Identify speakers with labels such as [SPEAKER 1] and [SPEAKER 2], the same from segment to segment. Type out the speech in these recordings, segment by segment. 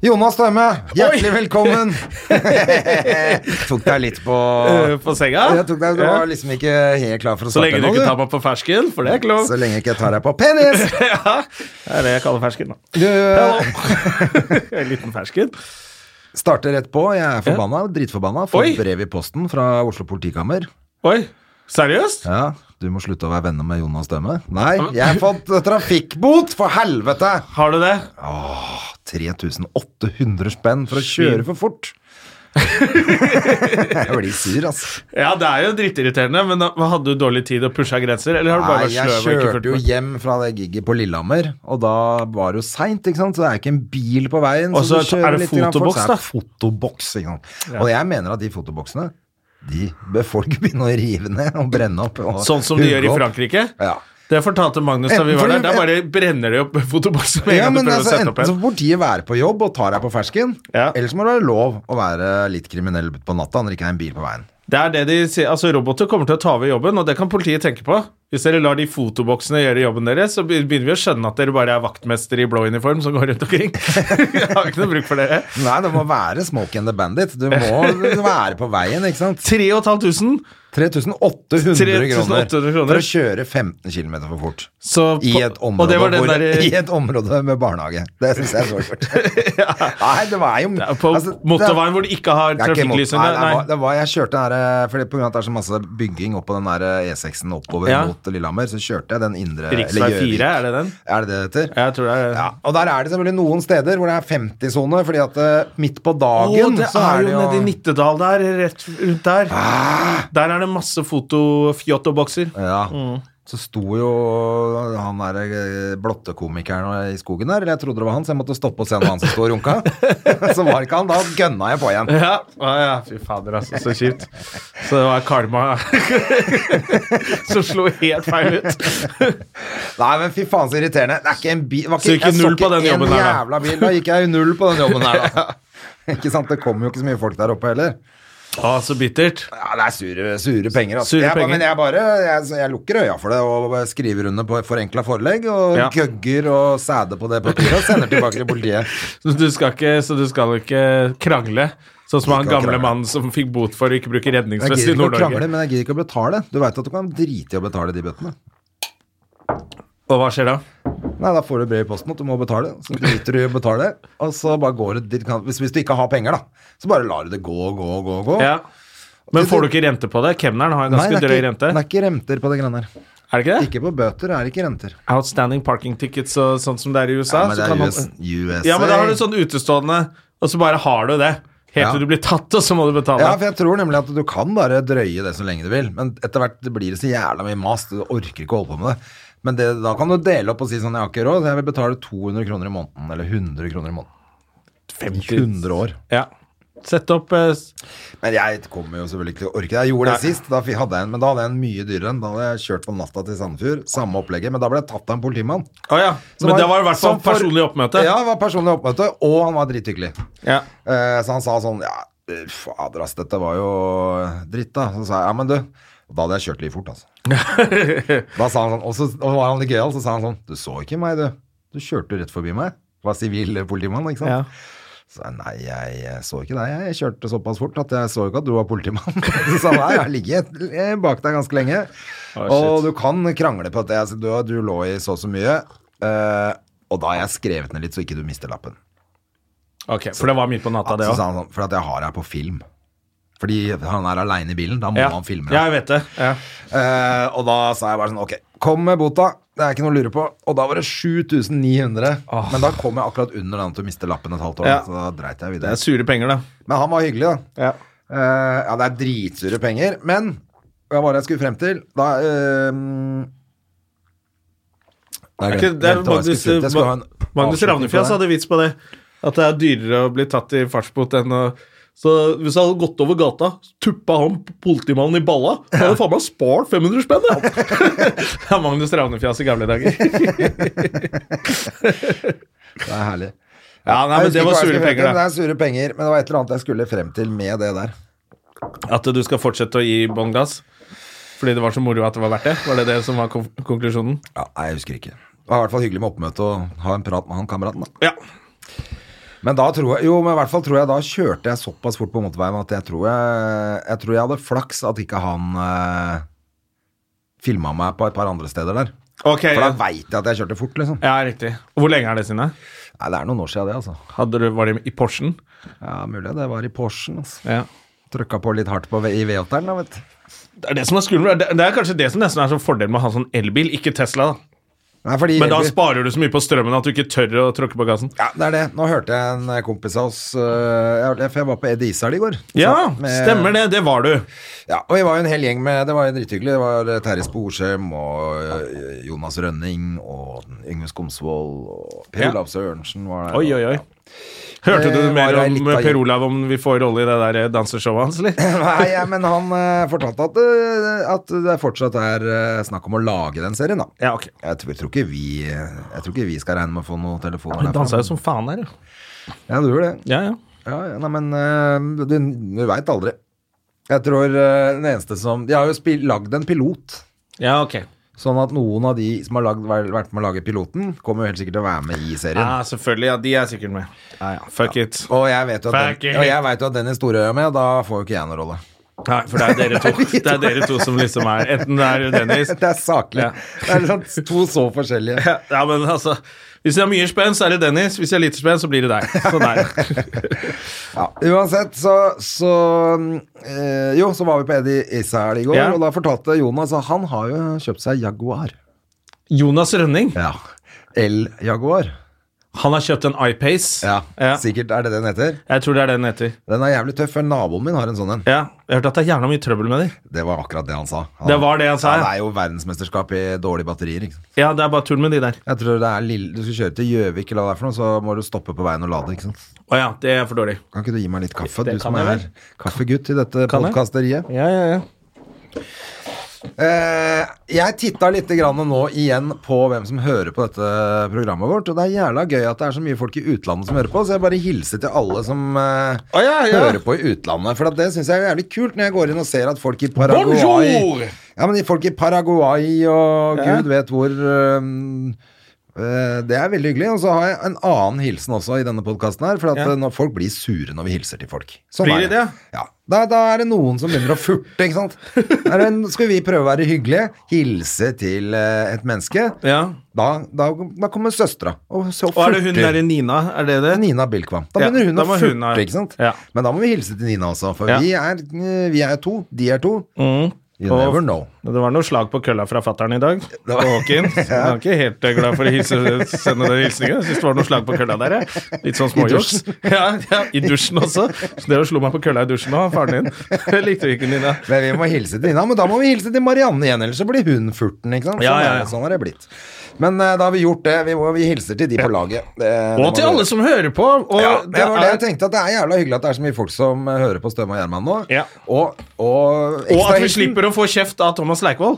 [SPEAKER 1] Jonas Stømme, hjertelig velkommen. tok deg litt på
[SPEAKER 2] Eh, På senga?
[SPEAKER 1] Jeg tok deg, Du
[SPEAKER 2] Ja.
[SPEAKER 1] var liksom ikke helt klar for å
[SPEAKER 2] Så lenge
[SPEAKER 1] starte
[SPEAKER 2] du
[SPEAKER 1] nå,
[SPEAKER 2] ikke tar meg på fersken, for det er ikke lov.
[SPEAKER 1] Så lenge ikke jeg tar deg på penis!
[SPEAKER 2] Ja, det er det jeg kaller fersken, da.
[SPEAKER 1] Du eh,
[SPEAKER 2] En liten fersken.
[SPEAKER 1] starter rett på. Jeg er forbanna, dritforbanna.
[SPEAKER 2] Oi.
[SPEAKER 1] Får brev i posten fra Oslo politikammer.
[SPEAKER 2] Oi, seriøst?
[SPEAKER 1] Ja, du må slutte å være venner med Jonas Stømme. Nei, jeg har fått trafikkbot, for helvete!
[SPEAKER 2] Har du det?
[SPEAKER 1] 3800 spenn for å kjøre for fort. jeg blir sur, altså.
[SPEAKER 2] Ja, det er jo drittirriterende, men da- hadde du dårlig tid og pusha grenser? Eller har du bare
[SPEAKER 1] Nei,
[SPEAKER 2] vært
[SPEAKER 1] jeg
[SPEAKER 2] sløv og ikke
[SPEAKER 1] kjørte
[SPEAKER 2] fulgt
[SPEAKER 1] jo
[SPEAKER 2] med?
[SPEAKER 1] hjem fra det giget på Lillehammer, og da var det jo seint, ikke sant, så det er ikke en bil på veien.
[SPEAKER 2] Og så
[SPEAKER 1] du kjører
[SPEAKER 2] er det
[SPEAKER 1] litt grann fort, så er
[SPEAKER 2] fotoboks, da.
[SPEAKER 1] det Fotoboks, ikke sant. Og jeg mener at de fotoboksene, de bør folk begynne å rive ned og brenne opp. Og
[SPEAKER 2] Sånn som de
[SPEAKER 1] hugge
[SPEAKER 2] gjør i
[SPEAKER 1] opp.
[SPEAKER 2] Frankrike?
[SPEAKER 1] Ja.
[SPEAKER 2] Det fortalte Magnus da vi
[SPEAKER 1] Enten
[SPEAKER 2] var
[SPEAKER 1] fordi-
[SPEAKER 2] der. Der bare brenner de opp fotoboksen med en
[SPEAKER 1] Ja,
[SPEAKER 2] gang du
[SPEAKER 1] men
[SPEAKER 2] prøver
[SPEAKER 1] altså,
[SPEAKER 2] å sette opp
[SPEAKER 1] Enten så
[SPEAKER 2] en.
[SPEAKER 1] får politiet være på jobb og tar deg på fersken,
[SPEAKER 2] Ja.
[SPEAKER 1] eller så må det være lov å være litt kriminell på natta når det ikke er en bil på veien.
[SPEAKER 2] Det er det de sier. Altså, roboter kommer til å ta over jobben, og det kan politiet tenke på. Hvis dere lar de fotoboksene gjøre jobben deres, så begynner vi å skjønne at dere bare er vaktmestere i blå uniform som går rundt omkring. Jeg har ikke noe bruk for dere.
[SPEAKER 1] Nei, det må være Smoke and the Bandit. Du må være på veien, ikke sant?
[SPEAKER 2] 3500,
[SPEAKER 1] 3800 kroner,
[SPEAKER 2] 3800 kroner.
[SPEAKER 1] for å kjøre 15 km for fort
[SPEAKER 2] så
[SPEAKER 1] i
[SPEAKER 2] på-
[SPEAKER 1] et område,
[SPEAKER 2] Og det var den
[SPEAKER 1] hvor,
[SPEAKER 2] der,
[SPEAKER 1] i et område med barnehage. Det syns jeg er så skjørt. Nei, det var jo
[SPEAKER 2] Ja, På
[SPEAKER 1] altså, det-
[SPEAKER 2] motorveien hvor de ikke har
[SPEAKER 1] det er ikke mot-
[SPEAKER 2] trafikklysene.
[SPEAKER 1] Nei, det var,
[SPEAKER 2] Nei.
[SPEAKER 1] det var, jeg kjørte den her eh, Fordi på grunn av at det er så masse bygging oppå den der E6-en oppover
[SPEAKER 2] Ja.
[SPEAKER 1] mot Lillehammer, så kjørte jeg den indre eller
[SPEAKER 2] Riksvei 4,
[SPEAKER 1] Gjøvik.
[SPEAKER 2] er det den?
[SPEAKER 1] Er det det det heter?
[SPEAKER 2] Jeg tror det er
[SPEAKER 1] Ja, og der er det selvfølgelig noen steder hvor det er 50-sone, fordi at eh, midt på dagen
[SPEAKER 2] Å, det
[SPEAKER 1] så
[SPEAKER 2] er jo nede i Nittedal der, rett rundt der.
[SPEAKER 1] Ah.
[SPEAKER 2] Der er det masse foto-fjotto-bokser.
[SPEAKER 1] Ja.
[SPEAKER 2] Mm.
[SPEAKER 1] Så sto jo han der eh, blottekomikeren i skogen der, eller jeg trodde det var han, så jeg måtte stoppe og se om han som sto og runka. så var det ikke han, da gønna jeg på igjen.
[SPEAKER 2] Ja. Å, ja, fy fader, altså. Så kjipt. Så det var karma som slo helt feil ut.
[SPEAKER 1] Nei, men fy faen så irriterende. Det er ikke en bil, det var
[SPEAKER 2] Så gikk
[SPEAKER 1] ikke,
[SPEAKER 2] du null på den jobben
[SPEAKER 1] en
[SPEAKER 2] her, da?
[SPEAKER 1] jævla bil. Da gikk jeg jo null på den jobben her, da. ikke sant, det kom jo ikke så mye folk der oppe heller.
[SPEAKER 2] Å, så bittert.
[SPEAKER 1] Ja, det er sure, sure penger, altså.
[SPEAKER 2] Sure
[SPEAKER 1] jeg, ba-
[SPEAKER 2] penger.
[SPEAKER 1] Men jeg bare, jeg, jeg lukker øya for det og skriver under på forenkla forelegg og
[SPEAKER 2] Ja.
[SPEAKER 1] gøgger og sæder på det papiret og sender tilbake til politiet.
[SPEAKER 2] Så du skal ikke, så du skal ikke krangle. Sånn som han
[SPEAKER 1] Ikke å
[SPEAKER 2] gamle
[SPEAKER 1] krangle.
[SPEAKER 2] mannen som fikk bot for å ikke bruke
[SPEAKER 1] Jeg
[SPEAKER 2] redningsvest
[SPEAKER 1] gidder
[SPEAKER 2] i
[SPEAKER 1] ikke å krangle,
[SPEAKER 2] Nord-Norge.
[SPEAKER 1] men jeg gidder ikke å betale. Du veit at du kan drite i å betale de bøtene.
[SPEAKER 2] Og hva skjer da?
[SPEAKER 1] Nei, da får du brev i posten at du må betale, så driter du i å betale. Og så bare går det dit- kan- hvis, hvis du ikke har penger, da, så bare lar du det gå og gå og gå. og gå.
[SPEAKER 2] Ja. Men får du ikke rente på det? Kemneren har en
[SPEAKER 1] Nei, det
[SPEAKER 2] ganske
[SPEAKER 1] er,
[SPEAKER 2] drøy
[SPEAKER 1] ikke,
[SPEAKER 2] rente.
[SPEAKER 1] det er ikke renter på det greiene der.
[SPEAKER 2] Er det ikke det?
[SPEAKER 1] Ikke på bøter er det ikke renter.
[SPEAKER 2] Outstanding parking tickets og sånt som det er i USA.
[SPEAKER 1] Ja, men
[SPEAKER 2] så
[SPEAKER 1] det
[SPEAKER 2] kan
[SPEAKER 1] er
[SPEAKER 2] man-
[SPEAKER 1] US, USA.
[SPEAKER 2] Ja, men da har du sånn utestående, og så bare har du det. Helt
[SPEAKER 1] Ja.
[SPEAKER 2] til du blir tatt, og så må du betale.
[SPEAKER 1] Ja, for jeg tror nemlig at du kan bare drøye det så lenge du vil, men etter hvert blir det så jævla mye mas, du orker ikke å holde på med det. Men det, da kan du dele opp og si sånn, jeg har ikke råd, så jeg vil betale 200 kroner i måneden, eller 100 kroner i måneden. 100 år.
[SPEAKER 2] Ja. Sett opp eh, s-
[SPEAKER 1] Men jeg kommer jo selvfølgelig ikke til å orke det. Jeg gjorde det sist, da fi- hadde jeg en, men da hadde jeg en mye dyrere en. Da hadde jeg kjørt på natta til Sandefjord, samme opplegget, men da ble jeg tatt av en politimann.
[SPEAKER 2] Å ja.
[SPEAKER 1] Så
[SPEAKER 2] Men det var i hvert fall
[SPEAKER 1] som for-
[SPEAKER 2] personlig oppmøte.
[SPEAKER 1] Ja, det var personlig oppmøte, og han var drithyggelig.
[SPEAKER 2] Ja.
[SPEAKER 1] Eh, Så han sa sånn Ja, eh, fader ass, dette var jo dritt, da. Så sa jeg ja, men du og Da hadde jeg kjørt litt fort, altså. da sa han sånn, og så og var han litt gøyal, så sa han sånn Du så ikke meg, du. Du kjørte jo rett forbi meg. Det var sivil eh, politimann, ikke sant.
[SPEAKER 2] Ja.
[SPEAKER 1] Så sa jeg nei, jeg eh, så ikke deg. Jeg kjørte såpass fort at jeg så ikke at du var politimann. så sa han nei, jeg har ligget eh, bak deg ganske lenge.
[SPEAKER 2] Å,
[SPEAKER 1] og
[SPEAKER 2] Ah, shit.
[SPEAKER 1] du kan krangle på at jeg- du, du lå i så og så mye. eh, og da har jeg skrevet ned litt, så ikke du mister lappen.
[SPEAKER 2] Ok, For det var midt på natta, det
[SPEAKER 1] Så
[SPEAKER 2] òg.
[SPEAKER 1] sa han sånn, for at jeg har deg på film. Fordi han er aleine i bilen, da må
[SPEAKER 2] Ja.
[SPEAKER 1] han filme.
[SPEAKER 2] ja, jeg vet det. Ja.
[SPEAKER 1] Eh, og da sa jeg bare sånn, ok, kom med bota, det er ikke noe å lure på. Og da var det 7900.
[SPEAKER 2] Åh.
[SPEAKER 1] Men da kom jeg akkurat under den til å miste lappen et halvt år,
[SPEAKER 2] Ah. Ja.
[SPEAKER 1] så da dreit jeg jo i
[SPEAKER 2] Det
[SPEAKER 1] det.
[SPEAKER 2] er sure penger, da.
[SPEAKER 1] Men han var hyggelig, da.
[SPEAKER 2] Ja.
[SPEAKER 1] Eh, ja, det er dritsure penger, men hva var det jeg skulle frem til? Da eh,
[SPEAKER 2] Er
[SPEAKER 1] jeg
[SPEAKER 2] ikke-
[SPEAKER 1] glemte-
[SPEAKER 2] det er
[SPEAKER 1] glemte hva jeg
[SPEAKER 2] Magnus- eh,
[SPEAKER 1] skulle frem til. Jeg skulle ha en
[SPEAKER 2] Magnus
[SPEAKER 1] Avslutning på
[SPEAKER 2] Ravnefjas
[SPEAKER 1] det.
[SPEAKER 2] hadde vits på det. At det er dyrere å bli tatt i fartsbot enn å Så hvis jeg hadde gått over gata, tuppa han politimannen i balla, så hadde jeg faen meg spart 500 spenn! jeg. Det er Magnus Ravnefjas i gamle dager.
[SPEAKER 1] Det er herlig.
[SPEAKER 2] Ja, nei,
[SPEAKER 1] Jeg
[SPEAKER 2] men
[SPEAKER 1] husker
[SPEAKER 2] det
[SPEAKER 1] ikke
[SPEAKER 2] var
[SPEAKER 1] hva jeg skulle
[SPEAKER 2] sure
[SPEAKER 1] frem til,
[SPEAKER 2] penger,
[SPEAKER 1] men Det er sure penger,
[SPEAKER 2] da.
[SPEAKER 1] men det var et eller annet jeg skulle frem til med det der.
[SPEAKER 2] At du skal fortsette å gi bånn gass. Fordi det var så moro at det var verdt det? Var det det som var kon- konklusjonen?
[SPEAKER 1] Ja, nei, jeg husker ikke. Det var i hvert fall hyggelig med oppmøte og ha en prat med han kameraten. da.
[SPEAKER 2] Ja.
[SPEAKER 1] Men da tror jeg, jo, men i hvert fall tror jeg da kjørte jeg såpass fort på motorveien at jeg tror jeg, jeg, tror jeg hadde flaks at ikke han eh, filma meg på et par andre steder der.
[SPEAKER 2] Ok,
[SPEAKER 1] For da
[SPEAKER 2] ja,
[SPEAKER 1] veit jeg at jeg kjørte fort, liksom.
[SPEAKER 2] riktig. Og Hvor lenge er det siden? da?
[SPEAKER 1] Nei, det er noen år siden det, altså.
[SPEAKER 2] Hadde du, Var det i Porschen?
[SPEAKER 1] Ja, mulig det var i Porschen, altså.
[SPEAKER 2] Ja.
[SPEAKER 1] Trykka på litt hardt på, V- i V8-eren, da, vet du.
[SPEAKER 2] Det er det som er skummelt. Det det er kanskje det som nesten er sånn fordel med å ha sånn elbil, ikke Tesla. da.
[SPEAKER 1] Nei, fordi
[SPEAKER 2] Men da sparer du så mye på strømmen at du ikke tør å tråkke på gassen.
[SPEAKER 1] Ja, det er det. Nå hørte jeg en kompis av oss øh, jeg hørte- For jeg var på Ed Isard i går.
[SPEAKER 2] Ja,
[SPEAKER 1] Satt med-
[SPEAKER 2] stemmer det. Det var du.
[SPEAKER 1] Ja, og vi var jo en hel gjeng med Det var jo drithyggelig. Det var eh, Terje Sporsem og eh, Jonas Rønning og Yngve Skomsvold og Per
[SPEAKER 2] Ja.
[SPEAKER 1] Olav Sørensen var der.
[SPEAKER 2] Oi, oi, Eh, oi. Hørte du
[SPEAKER 1] Det
[SPEAKER 2] mer
[SPEAKER 1] var jo
[SPEAKER 2] om
[SPEAKER 1] litt av-
[SPEAKER 2] Per Olav om vi får rolle i det der danseshowet hans, eller?
[SPEAKER 1] Nei, ja, men han eh, fortalte at, eh, at det fortsatt er eh, snakk om å lage den serien, da.
[SPEAKER 2] Ja, ok.
[SPEAKER 1] Jeg tror, tror ikke vi, eh, jeg tror ikke vi skal regne med å få noen telefoner
[SPEAKER 2] Han
[SPEAKER 1] derfra.
[SPEAKER 2] dansa jo som faen her, jo.
[SPEAKER 1] Ja, du gjør det.
[SPEAKER 2] Ja, ja.
[SPEAKER 1] Ja, ja, nei, men eh, du, du veit aldri. Jeg tror eh, den eneste som De har jo spil, lagd en pilot.
[SPEAKER 2] Ja, ok.
[SPEAKER 1] Sånn at noen av de som har lagd, vært vært med å lage piloten, kommer jo helt sikkert til å være med i serien.
[SPEAKER 2] Ja, selvfølgelig. Ja, de er sikkert med. Fuck it.
[SPEAKER 1] Og jeg vet jo at,
[SPEAKER 2] Fuck
[SPEAKER 1] den,
[SPEAKER 2] it.
[SPEAKER 1] og jeg vet jo at Dennis Storøy er med, og da får jo ikke jeg noen rolle.
[SPEAKER 2] Nei, for det er dere to. Det er dere to som liksom er Enten det er Dennis
[SPEAKER 1] Det er saklig.
[SPEAKER 2] Ja.
[SPEAKER 1] Det er liksom to så forskjellige.
[SPEAKER 2] Ja, men altså Hvis jeg har mye spenn, så er det Dennis. Hvis jeg har lite spenn, så blir det deg. Sånn er det.
[SPEAKER 1] Ja, uansett, så, så eh, Jo, så var vi på Eddie Især i går,
[SPEAKER 2] Ja.
[SPEAKER 1] og da fortalte Jonas at han har jo kjøpt seg Jaguar.
[SPEAKER 2] Jonas Rønning,
[SPEAKER 1] Ja. El-Jaguar.
[SPEAKER 2] han har kjøpt en iPace.
[SPEAKER 1] Ja. Sikkert er det det den heter.
[SPEAKER 2] Jeg tror det er det den heter.
[SPEAKER 1] Den er jævlig tøff, for naboen min har en sånn en.
[SPEAKER 2] Ja, Jeg hørte at det er gjerne mye trøbbel med dem.
[SPEAKER 1] Det var akkurat det han sa. Han,
[SPEAKER 2] Det var det han sa,
[SPEAKER 1] Han
[SPEAKER 2] ja.
[SPEAKER 1] er jo verdensmesterskap i dårlige batterier. Ikke? sant?
[SPEAKER 2] Ja, det er bare tull med de der.
[SPEAKER 1] Jeg tror det er lille, Du skal kjøre til Gjøvik, eller hva det er for noe, så må du stoppe på veien og lade. ikke sant?
[SPEAKER 2] Å ja, det er for dårlig.
[SPEAKER 1] Kan ikke du gi meg litt kaffe,
[SPEAKER 2] Det
[SPEAKER 1] du som
[SPEAKER 2] kan jeg
[SPEAKER 1] er kaffegutt i dette
[SPEAKER 2] Kan jeg?
[SPEAKER 1] podkasteriet?
[SPEAKER 2] Ja, ja, ja.
[SPEAKER 1] Eh, jeg titta litt grann nå igjen på hvem som hører på dette programmet vårt, og det er jævla gøy at det er så mye folk i utlandet som hører på, så jeg bare hilser til alle som eh,
[SPEAKER 2] Å, ja, ja.
[SPEAKER 1] hører på i utlandet. For at det syns jeg er jævlig kult når jeg går inn og ser at folk i Paraguay
[SPEAKER 2] Bonjour!
[SPEAKER 1] Ja, men de folk i Paraguay og gud vet hvor eh, eh, det er veldig hyggelig. Og så har jeg en annen hilsen også i denne podkasten her. For at
[SPEAKER 2] Ja.
[SPEAKER 1] eh, når folk blir sure når vi hilser til folk. Sånn
[SPEAKER 2] Blir
[SPEAKER 1] er
[SPEAKER 2] de det?
[SPEAKER 1] Ja. Da, da er det noen som begynner å furte, ikke sant. Da Er det, en- skal vi prøve å være hyggelige, hilse til eh, et menneske.
[SPEAKER 2] ja.
[SPEAKER 1] Da, da, da kommer søstera og så
[SPEAKER 2] Og er det hun
[SPEAKER 1] furter.
[SPEAKER 2] derre Nina? Er det det?
[SPEAKER 1] Nina Bilkvam. Da
[SPEAKER 2] Ja,
[SPEAKER 1] begynner hun
[SPEAKER 2] da
[SPEAKER 1] å
[SPEAKER 2] må hun ha-
[SPEAKER 1] furte, ikke sant.
[SPEAKER 2] Ja.
[SPEAKER 1] Men da må vi hilse til Nina også, for
[SPEAKER 2] Ja.
[SPEAKER 1] vi, er, eh, vi er to. De er to.
[SPEAKER 2] Mm.
[SPEAKER 1] You
[SPEAKER 2] Og-
[SPEAKER 1] never know.
[SPEAKER 2] Det var noe slag på kølla fra fattern i dag. På Håken. Så Jeg er ikke helt eh, glad for å hilse, sende den hilsningen. Jeg syns det var noe slag på kølla der. jeg. Litt sånn småjuks. Ja, ja, I dusjen også. Så dere slo meg på kølla i dusjen òg, faren din. Det likte vi ikke, Nina.
[SPEAKER 1] Men vi må hilse til Nina, men da må vi hilse til Marianne igjen, ellers så blir hun furten, ikke sant? Sånn,
[SPEAKER 2] Ja, ja,
[SPEAKER 1] er
[SPEAKER 2] ja.
[SPEAKER 1] det- sånn har det blitt. Men eh, da har vi gjort det, vi, må, vi hilser til de på laget. Det- det må
[SPEAKER 2] Og til
[SPEAKER 1] vi
[SPEAKER 2] alle
[SPEAKER 1] gjøre.
[SPEAKER 2] som hører på. Og
[SPEAKER 1] ja, det var det jeg
[SPEAKER 2] er-
[SPEAKER 1] tenkte, at det er jævla hyggelig at det er så mye folk som eh, hører på Støm og Gjerman nå.
[SPEAKER 2] Ja.
[SPEAKER 1] Og, og,
[SPEAKER 2] og at vi
[SPEAKER 1] ekstrahilsen.
[SPEAKER 2] slipper å få kjeft av Thomas Leikvoll.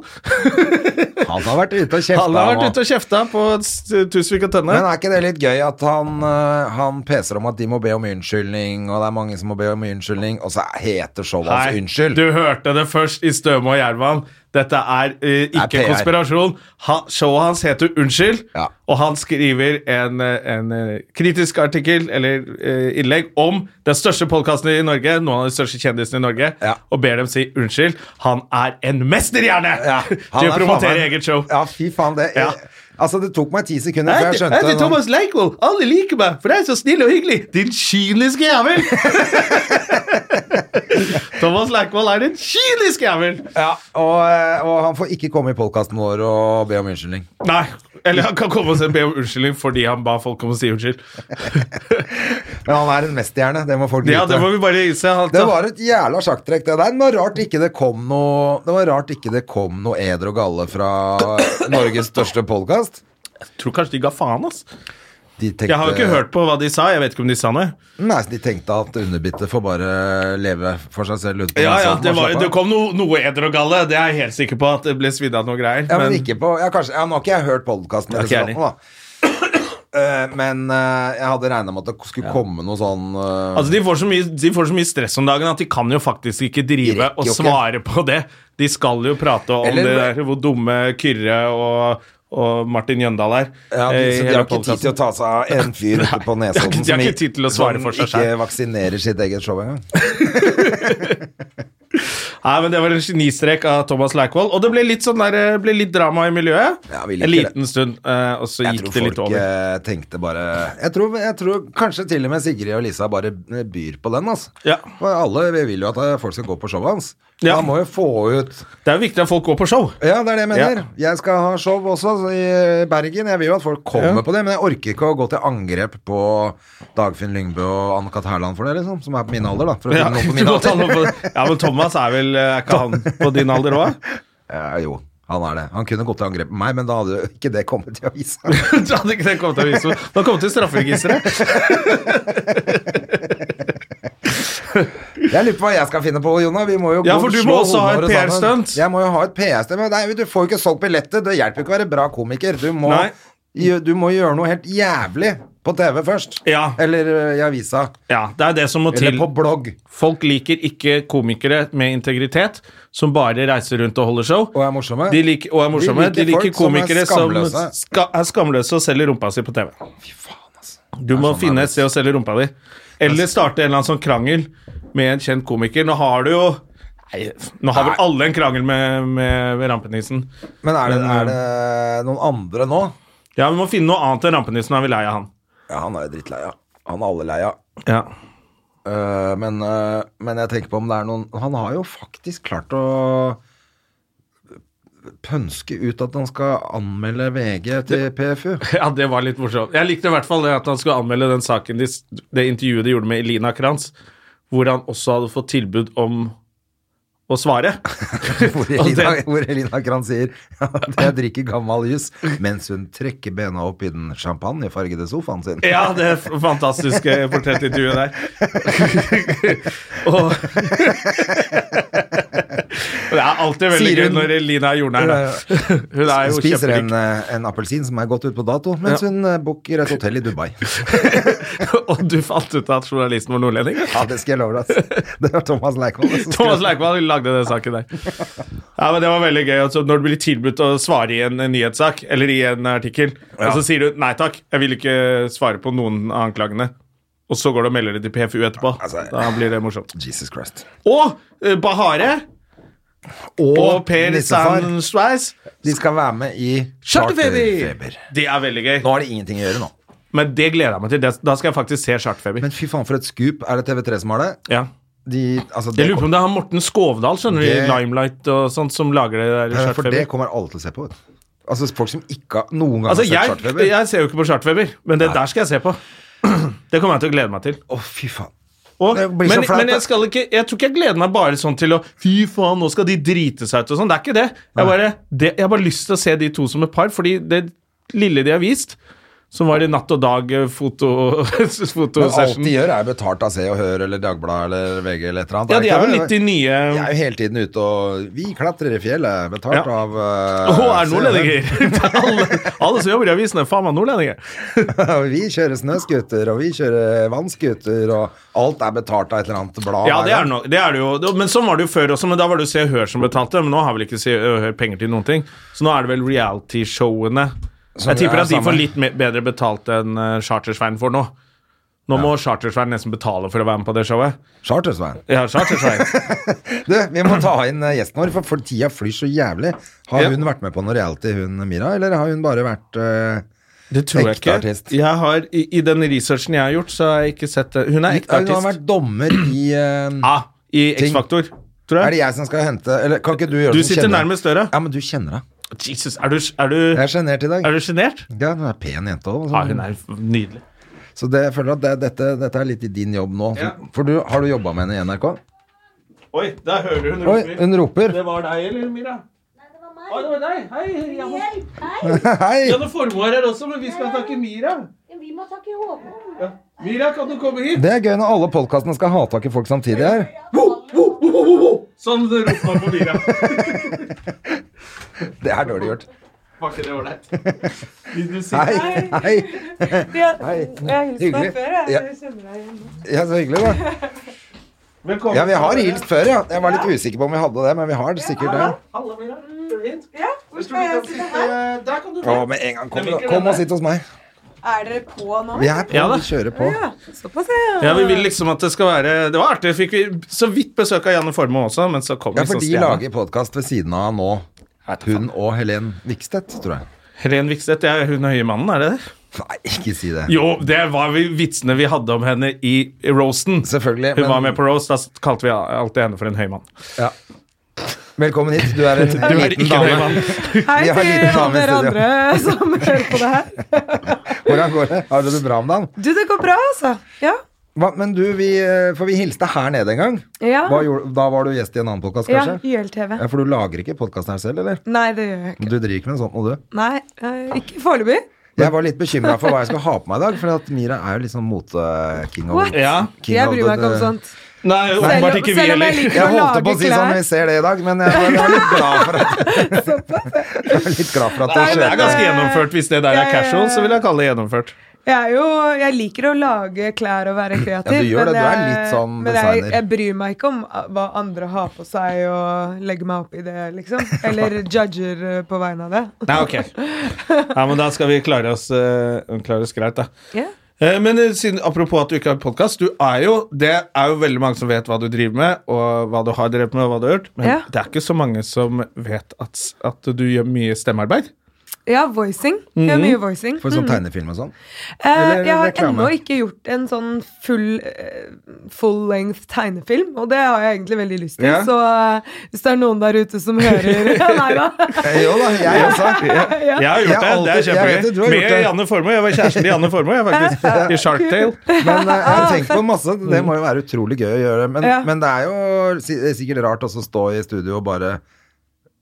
[SPEAKER 1] Han har vært ute og kjefta.
[SPEAKER 2] Han har vært
[SPEAKER 1] nå.
[SPEAKER 2] ute og kjefta på s- Tusvik og
[SPEAKER 1] Men
[SPEAKER 2] Tønne.
[SPEAKER 1] er ikke det litt gøy at han, eh, han peser om at de må be om unnskyldning, og det er mange som må be om unnskyldning, og så heter showet hans Unnskyld?
[SPEAKER 2] du hørte det først i Støme og Gjerman. Dette er eh, ikke
[SPEAKER 1] Det er PR.
[SPEAKER 2] konspirasjon. Ha, showet hans heter Unnskyld,
[SPEAKER 1] Ja.
[SPEAKER 2] og han skriver en, eh, en eh, kritisk artikkel eller eh, innlegg om den største podkasten i Norge, noen av de største kjendisene i Norge,
[SPEAKER 1] Ja.
[SPEAKER 2] og ber dem si unnskyld. Han er en mesterhjerne
[SPEAKER 1] Ja, han
[SPEAKER 2] til å
[SPEAKER 1] er faen
[SPEAKER 2] promotere
[SPEAKER 1] meg-
[SPEAKER 2] eget show.
[SPEAKER 1] Ja, fy faen, det
[SPEAKER 2] Ja.
[SPEAKER 1] Altså, det tok meg ti sekunder før
[SPEAKER 2] Jeg
[SPEAKER 1] jeg
[SPEAKER 2] heter,
[SPEAKER 1] skjønte
[SPEAKER 2] jeg heter
[SPEAKER 1] det.
[SPEAKER 2] Thomas Leikvoll. Alle liker meg, for jeg er så snill og hyggelig. Din kyniske jævel! Thomas Leikvoll er en kynisk jævel!
[SPEAKER 1] Ja, og, eh, og han får ikke komme i podkasten vår og be om unnskyldning.
[SPEAKER 2] Nei. Eller han kan komme og se- be om unnskyldning fordi han ba folk om å si unnskyld.
[SPEAKER 1] Men han er en mesterhjerne, det må folk vite.
[SPEAKER 2] Ja, Det må vi bare innse. altså. at-
[SPEAKER 1] Det var et jævla sjakktrekk, det der. Men det var rart ikke det kom noe Det var rart ikke det kom noe eder og galle fra Norges største podkast.
[SPEAKER 2] Jeg tror kanskje de ga faen, ass.
[SPEAKER 1] de tenkte,
[SPEAKER 2] Jeg har jo ikke hørt på hva de sa. Jeg vet ikke om de sa noe.
[SPEAKER 1] Nei, så de tenkte at underbittet får bare leve for seg selv ute på
[SPEAKER 2] Ja, ja,
[SPEAKER 1] landsiden,
[SPEAKER 2] Det,
[SPEAKER 1] og
[SPEAKER 2] var,
[SPEAKER 1] slappe Altså, av.
[SPEAKER 2] det kom noe, noe eder og galle. Det er jeg helt sikker på at det ble svidd av noe greier.
[SPEAKER 1] Ja, men, ikke på ja, kanskje, ja, Nå har ikke jeg hørt podkasten,
[SPEAKER 2] Det er ikke jeg
[SPEAKER 1] da. Eh, men eh, jeg hadde regna med at det skulle komme noe sånn eh,
[SPEAKER 2] Altså, de får, så mye, de får så mye stress om dagen at de kan jo faktisk
[SPEAKER 1] De
[SPEAKER 2] ikke drive
[SPEAKER 1] rekker
[SPEAKER 2] og
[SPEAKER 1] jo ikke.
[SPEAKER 2] svare på det. De skal jo prate om
[SPEAKER 1] Eller-
[SPEAKER 2] det der, hvor dumme Kyrre og, og Martin Jøndal er.
[SPEAKER 1] ja, de,
[SPEAKER 2] eh,
[SPEAKER 1] så
[SPEAKER 2] i
[SPEAKER 1] de
[SPEAKER 2] hele
[SPEAKER 1] har ikke tid til å
[SPEAKER 2] podcasten.
[SPEAKER 1] ta seg av en fyr ute på
[SPEAKER 2] de har ikke-
[SPEAKER 1] Nesodden
[SPEAKER 2] de har ikke tid til å svare for
[SPEAKER 1] som
[SPEAKER 2] seg selv.
[SPEAKER 1] ikke vaksinerer sitt eget show engang.
[SPEAKER 2] Nei, men Det var en genistrek av Thomas Leikvoll. Og det ble litt, sånn der, eh, ble litt drama i miljøet.
[SPEAKER 1] Ja, vi liker
[SPEAKER 2] en liten stund, eh, og så
[SPEAKER 1] Jeg
[SPEAKER 2] gikk
[SPEAKER 1] tror
[SPEAKER 2] det litt
[SPEAKER 1] folk
[SPEAKER 2] over.
[SPEAKER 1] eh, tenkte bare jeg tror, jeg tror kanskje til og med Sigrid og Lisa bare byr på den, altså.
[SPEAKER 2] Ja.
[SPEAKER 1] For alle vi vil jo at eh, folk skal gå på showet hans.
[SPEAKER 2] Ja.
[SPEAKER 1] Han må jo få ut
[SPEAKER 2] Det er jo viktig at folk går på show.
[SPEAKER 1] Ja, det er det jeg mener. Jeg skal ha show også så i Bergen. Jeg vil jo at folk kommer på det, men jeg orker ikke å gå til angrep på Dagfinn Lyngbø og Anne-Kat. Hærland for det, liksom. Som er på min alder, da. For å
[SPEAKER 2] Ja,
[SPEAKER 1] finne noen på
[SPEAKER 2] du
[SPEAKER 1] min
[SPEAKER 2] må ta
[SPEAKER 1] alder.
[SPEAKER 2] noe på- ja, men Thomas er vel eh, Er ikke han på din alder òg?
[SPEAKER 1] Ja, jo, han er det. Han kunne gått til angrep på meg, men da hadde jo ikke det kommet i avisa.
[SPEAKER 2] Da hadde ikke det kommet til å vise meg. Da kom det til strafferegisteret.
[SPEAKER 1] Jeg lurer på hva jeg skal finne på, Jonna. Vi må jo
[SPEAKER 2] Ja,
[SPEAKER 1] gå
[SPEAKER 2] for
[SPEAKER 1] og
[SPEAKER 2] du
[SPEAKER 1] slå
[SPEAKER 2] må også ha et
[SPEAKER 1] hodet våre sammen.
[SPEAKER 2] PR-stunt.
[SPEAKER 1] Jeg må jo ha et PR-stunt. Men nei, du får jo ikke solgt billetter. Det hjelper jo ikke å være bra komiker. Du må,
[SPEAKER 2] Nei.
[SPEAKER 1] gjø- du må gjøre noe helt jævlig på TV først.
[SPEAKER 2] Ja.
[SPEAKER 1] Eller ø, i avisa.
[SPEAKER 2] Ja, det er det som må
[SPEAKER 1] Eller
[SPEAKER 2] til.
[SPEAKER 1] på blogg.
[SPEAKER 2] Folk liker ikke komikere med integritet, som bare reiser rundt og holder show.
[SPEAKER 1] Og er morsomme.
[SPEAKER 2] De liker, og er morsomme.
[SPEAKER 1] liker
[SPEAKER 2] De liker,
[SPEAKER 1] folk som er
[SPEAKER 2] komikere som,
[SPEAKER 1] skamløse.
[SPEAKER 2] ska, er skamløse og selger rumpa si på TV.
[SPEAKER 1] Fy faen, altså.
[SPEAKER 2] Du må
[SPEAKER 1] sånn
[SPEAKER 2] finne
[SPEAKER 1] er
[SPEAKER 2] et sted å selge rumpa di. Eller starte en eller annen sånn krangel med en kjent komiker. Nå har du jo Nei, nå har vel
[SPEAKER 1] Nei.
[SPEAKER 2] alle en krangel med, med, med rampenissen.
[SPEAKER 1] Men er det,
[SPEAKER 2] Men, eh,
[SPEAKER 1] er det noen andre nå?
[SPEAKER 2] Ja, vi må finne noe annet enn rampenissen. Er vi lei av han?
[SPEAKER 1] Ja, han er jo drittlei av. Han er alle lei av.
[SPEAKER 2] Ja.
[SPEAKER 1] Øh, men, øh, men jeg tenker på om det er noen Han har jo faktisk klart å pønske ut at han skal anmelde VG til PFU.
[SPEAKER 2] ja, det var litt morsomt. Jeg likte i hvert fall det at han skulle anmelde den saken de, s- det intervjuet de gjorde med Elina Kranz, hvor han også hadde fått tilbud om å svare.
[SPEAKER 1] Hvor
[SPEAKER 2] Og
[SPEAKER 1] Elina,
[SPEAKER 2] det-
[SPEAKER 1] hvor Elina Kran sier at jeg drikker gammel jus mens hun trekker bena opp i den champagnefargede sofaen sin.
[SPEAKER 2] Ja, det er f- fantastiske portrettintervjuet der. og Det er alltid veldig
[SPEAKER 1] Sier
[SPEAKER 2] gøy
[SPEAKER 1] hun-
[SPEAKER 2] når Elina er jordnær. da. Hun er jo
[SPEAKER 1] Spiser en,
[SPEAKER 2] kjemperiktig.
[SPEAKER 1] eh, en appelsin som er gått ut på dato, mens hun eh, booker et hotell i Dubai.
[SPEAKER 2] Og du fant ut at journalisten var nordlending?
[SPEAKER 1] Ja, det skal jeg love deg. ass. Det var Thomas Leikvoll. som skrev-
[SPEAKER 2] Thomas Leikvoll lagde den saken der. Ja, men Det var veldig gøy. Altså, når du blir tilbudt å svare i en, en nyhetssak eller i en artikkel, og så sier du nei takk, jeg vil ikke svare på noen av anklagene. Og så går du og melder det til PFU etterpå.
[SPEAKER 1] Altså-
[SPEAKER 2] da blir det morsomt.
[SPEAKER 1] Jesus Christ.
[SPEAKER 2] Og eh, Bahare og, Per
[SPEAKER 1] nissefar.
[SPEAKER 2] Sandsveis.
[SPEAKER 1] De skal være med i
[SPEAKER 2] Charterfeber! Det er veldig gøy.
[SPEAKER 1] Nå har de ingenting å gjøre nå.
[SPEAKER 2] Men det gleder jeg meg til. Det- Da skal jeg faktisk se Charterfeber.
[SPEAKER 1] Men fy faen for et skup. Er det TV3 som har det?
[SPEAKER 2] Ja.
[SPEAKER 1] De, altså, det
[SPEAKER 2] Jeg lurer på om det er han Morten Skovdal skjønner du, i
[SPEAKER 1] Det-
[SPEAKER 2] Limelight og sånt, som lager det der.
[SPEAKER 1] kom- for det
[SPEAKER 2] Charterfeber.
[SPEAKER 1] kommer alle til å se på. vet du. Altså folk som ikke har noen gang
[SPEAKER 2] Altså,
[SPEAKER 1] har sett
[SPEAKER 2] jeg,
[SPEAKER 1] Charterfeber. Å,
[SPEAKER 2] jeg ser jo ikke på Chartfeber, men det der skal jeg se på. Det kommer jeg til å glede meg til.
[SPEAKER 1] fy faen.
[SPEAKER 2] Og,
[SPEAKER 1] Det blir så
[SPEAKER 2] men
[SPEAKER 1] flaut,
[SPEAKER 2] men
[SPEAKER 1] da.
[SPEAKER 2] jeg, skal ikke, jeg tror ikke jeg gleder meg bare sånn til å Fy faen, nå skal de drite seg ut og sånn. Det er ikke det. Jeg, bare, det. jeg har bare lyst til å se de to som et par, fordi det lille de har vist, som var i Natt og Dag-fotosession foto,
[SPEAKER 1] Men alt
[SPEAKER 2] fotosession.
[SPEAKER 1] de gjør, er jo betalt av Se og Hør eller Dagbladet eller VG eller et eller annet.
[SPEAKER 2] Ja, de er
[SPEAKER 1] ikke
[SPEAKER 2] vel
[SPEAKER 1] det?
[SPEAKER 2] litt de nye
[SPEAKER 1] De er jo hele tiden ute og Vi klatrer i fjellet, betalt
[SPEAKER 2] Ja.
[SPEAKER 1] av
[SPEAKER 2] Å,
[SPEAKER 1] uh,
[SPEAKER 2] er nordlendinger! alle, alle som jobber i avisen, er faen meg nordlendinger.
[SPEAKER 1] vi kjører snøscooter, og vi kjører vannscooter, og alt er betalt av et eller annet blad.
[SPEAKER 2] Ja, det
[SPEAKER 1] hver
[SPEAKER 2] er,
[SPEAKER 1] gang.
[SPEAKER 2] no, det er det jo. Men sånn var det jo før også, men da var det jo Se og Hør som betalte. Men nå har vel ikke Se og Hør penger til noen ting. Så nå er det vel reality-showene.
[SPEAKER 1] Som
[SPEAKER 2] Jeg tipper
[SPEAKER 1] er
[SPEAKER 2] at de får
[SPEAKER 1] samme.
[SPEAKER 2] litt me- bedre betalt enn eh, Charter-Svein får nå. Nå må Charter-Svein nesten betale for å være med på det showet.
[SPEAKER 1] Chartersveien.
[SPEAKER 2] Ja, Charter-Svein.
[SPEAKER 1] Du, vi må ta inn eh, gjesten vår, for, for tida flyr så jævlig. Har
[SPEAKER 2] Ja.
[SPEAKER 1] hun vært med på noe reality, hun Mira, eller har hun bare vært eh,
[SPEAKER 2] Det tror jeg
[SPEAKER 1] Ekte
[SPEAKER 2] ikke.
[SPEAKER 1] artist.
[SPEAKER 2] Jeg har, i, I den researchen jeg har gjort, så har jeg ikke sett det. Hun er ekte
[SPEAKER 1] Hun har
[SPEAKER 2] artist.
[SPEAKER 1] vært dommer i eh,
[SPEAKER 2] Ja, I
[SPEAKER 1] Ting.
[SPEAKER 2] X-Faktor, tror
[SPEAKER 1] Er
[SPEAKER 2] jeg.
[SPEAKER 1] det jeg som skal hente Eller kan ikke du gjøre det?
[SPEAKER 2] Du
[SPEAKER 1] som
[SPEAKER 2] sitter
[SPEAKER 1] kjenner deg?
[SPEAKER 2] nærmest døra.
[SPEAKER 1] Ja, men du kjenner henne.
[SPEAKER 2] Jesus, er du, er du,
[SPEAKER 1] Jeg er sjenert i dag.
[SPEAKER 2] er du sjenert?
[SPEAKER 1] Ja, hun er pen jente òg.
[SPEAKER 2] Ja, hun er nydelig.
[SPEAKER 1] Så det, jeg føler at det, dette, dette er litt i din jobb nå.
[SPEAKER 2] Ja.
[SPEAKER 1] For du, har du jobba med henne i NRK?
[SPEAKER 2] Oi, der hører hun
[SPEAKER 1] Oi, hun roper.
[SPEAKER 2] Det var deg, eller, Mira? Nei, det var meg. Å, det var deg. Hei, Janne.
[SPEAKER 1] Hei!
[SPEAKER 2] Janne Formoe er her også, men vi skal snakke Mira.
[SPEAKER 3] Vi må takke Håkon.
[SPEAKER 2] Mira, kan du komme hit?
[SPEAKER 1] Det er gøy når alle podkastene skal ha tak i folk samtidig her.
[SPEAKER 2] Sånn roper man på Mira.
[SPEAKER 1] Det er dårlig gjort.
[SPEAKER 2] Var ikke det ålreit? Vil du si
[SPEAKER 1] Hei. Hei. Hei.
[SPEAKER 3] Jeg har hilst deg
[SPEAKER 1] Hyggelig.
[SPEAKER 3] før, jeg.
[SPEAKER 1] Ja.
[SPEAKER 3] Jeg kjenner deg igjen. nå.
[SPEAKER 1] Ja, så hyggelig, da.
[SPEAKER 2] velkommen?
[SPEAKER 1] Ja, vi har hilst før, ja. Jeg var litt usikker på om vi hadde det, men vi har det sikkert det.
[SPEAKER 2] Hallo, Mira. Kom hit.
[SPEAKER 3] Ja, hvor
[SPEAKER 2] Jeg tror
[SPEAKER 3] skal
[SPEAKER 2] vi
[SPEAKER 3] jeg
[SPEAKER 2] kan
[SPEAKER 3] sitte
[SPEAKER 2] sitte
[SPEAKER 3] her? eh,
[SPEAKER 2] Der kan du
[SPEAKER 1] Å,
[SPEAKER 2] få.
[SPEAKER 1] med en gang. Kom, da. kom og sitt hos meg.
[SPEAKER 3] Er dere på nå?
[SPEAKER 1] Vi er på.
[SPEAKER 2] Ja, da.
[SPEAKER 1] Vi kjører på.
[SPEAKER 3] Ja, såpass, ja.
[SPEAKER 2] Ja, vi vil liksom at det skal være Det var artig. Fikk vi så vidt besøk av Janne Formoe også, men så kom
[SPEAKER 1] Ja,
[SPEAKER 2] liksom
[SPEAKER 1] for de
[SPEAKER 2] stjerna.
[SPEAKER 1] lager podkast ved siden av nå. Hun og Helen Vikstedt, tror jeg.
[SPEAKER 2] Helen Vikstedt, det er hun høye mannen, er det det?
[SPEAKER 1] Nei, ikke si det.
[SPEAKER 2] Jo, det var vi, vitsene vi hadde om henne i roasten.
[SPEAKER 1] Selvfølgelig.
[SPEAKER 2] Hun var med på roast, da kalte vi alltid henne for en høy mann.
[SPEAKER 1] ja. Velkommen hit. Du er en liten
[SPEAKER 2] ikke en høy
[SPEAKER 1] dame.
[SPEAKER 2] mann.
[SPEAKER 3] Hei
[SPEAKER 1] Vi har
[SPEAKER 3] til
[SPEAKER 1] liten dame i
[SPEAKER 3] alle dere
[SPEAKER 1] studio.
[SPEAKER 3] andre som hører på det her.
[SPEAKER 1] Hvordan går det? Har du det bra om dagen?
[SPEAKER 3] Du, det går bra, altså. Ja.
[SPEAKER 1] Hva, men du, vi, eh, for vi hilste her nede en gang.
[SPEAKER 3] Ja.
[SPEAKER 1] Hva gjorde, da var du gjest i en annen podkast,
[SPEAKER 3] Ah. Ja,
[SPEAKER 1] kanskje?
[SPEAKER 3] YLTV.
[SPEAKER 1] Ja, For du lager ikke podkast her selv, eller?
[SPEAKER 3] Nei, det gjør jeg ikke.
[SPEAKER 1] Du driver ikke med sånt nå, du?
[SPEAKER 3] Nei, eh, ikke foreløpig.
[SPEAKER 1] Jeg var litt bekymra for hva jeg skulle ha på meg i dag, for at Mira er jo litt sånn mote-king.
[SPEAKER 3] What?
[SPEAKER 2] Ja.
[SPEAKER 1] King
[SPEAKER 3] Jeg
[SPEAKER 1] of
[SPEAKER 3] bryr meg
[SPEAKER 1] the-
[SPEAKER 3] ikke om sånn- sånt.
[SPEAKER 2] Nei, åpenbart ikke vi
[SPEAKER 3] selv om jeg
[SPEAKER 2] heller.
[SPEAKER 3] liker
[SPEAKER 1] Jeg
[SPEAKER 3] å
[SPEAKER 1] holdt på
[SPEAKER 3] lage
[SPEAKER 1] å si sånn, vi
[SPEAKER 3] klær.
[SPEAKER 1] ser det i dag, men jeg var, jeg var litt glad for at Jeg var litt glad for at
[SPEAKER 2] Nei,
[SPEAKER 1] det
[SPEAKER 2] det er
[SPEAKER 1] skjedde.
[SPEAKER 2] ganske gjennomført. Hvis det der er casual, så vil jeg kalle det gjennomført.
[SPEAKER 3] Jeg, er jo, jeg liker å lage klær og være
[SPEAKER 1] Ja,
[SPEAKER 3] kreativ.
[SPEAKER 1] du gjør det. Du er
[SPEAKER 3] jeg-
[SPEAKER 1] litt sånn
[SPEAKER 3] men jeg,
[SPEAKER 1] designer.
[SPEAKER 3] jeg bryr meg ikke om eh, hva andre har på seg, og legger meg opp i det, liksom. Eller judger eh, på vegne av det.
[SPEAKER 2] Nei, ok. Ja, men da skal vi klare oss, eh, klare oss greit, da.
[SPEAKER 3] Ja.
[SPEAKER 2] Eh, Men eh, siden, apropos at du ikke har podkast. Du er jo Det er jo veldig mange som vet hva du driver med, og hva du har drevet med, og hva du har gjort, men
[SPEAKER 3] Ja.
[SPEAKER 2] det er ikke så mange som vet at, s- at du gjør mye stemmearbeid.
[SPEAKER 3] ja, voicing. Jeg har mye voicing. Mhm.
[SPEAKER 1] For sånn tegnefilm og sånn.
[SPEAKER 3] Eh,
[SPEAKER 1] Eller
[SPEAKER 3] jeg har
[SPEAKER 1] reklame.
[SPEAKER 3] ennå ikke gjort en sånn full, full length tegnefilm, og det har jeg egentlig veldig lyst til.
[SPEAKER 2] Ja.
[SPEAKER 3] Så eh, hvis det er noen der ute som hører Nei da.
[SPEAKER 1] Eh, Jo da, jeg også.
[SPEAKER 2] Jeg har
[SPEAKER 1] Jeg
[SPEAKER 2] gjort det.
[SPEAKER 1] har
[SPEAKER 2] Det er
[SPEAKER 1] alltid- jeg vet det, du har
[SPEAKER 2] kjempegøy.
[SPEAKER 1] gjort
[SPEAKER 2] Med
[SPEAKER 1] det.
[SPEAKER 2] Janne Formoe. Jeg var kjæresten til Janne Formoe, jeg, faktisk. I Shark Tale.
[SPEAKER 1] Men eh, jeg har tenkt på masse. Det
[SPEAKER 2] Mm.
[SPEAKER 1] må jo være utrolig gøy å gjøre. Men,
[SPEAKER 3] Ah, Ja.
[SPEAKER 1] men det er jo si- det er sikkert rart også å stå i studio og bare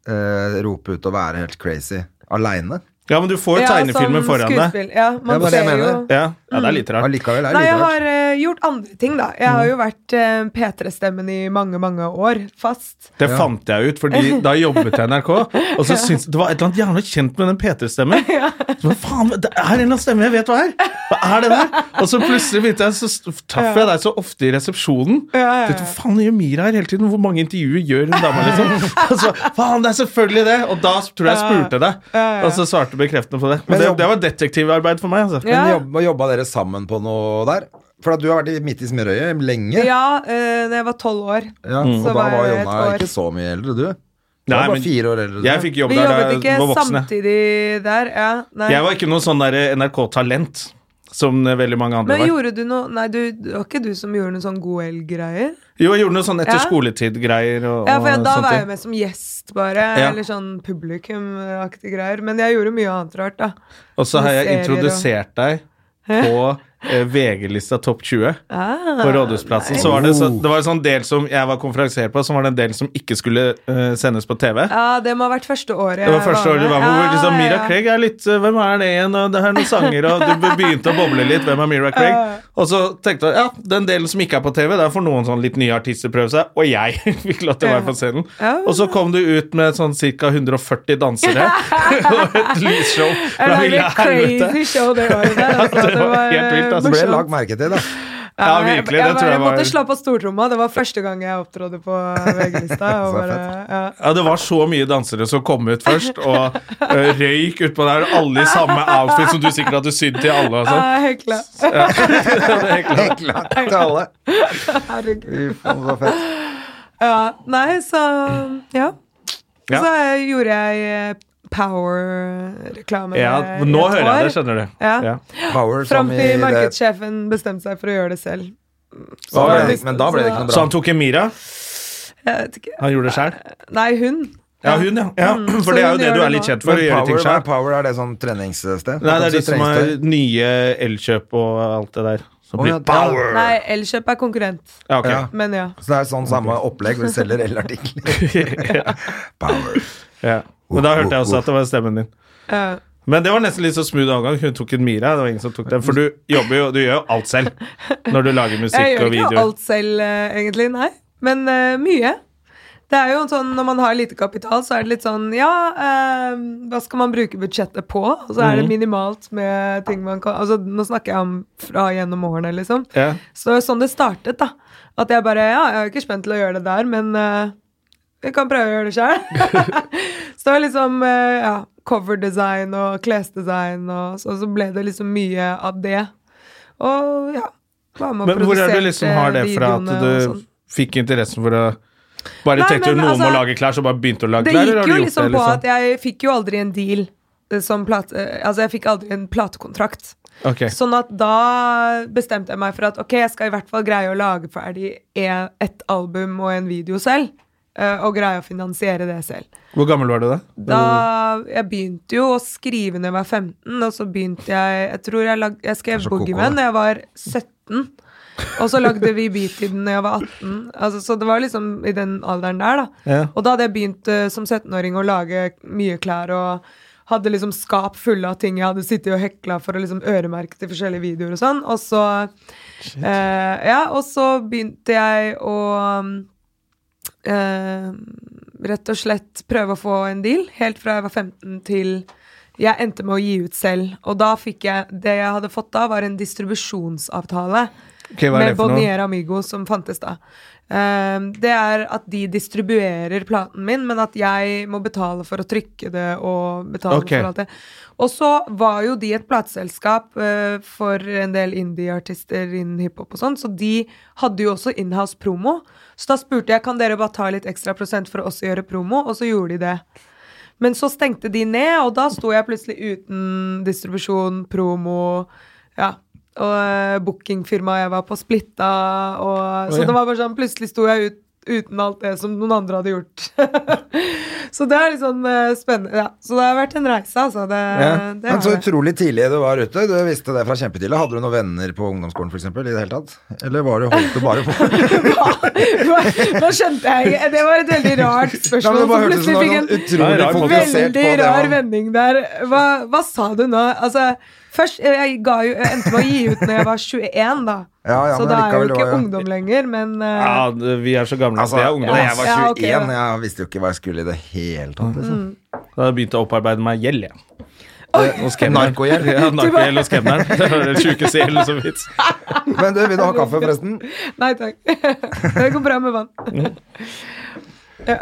[SPEAKER 1] eh, rope ut og være helt crazy aleine.
[SPEAKER 2] Ja, men du får
[SPEAKER 3] Ja,
[SPEAKER 2] jo
[SPEAKER 3] som
[SPEAKER 2] tegnefilmer foran deg.
[SPEAKER 3] skuespill,
[SPEAKER 1] Ja,
[SPEAKER 3] Ja, man
[SPEAKER 1] det er det jeg
[SPEAKER 3] ser jo
[SPEAKER 1] mener.
[SPEAKER 2] Ja, ja, det er litt rart.
[SPEAKER 1] Allikevel er det
[SPEAKER 3] Nei, jeg
[SPEAKER 1] litt rart. Mhm.
[SPEAKER 3] har eh, gjort andre ting, da. Jeg har jo vært eh, P3-stemmen i mange, mange år. Fast.
[SPEAKER 2] Det fant jeg ut, fordi da jobbet jeg i NRK, og så syntes det var et eller annet jævla kjent med den P3-stemmen. Så, Hva faen, det er en eller annen stemme jeg vet hva er! Hva er det der? Og så plutselig begynte jeg, så st- traff jeg deg så ofte i resepsjonen.
[SPEAKER 3] ja, ja.
[SPEAKER 2] Tenkte, Hva faen gjør Mira her hele tiden? Hvor mange intervjuer gjør hun dama, liksom? Og så, faen, det er selvfølgelig det! Og da tror jeg jeg spurte deg, og så svarte bekreftende på det. Men det, det var detektivarbeid for meg, altså.
[SPEAKER 3] Ja.
[SPEAKER 1] Men jobba, jobba dere sammen på noe der? For at du har vært i- midt i smørøyet lenge.
[SPEAKER 3] Ja, eh, da jeg var tolv år.
[SPEAKER 1] Ja,
[SPEAKER 3] Mm.
[SPEAKER 1] Og
[SPEAKER 3] Så
[SPEAKER 1] da
[SPEAKER 3] var
[SPEAKER 1] var
[SPEAKER 3] jeg
[SPEAKER 1] Jonna
[SPEAKER 3] et år.
[SPEAKER 1] ikke så mye eldre, du. Du
[SPEAKER 2] Nei,
[SPEAKER 1] var
[SPEAKER 2] men
[SPEAKER 1] bare fire år eldre.
[SPEAKER 2] Jeg fikk jobb
[SPEAKER 3] Vi
[SPEAKER 2] der da
[SPEAKER 3] jobbet
[SPEAKER 2] jeg
[SPEAKER 3] ikke
[SPEAKER 2] var voksen. jeg.
[SPEAKER 3] samtidig der. Ja, nei.
[SPEAKER 2] Jeg var ikke noe sånn der NRK-talent som veldig mange andre
[SPEAKER 3] Men
[SPEAKER 2] var.
[SPEAKER 3] gjorde du noe Nei, du, det var ikke du som gjorde noen sånn god elg-greier?
[SPEAKER 2] Jo, jeg gjorde noe sånn etter
[SPEAKER 3] Ja.
[SPEAKER 2] skoletid-greier. Og,
[SPEAKER 3] Ja, for jeg, da
[SPEAKER 2] og
[SPEAKER 3] var
[SPEAKER 2] sånne
[SPEAKER 3] jeg
[SPEAKER 2] ting.
[SPEAKER 3] med som gjest, bare.
[SPEAKER 2] Ja.
[SPEAKER 3] Eller sånn publikumaktige greier. Men jeg gjorde mye annet rart, da.
[SPEAKER 2] Og så har jeg
[SPEAKER 3] med serier og-
[SPEAKER 2] introdusert deg på eh, VG-lista Topp 20
[SPEAKER 3] Ah,
[SPEAKER 2] på Rådhusplassen. Så var det, så, det var en sånn del som jeg var konferansier på, som var det en del som ikke skulle eh, sendes på TV.
[SPEAKER 3] Ja, det må ha vært første året.
[SPEAKER 2] Det var første året du var med. hvor
[SPEAKER 3] Ja,
[SPEAKER 2] Liksom,
[SPEAKER 3] ja,
[SPEAKER 2] Mira
[SPEAKER 3] ja.
[SPEAKER 2] Craig er litt eh, Hvem er det igjen? Og det er noen sanger, og du begynte å boble litt. Hvem er Mira Craig? Og så tenkte jeg ja, den delen som ikke er på TV, der får noen sånn litt nye artister prøve seg. Og jeg fikk lov til å være på scenen. Og så kom du ut med sånn ca. 140 dansere og et lysshow
[SPEAKER 3] Jeg
[SPEAKER 2] fra
[SPEAKER 3] lagde
[SPEAKER 2] ville
[SPEAKER 3] et
[SPEAKER 2] helvete.
[SPEAKER 3] crazy show det året der. Altså,
[SPEAKER 2] Det var helt vilt, altså.
[SPEAKER 1] Det ble
[SPEAKER 3] morsomt.
[SPEAKER 1] lagt merke til, da.
[SPEAKER 2] Ja, virkelig.
[SPEAKER 3] Jeg,
[SPEAKER 2] Det tror jeg
[SPEAKER 3] bare måtte
[SPEAKER 2] var
[SPEAKER 3] slå på stortromma. Det var første gang jeg opptrådte på VG-lista.
[SPEAKER 1] Så
[SPEAKER 3] og bare, ja.
[SPEAKER 2] ja, Det var så mye dansere som kom ut først, og eh, røyk utpå der. Alle i samme outfit som du sikkert hadde sydd til alle. og sånn.
[SPEAKER 3] Ja, Ah, helt klart.
[SPEAKER 1] Hekla til alle.
[SPEAKER 3] Herregud.
[SPEAKER 1] Fy faen, så fett.
[SPEAKER 3] Ja, nei, så Ja.
[SPEAKER 2] Ja.
[SPEAKER 3] Så eh, gjorde jeg eh, Power-reklame.
[SPEAKER 2] Ja,
[SPEAKER 3] i
[SPEAKER 2] nå
[SPEAKER 3] et
[SPEAKER 2] hører
[SPEAKER 3] år.
[SPEAKER 2] jeg det, skjønner du.
[SPEAKER 3] Ja.
[SPEAKER 1] Power
[SPEAKER 3] Fram
[SPEAKER 1] som i
[SPEAKER 3] til
[SPEAKER 1] det.
[SPEAKER 3] markedssjefen bestemte seg for å gjøre det selv.
[SPEAKER 1] Så ble det, men da ble det ikke
[SPEAKER 2] Så
[SPEAKER 1] noe
[SPEAKER 2] han
[SPEAKER 1] bra.
[SPEAKER 2] tok Emira?
[SPEAKER 3] Jeg vet ikke.
[SPEAKER 2] Han gjorde det sjøl?
[SPEAKER 3] Nei, hun.
[SPEAKER 2] Ja, hun, ja. ja. For
[SPEAKER 3] Mm. så
[SPEAKER 2] det er jo
[SPEAKER 3] hun
[SPEAKER 2] det
[SPEAKER 3] gjør
[SPEAKER 2] du
[SPEAKER 3] det
[SPEAKER 2] er litt
[SPEAKER 3] nå.
[SPEAKER 2] kjent for, å
[SPEAKER 1] Men
[SPEAKER 2] gjøre ting
[SPEAKER 1] power, nei,
[SPEAKER 2] sjøl.
[SPEAKER 1] power er det sånn treningssted?
[SPEAKER 2] Nei, det er de som har
[SPEAKER 1] Treningstøy?
[SPEAKER 2] nye Elkjøp og alt det der. Som
[SPEAKER 1] Å, ja,
[SPEAKER 2] blir
[SPEAKER 1] det-
[SPEAKER 2] power!
[SPEAKER 3] Nei, Elkjøp er konkurrent,
[SPEAKER 2] Ja, ok.
[SPEAKER 1] Ja.
[SPEAKER 3] men ja.
[SPEAKER 1] Så det er sånn samme opplegg, hvor du selger elartikler. Power.
[SPEAKER 2] Ja. Men da hørte jeg også at det var stemmen din.
[SPEAKER 3] Ja.
[SPEAKER 2] Men det var nesten litt så smooth overgang. Hun tok en Mira. Det var ingen som tok den. For du jobber jo Du gjør jo alt selv når du lager
[SPEAKER 3] Jeg
[SPEAKER 2] musikk
[SPEAKER 3] gjør
[SPEAKER 2] og
[SPEAKER 3] ikke
[SPEAKER 2] videoer.
[SPEAKER 3] alt selv, eh, egentlig, nei. Men eh, mye. Det er jo en sånn, Når man har lite kapital, så er det litt sånn Ja, eh, hva skal man bruke budsjettet på? Og så
[SPEAKER 2] Mhm.
[SPEAKER 3] er det minimalt med ting man kan Altså, Nå snakker jeg om fra gjennom årene, liksom.
[SPEAKER 2] Ja.
[SPEAKER 3] Så det var sånn det startet, da. At jeg bare Ja, jeg er jo ikke spent til å gjøre det der, men eh, jeg kan prøve å gjøre det sjøl. så det var liksom eh, ja, coverdesign og klesdesign, og så, så ble det liksom mye av det. Og ja. Var med
[SPEAKER 2] Men
[SPEAKER 3] og
[SPEAKER 2] hvor er det
[SPEAKER 3] produserte
[SPEAKER 2] du liksom har det fra at
[SPEAKER 3] videoene og
[SPEAKER 2] du
[SPEAKER 3] sånn.
[SPEAKER 2] fikk interessen for å Bare
[SPEAKER 3] Nei,
[SPEAKER 2] tenkte
[SPEAKER 3] men
[SPEAKER 2] noen må
[SPEAKER 3] altså,
[SPEAKER 2] lage klær, så bare begynte å lage
[SPEAKER 3] Det
[SPEAKER 2] klær? eller har
[SPEAKER 3] gikk
[SPEAKER 2] du
[SPEAKER 3] jo
[SPEAKER 2] gjort
[SPEAKER 3] liksom
[SPEAKER 2] det,
[SPEAKER 3] på at jeg fikk jo aldri en deal. eh, Som plate, eh, altså jeg fikk aldri en platekontrakt.
[SPEAKER 2] Ok.
[SPEAKER 3] Sånn at da bestemte jeg meg for at ok, jeg skal i hvert fall greie å lage ferdig e- et album og en video selv. eh, Og greie å finansiere det selv.
[SPEAKER 2] Hvor gammel var du da?
[SPEAKER 3] Da Jeg begynte jo å skrive når jeg var 15, og så begynte jeg Jeg tror jeg, lag, jeg skrev
[SPEAKER 1] koko,
[SPEAKER 3] Boogieman
[SPEAKER 1] da.
[SPEAKER 3] da jeg var 17. Og så lagde vi beat til den da jeg var 18. Altså, så det var liksom i den alderen der, da.
[SPEAKER 2] Ja.
[SPEAKER 3] Og da hadde jeg begynt eh, som 17-åring å lage mye klær og hadde liksom skap fulle av ting jeg hadde sittet og hekla for å liksom øremerke til forskjellige videoer og sånn. Og så eh, Ja, og så begynte jeg å mm, eh, rett og slett prøve å få en deal, helt fra jeg var 15 til jeg endte med å gi ut selv. Og da fikk jeg Det jeg hadde fått da, var en distribusjonsavtale
[SPEAKER 2] Ok, hva er
[SPEAKER 3] med
[SPEAKER 2] det for noe?
[SPEAKER 3] Bonnier Amigo, som fantes da. Ehm, det er at de distribuerer platen min, men at jeg må betale for å trykke det og betale
[SPEAKER 2] Ok.
[SPEAKER 3] for alt det. Og så var jo de et plateselskap eh, for en del indie-artister innen hiphop og sånn, så de hadde jo også inhouse promo. Så da spurte jeg kan dere bare ta litt ekstra prosent for å også gjøre promo, og så gjorde de det. Men så stengte de ned, og da sto jeg plutselig uten distribusjon, promo, ja. Og eh, bookingfirmaet jeg var på, splitta. Og, så
[SPEAKER 2] ja.
[SPEAKER 3] det var bare sånn, plutselig sto jeg ut, uten alt det som noen andre hadde gjort. så det er litt sånn eh, spennende. Ja. Så det har vært en reise, altså. Det,
[SPEAKER 2] Ja.
[SPEAKER 3] det
[SPEAKER 1] Men så
[SPEAKER 3] har det.
[SPEAKER 1] utrolig tidlig du var ute. Du visste det fra kjempetidlig. Hadde du noen venner på ungdomsskolen f.eks.? I det hele tatt? Eller var du holdt du bare på
[SPEAKER 3] Nå skjønte jeg ikke Det var et veldig rart
[SPEAKER 1] Ja,
[SPEAKER 3] spørsmål.
[SPEAKER 1] men det bare
[SPEAKER 3] som
[SPEAKER 1] hørtes ut som
[SPEAKER 3] plutselig
[SPEAKER 1] det var sånn
[SPEAKER 3] fikk en
[SPEAKER 1] utrolig
[SPEAKER 2] Nei, rar
[SPEAKER 1] fokusert på
[SPEAKER 3] Veldig
[SPEAKER 1] det.
[SPEAKER 3] rar
[SPEAKER 1] man-
[SPEAKER 3] vending der. Hva, hva sa du nå? Altså, først eh, Jeg ga jo jeg endte med å gi ut når jeg var 21, da.
[SPEAKER 1] Ja, ja,
[SPEAKER 3] så
[SPEAKER 1] men likevel,
[SPEAKER 3] da er jeg jo
[SPEAKER 1] det
[SPEAKER 3] ikke
[SPEAKER 1] var jo-
[SPEAKER 3] ungdom lenger, men eh,
[SPEAKER 2] Ja, det- vi er så gamle at
[SPEAKER 1] Altså,
[SPEAKER 2] vi er ungdom.
[SPEAKER 1] da
[SPEAKER 2] ass.
[SPEAKER 1] jeg var
[SPEAKER 3] Ja,
[SPEAKER 1] 21,
[SPEAKER 3] ok, Mm. ja.
[SPEAKER 1] jeg visste jo ikke hva jeg skulle i det hele tatt. Liksom.
[SPEAKER 2] Da har jeg begynt å opparbeide meg gjeld, jeg. Og skemmer.
[SPEAKER 1] Narkogjeld.
[SPEAKER 2] Ja, narkogjeld og skemmer. Det var den sjukeste gjelden som fins.
[SPEAKER 1] Men du, vil du ha kaffe, forresten?
[SPEAKER 3] Nei takk. det går bra med vann. Ja,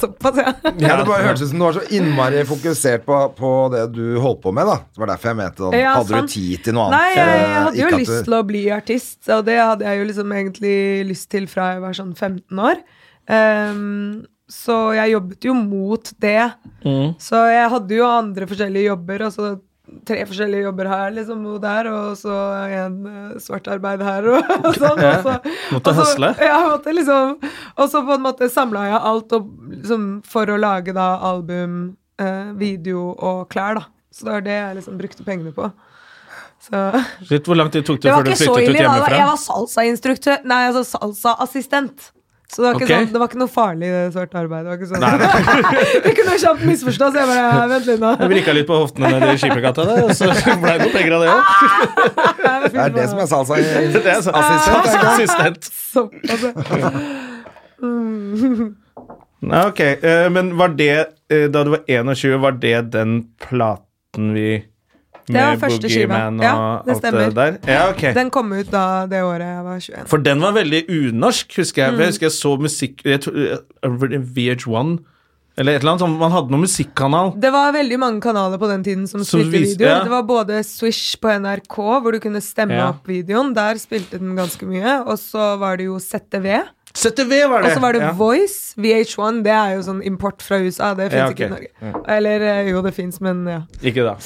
[SPEAKER 3] Såpass, ja.
[SPEAKER 1] Ja, det bare hørtes ut som du var så innmari fokusert på, på det du holdt på med, da. Det var derfor jeg mente sånn.
[SPEAKER 3] Ja,
[SPEAKER 1] Hadde
[SPEAKER 3] sant.
[SPEAKER 1] du tid til noe
[SPEAKER 3] Nei,
[SPEAKER 1] annet?
[SPEAKER 3] jeg,
[SPEAKER 1] Eh,
[SPEAKER 3] jeg hadde
[SPEAKER 1] ikke
[SPEAKER 3] jo
[SPEAKER 1] at
[SPEAKER 3] lyst til å bli artist, og det hadde jeg jo liksom egentlig lyst til fra jeg var sånn 15 år. Ehm, så jeg jobbet jo mot det. Så jeg hadde jo andre forskjellige jobber, altså tre forskjellige jobber her liksom, og der, og så en eh, svart arbeid her og, og sånn. Og så,
[SPEAKER 2] Måtte
[SPEAKER 3] og så-
[SPEAKER 2] hustle.
[SPEAKER 3] Ja, måtte liksom. Og så på en måte samla jeg alt og, liksom, for å lage da album, eh, video og klær, da. Så det var det jeg liksom brukte pengene på. Så
[SPEAKER 2] Shit, hvor lang tid tok det
[SPEAKER 3] det
[SPEAKER 2] før du
[SPEAKER 3] var ikke så
[SPEAKER 2] flyttet ut
[SPEAKER 3] ille. da. Jeg
[SPEAKER 2] hjemmefra?
[SPEAKER 3] var salsainstruktør. Nei, altså salsaassistent. Så det var, ikke
[SPEAKER 2] Ok.
[SPEAKER 3] sånn, det var ikke noe farlig det svart arbeid. Det var ikke sånn. det kunne jo kjapt misforstås. Jeg bare, ja, vent litt nå.
[SPEAKER 2] Jeg vrikka litt på hoftene nede i Skippergata, der, og så ble det noen penger av det òg.
[SPEAKER 3] Ah!
[SPEAKER 1] Det er det som er salsa. i-
[SPEAKER 2] Det er så-
[SPEAKER 1] Assistent, er det ikke?
[SPEAKER 2] Assistent.
[SPEAKER 3] Sånn, altså.
[SPEAKER 2] Nei, ok. Eh, Men var det, eh, da du var 21, var det den platen vi
[SPEAKER 3] var
[SPEAKER 2] Med
[SPEAKER 3] første skiva.
[SPEAKER 2] Boogeyman og
[SPEAKER 3] Ja, det
[SPEAKER 2] alt det
[SPEAKER 3] stemmer.
[SPEAKER 2] der? Ja, ok.
[SPEAKER 3] Den kom ut da det året jeg var 21.
[SPEAKER 2] For den var veldig unorsk, husker jeg. For
[SPEAKER 3] Mm.
[SPEAKER 2] Jeg husker jeg så musikk jeg tror, eh, VH1 eller et eller annet. sånn, Man hadde noen musikkanal.
[SPEAKER 3] Det var veldig mange kanaler på den tiden som
[SPEAKER 2] Som
[SPEAKER 3] spilte
[SPEAKER 2] vis-
[SPEAKER 3] videoer.
[SPEAKER 2] ja.
[SPEAKER 3] Det var både Swish på NRK, hvor du kunne stemme
[SPEAKER 2] Ja.
[SPEAKER 3] opp videoen. Der spilte den ganske mye. Og så var det jo ZTV.
[SPEAKER 2] ZTV var det!
[SPEAKER 3] Og så var det
[SPEAKER 2] ja.
[SPEAKER 3] Voice. VH1, det er jo sånn import fra USA. Det fins
[SPEAKER 2] Ja,
[SPEAKER 3] ikke i
[SPEAKER 2] ok.
[SPEAKER 3] Norge. Eller eh, jo, det fins, men ja.
[SPEAKER 2] Ikke da.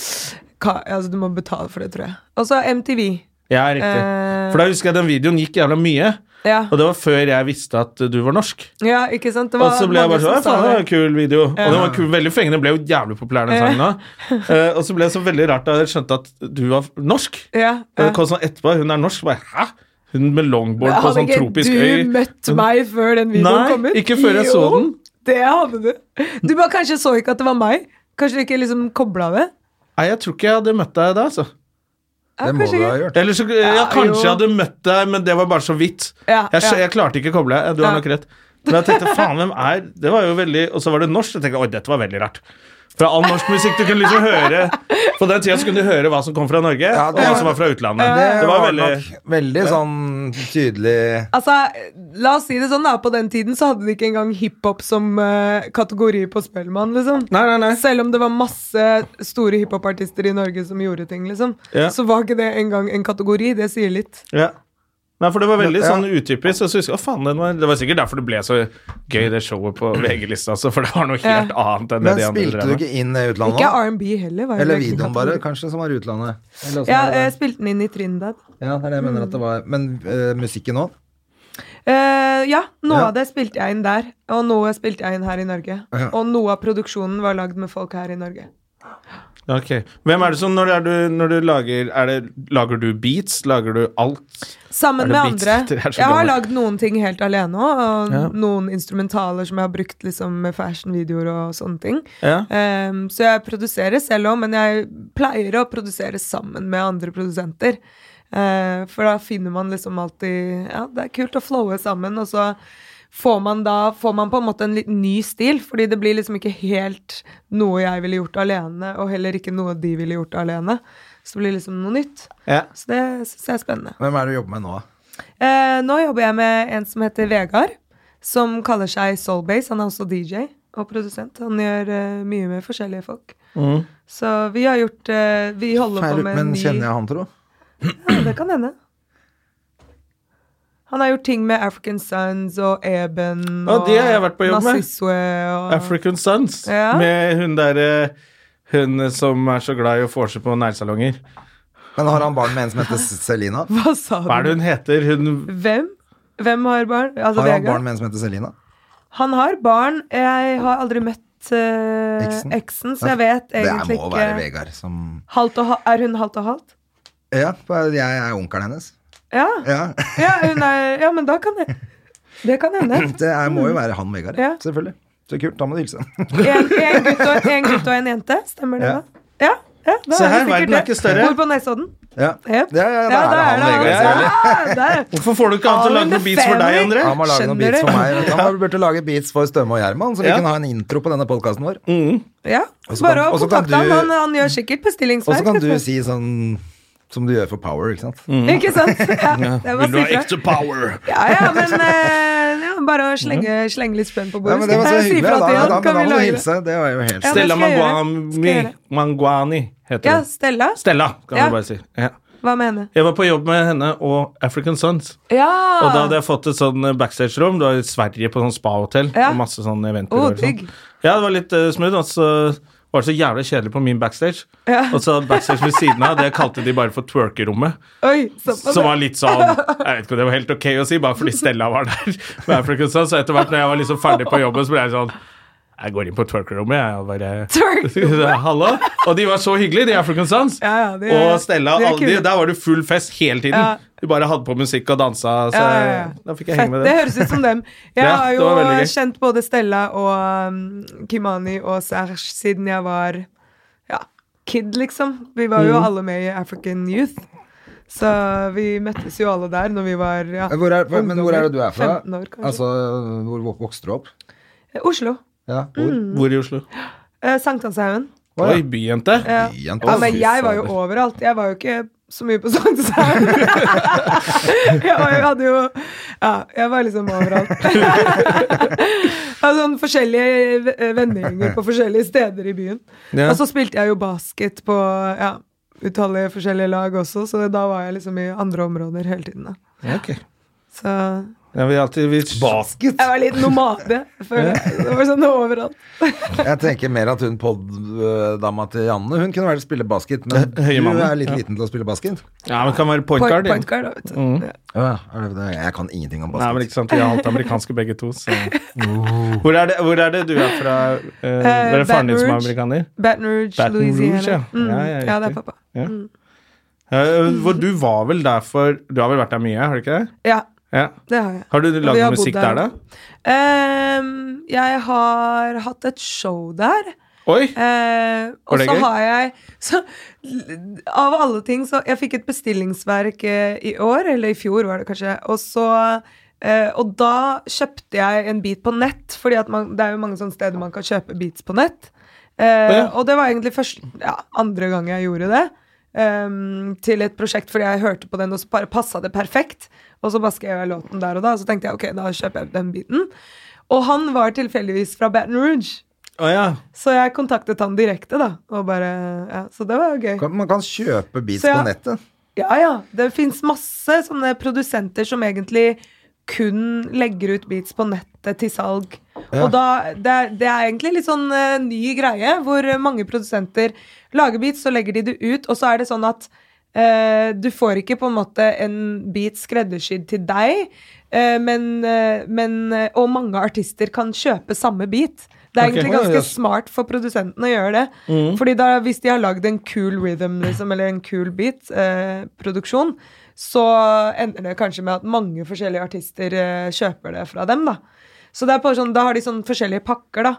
[SPEAKER 3] Ka, altså, du må betale for det, tror jeg. Og så MTV.
[SPEAKER 2] Ja, riktig.
[SPEAKER 3] Eh.
[SPEAKER 2] For da husker jeg den videoen gikk jævla mye.
[SPEAKER 3] Ja.
[SPEAKER 2] Og det var før jeg visste at eh, du var norsk.
[SPEAKER 3] ja, ikke sant? Det
[SPEAKER 2] Og
[SPEAKER 3] var
[SPEAKER 2] så ble jeg
[SPEAKER 3] mange
[SPEAKER 2] bare sånn, «Ja,
[SPEAKER 3] som sa
[SPEAKER 2] faen, det var en
[SPEAKER 3] det.
[SPEAKER 2] kul video. Og den var
[SPEAKER 3] Ja.
[SPEAKER 2] kul, veldig fengende, ble jo jævlig populær den sangen da. Eh, og så ble det så veldig rart da jeg skjønte at du var norsk.
[SPEAKER 3] Ja,
[SPEAKER 2] Og
[SPEAKER 3] ja.
[SPEAKER 2] det kom sånn etterpå, hun er norsk, bare, hæ? Hun med longboard på
[SPEAKER 3] Hadde
[SPEAKER 2] sånn
[SPEAKER 3] ikke
[SPEAKER 2] tropisk
[SPEAKER 3] du
[SPEAKER 2] øy.
[SPEAKER 3] møtt meg før den videoen
[SPEAKER 2] Nei,
[SPEAKER 3] kom ut?
[SPEAKER 2] ikke før jeg så
[SPEAKER 3] Jo,
[SPEAKER 2] den.
[SPEAKER 3] Det hadde du. Du bare kanskje så ikke at det var meg. Kanskje du ikke liksom kobla det.
[SPEAKER 2] Nei, jeg tror ikke jeg hadde møtt deg da, altså.
[SPEAKER 3] Ja,
[SPEAKER 1] Det må
[SPEAKER 3] kanskje
[SPEAKER 1] du ha
[SPEAKER 3] ikke.
[SPEAKER 1] gjort.
[SPEAKER 2] Eller så, ja, kanskje jeg
[SPEAKER 3] jo.
[SPEAKER 2] hadde møtt deg, men det var bare så vidt.
[SPEAKER 3] Ja,
[SPEAKER 2] jeg, skj-
[SPEAKER 3] Ah, ja.
[SPEAKER 2] jeg klarte ikke å koble. Du har
[SPEAKER 3] Ja.
[SPEAKER 2] nok rett. Men jeg tenkte, faen, hvem er Det var jo veldig Og så var det norsk. Jeg tenkte, oi, dette var veldig rart. Fra all norsk musikk. Du kunne liksom høre På den tida så kunne du høre hva som kom fra Norge,
[SPEAKER 1] Ja,
[SPEAKER 2] og
[SPEAKER 1] det-
[SPEAKER 2] hva som var fra utlandet.
[SPEAKER 1] Det,
[SPEAKER 2] det
[SPEAKER 1] var,
[SPEAKER 2] var veldig
[SPEAKER 1] nok veldig sånn tydelig
[SPEAKER 3] Altså, la oss si det sånn da, på den tiden så hadde de ikke engang hiphop som eh, kategori på Spellemann, liksom.
[SPEAKER 2] Nei, nei, nei.
[SPEAKER 3] Selv om det var masse store hiphopartister i Norge som gjorde ting, liksom,
[SPEAKER 2] Ja.
[SPEAKER 3] så var ikke det engang en kategori. Det sier litt.
[SPEAKER 2] Ja. Nei, for det var veldig
[SPEAKER 1] Ja.
[SPEAKER 2] sånn utypisk. Og så husker jeg, å faen, den var, Det var sikkert derfor det ble så gøy, det showet på VG-lista, altså, for det var noe helt annet enn
[SPEAKER 1] Men
[SPEAKER 2] det de andre
[SPEAKER 1] spilte
[SPEAKER 2] drev
[SPEAKER 1] du
[SPEAKER 2] med.
[SPEAKER 1] ikke inn i utlandet?
[SPEAKER 3] Ikke
[SPEAKER 1] da?
[SPEAKER 3] R&B heller. Var jo
[SPEAKER 1] Eller
[SPEAKER 3] ikke en
[SPEAKER 1] videoen bare,
[SPEAKER 3] kategori.
[SPEAKER 1] kanskje, som var i utlandet? Eller åssen
[SPEAKER 3] Ja,
[SPEAKER 1] var
[SPEAKER 3] jeg
[SPEAKER 1] det?
[SPEAKER 3] spilte den inn i Trindad.
[SPEAKER 1] ja, det er det jeg mener at det var. Men eh, musikken òg?
[SPEAKER 3] Eh, ja, noe
[SPEAKER 1] Ja.
[SPEAKER 3] av det spilte jeg inn der, og noe spilte jeg inn her i Norge.
[SPEAKER 1] Ja.
[SPEAKER 3] Og noe av produksjonen var lagd med folk her i Norge.
[SPEAKER 2] Ok. Hvem er det som, når, det er du, når du lager er det, Lager du beats? Lager du alt? Er
[SPEAKER 3] Sammen
[SPEAKER 2] det
[SPEAKER 3] med
[SPEAKER 2] beats?
[SPEAKER 3] andre.
[SPEAKER 2] Det er så
[SPEAKER 3] Jeg har
[SPEAKER 2] gammelt.
[SPEAKER 3] lagd noen ting helt alene òg, og
[SPEAKER 2] Ja.
[SPEAKER 3] noen instrumentaler som jeg har brukt liksom, med fashion-videoer og sånne ting.
[SPEAKER 2] Ja.
[SPEAKER 3] Ehm, så jeg produserer selv òg, men jeg pleier å produsere sammen med andre produsenter. Eh, for da finner man liksom alltid Ja, det er kult å flowe sammen, og så får man da får man på en måte en litt ny stil, fordi det blir liksom ikke helt noe jeg ville gjort alene, og heller ikke noe de ville gjort alene. Så det blir liksom noe nytt.
[SPEAKER 2] Ja.
[SPEAKER 3] Så det syns jeg er spennende.
[SPEAKER 1] Hvem er det du jobber med nå?
[SPEAKER 3] Eh, nå jobber jeg med en som heter Vegard, som kaller seg Soulbase. Han er også DJ og produsent. Han gjør eh, mye med forskjellige folk.
[SPEAKER 2] Mm.
[SPEAKER 3] Så vi har gjort eh, Vi holder
[SPEAKER 1] Feil,
[SPEAKER 3] på med en
[SPEAKER 1] men
[SPEAKER 3] ny
[SPEAKER 1] kjenner jeg han, tro?
[SPEAKER 3] ja, Det kan hende. Han har gjort ting med African Sons og Eben
[SPEAKER 2] Ja, de har jeg vært på jobb med.
[SPEAKER 3] Naziswe og
[SPEAKER 2] African Sons
[SPEAKER 3] Ja.
[SPEAKER 2] med hun derre Hun som er så glad i å forse på neglesalonger.
[SPEAKER 1] Men har han barn med en som heter Selina?
[SPEAKER 3] Hva sa du?
[SPEAKER 2] Hva er det hun heter? Hun
[SPEAKER 3] Hvem? Hvem har barn? Altså
[SPEAKER 1] Har han
[SPEAKER 3] Vegard?
[SPEAKER 1] barn med en som heter Selina?
[SPEAKER 3] Han har barn. Jeg har aldri møtt eh,
[SPEAKER 1] Eksen?
[SPEAKER 3] eksen, så jeg vet
[SPEAKER 1] Det
[SPEAKER 3] egentlig
[SPEAKER 1] må
[SPEAKER 3] ikke
[SPEAKER 1] være Vegard som
[SPEAKER 3] Halvt og ha- er hun halvt og halvt?
[SPEAKER 1] Ja, for jeg er onkelen hennes.
[SPEAKER 3] Ja.
[SPEAKER 1] Ja.
[SPEAKER 3] Ja, hun er, ja, men da kan det Det kan hende.
[SPEAKER 1] Det er, må jo være han Vegard,
[SPEAKER 3] Ja.
[SPEAKER 1] selvfølgelig. Så kult, da må du hilse.
[SPEAKER 3] En, en, gutt og, en gutt og en jente, stemmer det?
[SPEAKER 1] Ja.
[SPEAKER 3] da? Ja, ja da
[SPEAKER 2] Se
[SPEAKER 3] er det
[SPEAKER 2] her,
[SPEAKER 3] sikkert
[SPEAKER 2] verden er ikke større.
[SPEAKER 3] Bor på Nesodden.
[SPEAKER 1] Ja, ja,
[SPEAKER 3] Jep.
[SPEAKER 1] ja, ja da er det han Vegard.
[SPEAKER 3] han.
[SPEAKER 1] selvfølgelig.
[SPEAKER 3] Ja, der.
[SPEAKER 2] Hvorfor får du ikke han til å lage noen beats for deg, André?
[SPEAKER 1] Han må lage noen
[SPEAKER 3] Skjønner
[SPEAKER 1] beats
[SPEAKER 3] du?
[SPEAKER 1] for meg. vet du. Han burde lage beats for Støme og Gjerman, så vi
[SPEAKER 2] Ja.
[SPEAKER 1] kan ha en intro på denne podkasten vår.
[SPEAKER 3] Ja.
[SPEAKER 1] Og så kan-
[SPEAKER 3] Bare å
[SPEAKER 1] og så kan
[SPEAKER 3] kontakte han.
[SPEAKER 1] du-
[SPEAKER 3] han. Han gjør sikkert
[SPEAKER 1] Og så
[SPEAKER 3] bestillingsverk.
[SPEAKER 1] kan du
[SPEAKER 3] vet
[SPEAKER 1] si sånn som du gjør for Power, ikke sant?
[SPEAKER 3] Mm. Ikke sant? Ja, det er bare å
[SPEAKER 2] Vil du ha
[SPEAKER 3] si fra.
[SPEAKER 2] ekte power?
[SPEAKER 3] Ja, ja, men eh, ja, bare å slenge, slenge litt spenn på
[SPEAKER 1] Mm. Ja,
[SPEAKER 3] bordet.
[SPEAKER 1] men det var så
[SPEAKER 3] Eh, si
[SPEAKER 1] hyggelig.
[SPEAKER 3] fra
[SPEAKER 1] Da,
[SPEAKER 3] til
[SPEAKER 1] da,
[SPEAKER 3] han,
[SPEAKER 1] da,
[SPEAKER 3] kan
[SPEAKER 1] da
[SPEAKER 3] vi
[SPEAKER 1] må du
[SPEAKER 3] lage det?
[SPEAKER 1] hilse. Det var jo helt
[SPEAKER 3] Ja, det
[SPEAKER 2] Stella
[SPEAKER 3] skal jeg gjøre. Skal
[SPEAKER 2] Manguami
[SPEAKER 3] jeg gjøre.
[SPEAKER 2] Manguani heter
[SPEAKER 3] Ja,
[SPEAKER 2] hun.
[SPEAKER 3] Stella.
[SPEAKER 2] Stella, kan
[SPEAKER 3] Ja.
[SPEAKER 2] du bare si. Ja.
[SPEAKER 3] Hva mener du?
[SPEAKER 2] Jeg var på jobb med henne og African Sons.
[SPEAKER 3] Ja!
[SPEAKER 2] Og da hadde jeg fått et sånn eh, backstage-rom. Det var i Sverige på sånn spa-hotell.
[SPEAKER 3] Ja.
[SPEAKER 2] Og masse sånn
[SPEAKER 3] Å,
[SPEAKER 2] eventbyråer. og sånn.
[SPEAKER 3] digg.
[SPEAKER 2] Ja, det var litt uh, smooth. Og så var det så jævlig kjedelig på min backstage.
[SPEAKER 3] Ja.
[SPEAKER 2] Og så backstage ved siden av, det kalte de bare for twerkerommet.
[SPEAKER 3] Oi, såpass.
[SPEAKER 2] Som var litt sånn Jeg vet ikke om det var helt ok å si, bare fordi Stella var der. med African Sons. sånn. Så etter hvert når jeg var liksom ferdig på jobben, så ble jeg sånn Jeg går inn på twerkerommet, jeg. Og bare
[SPEAKER 3] Twerkerommet?
[SPEAKER 2] Hallo? Og de var så hyggelige, de African Sons.
[SPEAKER 3] Ja, ja, de er-
[SPEAKER 2] og Stella
[SPEAKER 3] de
[SPEAKER 2] og
[SPEAKER 3] er
[SPEAKER 2] alle de.
[SPEAKER 3] kule.
[SPEAKER 2] Der var det full fest hele tiden.
[SPEAKER 3] Ja.
[SPEAKER 2] De bare hadde på musikk og dansa, så
[SPEAKER 3] Ja, ja, ja.
[SPEAKER 2] da fikk jeg henge med
[SPEAKER 3] det
[SPEAKER 2] dem.
[SPEAKER 3] høres ut som dem. Jeg
[SPEAKER 2] Ja,
[SPEAKER 3] har
[SPEAKER 2] det
[SPEAKER 3] jo
[SPEAKER 2] var veldig gøy.
[SPEAKER 3] kjent både Stella og um, Kimani og Serge siden jeg var ja, kid, liksom. Vi var
[SPEAKER 2] Mm.
[SPEAKER 3] jo alle med i African Youth. Så vi møttes jo alle der når vi var ja,
[SPEAKER 1] Hvor er, hvor, men hvor er det du er fra?
[SPEAKER 3] Ungdommer, 15 år, kanskje.
[SPEAKER 1] altså, hvor vok- vokste du opp?
[SPEAKER 3] Eh, Oslo.
[SPEAKER 1] Ja, hvor?
[SPEAKER 3] Mm.
[SPEAKER 2] Hvor i Oslo?
[SPEAKER 3] Eh, Sankthanshaugen.
[SPEAKER 1] Å, ja.
[SPEAKER 2] Oi, byjente.
[SPEAKER 3] Ja.
[SPEAKER 1] Byen,
[SPEAKER 3] ja,
[SPEAKER 1] altså.
[SPEAKER 3] men jeg var jo overalt. Jeg var jo ikke så mye på Sankthanshaugen. jeg, var- jeg hadde jo Ja, jeg var liksom overalt. jeg hadde sånn forskjellige v- vennegjenger på forskjellige steder i byen.
[SPEAKER 2] Ja.
[SPEAKER 3] Og så spilte jeg jo basket på ja, utallige forskjellige lag også, så da var jeg liksom i andre områder hele tiden. da.
[SPEAKER 2] Ja, ok.
[SPEAKER 3] Så
[SPEAKER 2] Ja, vi alltid vi,
[SPEAKER 1] Basket?
[SPEAKER 3] jeg var litt nomade. jeg føler jeg. Det var sånn overalt.
[SPEAKER 1] Jeg tenker mer at hun poddama til Janne Hun kunne vel spille basket, men
[SPEAKER 2] høye
[SPEAKER 1] du
[SPEAKER 2] mannen.
[SPEAKER 1] er litt liten til å spille basket.
[SPEAKER 2] Ja, men det kan være
[SPEAKER 3] Point,
[SPEAKER 2] point guard. ja.
[SPEAKER 3] point guard, da, vet du. Ja.
[SPEAKER 1] Ja, er det- Jeg kan ingenting om
[SPEAKER 2] Nei, men
[SPEAKER 1] basket.
[SPEAKER 2] ikke sant, Vi er halvt amerikanske begge to. Så. Hvor, er det, hvor er det du er fra? Uh, er det faren din som er
[SPEAKER 3] Uh. Eh, Baton Rouge.
[SPEAKER 2] amerikaner?
[SPEAKER 3] Baton Rouge,
[SPEAKER 2] Baton Rouge,
[SPEAKER 3] Louisiana.
[SPEAKER 2] ja.
[SPEAKER 3] Mm.
[SPEAKER 2] Ja, ja,
[SPEAKER 3] ja, det er
[SPEAKER 2] riktig.
[SPEAKER 3] pappa.
[SPEAKER 2] Ja. Eh, hvor du var vel der for Du har vel vært der mye, har du ikke det?
[SPEAKER 3] Ja,
[SPEAKER 2] Ja.
[SPEAKER 3] Det har jeg.
[SPEAKER 2] Har du
[SPEAKER 3] Og vi
[SPEAKER 2] laget
[SPEAKER 3] har bodd Eh,
[SPEAKER 2] musikk der, da?
[SPEAKER 3] Ehm, jeg har hatt et show der.
[SPEAKER 2] Oi! Var
[SPEAKER 3] Eh, og
[SPEAKER 2] det
[SPEAKER 3] så
[SPEAKER 2] gøy?
[SPEAKER 3] har jeg så, Av alle ting så Jeg fikk et bestillingsverk eh, i år, eller i fjor var det kanskje. Og så eh, Og da kjøpte jeg en bit på nett, Fordi at man, det er jo mange sånne steder man kan kjøpe beats på nett. Eh,
[SPEAKER 2] Ja.
[SPEAKER 3] Og det var egentlig første, ja, andre gang jeg gjorde det. ehm, til et prosjekt fordi jeg hørte på den, og så bare passa det perfekt. Og så bare skrev jeg låten der og da, og så tenkte jeg ok, da kjøper jeg den biten. Og han var tilfeldigvis fra Baton Rouge.
[SPEAKER 2] Å ja.
[SPEAKER 3] Så jeg kontaktet han direkte, da. Og bare, ja, så det var jo gøy.
[SPEAKER 1] Kan- Man kan kjøpe beats
[SPEAKER 3] Så ja.
[SPEAKER 1] på nettet.
[SPEAKER 3] Ja, ja. Det fins masse sånne produsenter som egentlig kun legger ut beats på nettet til salg. Og da, det, er- det er egentlig litt sånn eh, ny greie, hvor eh, mange produsenter lager beats, så legger de det ut, og så er det sånn at eh, du får ikke på en måte en beat skreddersydd til deg, eh, men, eh, men eh, Og mange artister kan kjøpe samme beat. Det er
[SPEAKER 2] Ok.
[SPEAKER 3] egentlig
[SPEAKER 2] Ja,
[SPEAKER 3] ganske
[SPEAKER 2] ja.
[SPEAKER 3] smart for produsentene å gjøre det.
[SPEAKER 2] Mm.
[SPEAKER 3] Fordi da, hvis de har lagd en cool rhythm, liksom, eller en cool beat, eh, produksjon, så ender det kanskje med at mange forskjellige artister eh, kjøper det fra dem, da. Så det er bare sånn, da har de sånn forskjellige pakker, da.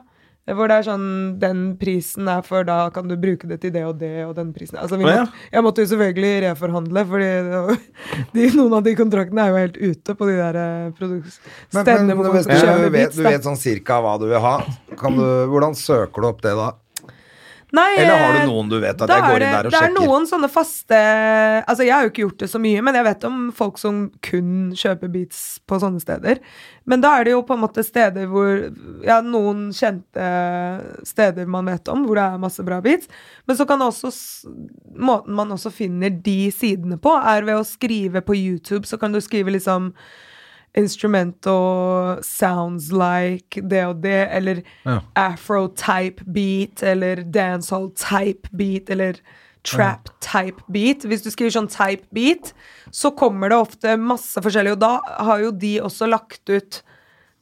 [SPEAKER 3] Hvor det er sånn Den prisen er for da kan du bruke det til det og det, og den prisen Altså, vi
[SPEAKER 2] Å, ja.
[SPEAKER 3] måtte, jeg måtte jo selvfølgelig reforhandle, fordi det var- de, noen av de kontraktene er jo helt ute på de der eh, produks...
[SPEAKER 1] Men,
[SPEAKER 3] stedene
[SPEAKER 1] men
[SPEAKER 3] hvor man
[SPEAKER 1] hvis
[SPEAKER 3] skal
[SPEAKER 1] du,
[SPEAKER 3] kjøpe
[SPEAKER 1] vet,
[SPEAKER 3] beats,
[SPEAKER 1] du
[SPEAKER 3] da.
[SPEAKER 1] vet sånn cirka hva du vil ha. Kan du, hvordan søker du opp det da?
[SPEAKER 3] Nei,
[SPEAKER 1] Eller har
[SPEAKER 3] eh,
[SPEAKER 1] du noen du vet at
[SPEAKER 3] Da
[SPEAKER 1] jeg går
[SPEAKER 3] er
[SPEAKER 1] inn
[SPEAKER 3] det-
[SPEAKER 1] der og
[SPEAKER 3] det er
[SPEAKER 1] sjekker?
[SPEAKER 3] noen sånne faste Altså, jeg har jo ikke gjort det så mye, men jeg vet om folk som kun kjøper beats på sånne steder. Men da er det jo på en måte steder hvor Ja, noen kjente steder man vet om, hvor det er masse bra beats. Men så kan det også s- Måten man også finner de sidene på, er ved å skrive på YouTube, så kan du skrive liksom Instrumental sounds like det og det, eller afro-type beat, eller dancehall-type beat, eller trap-type beat. Hvis du skriver sånn type beat, så kommer det ofte masse forskjellig, og da har jo de også lagt ut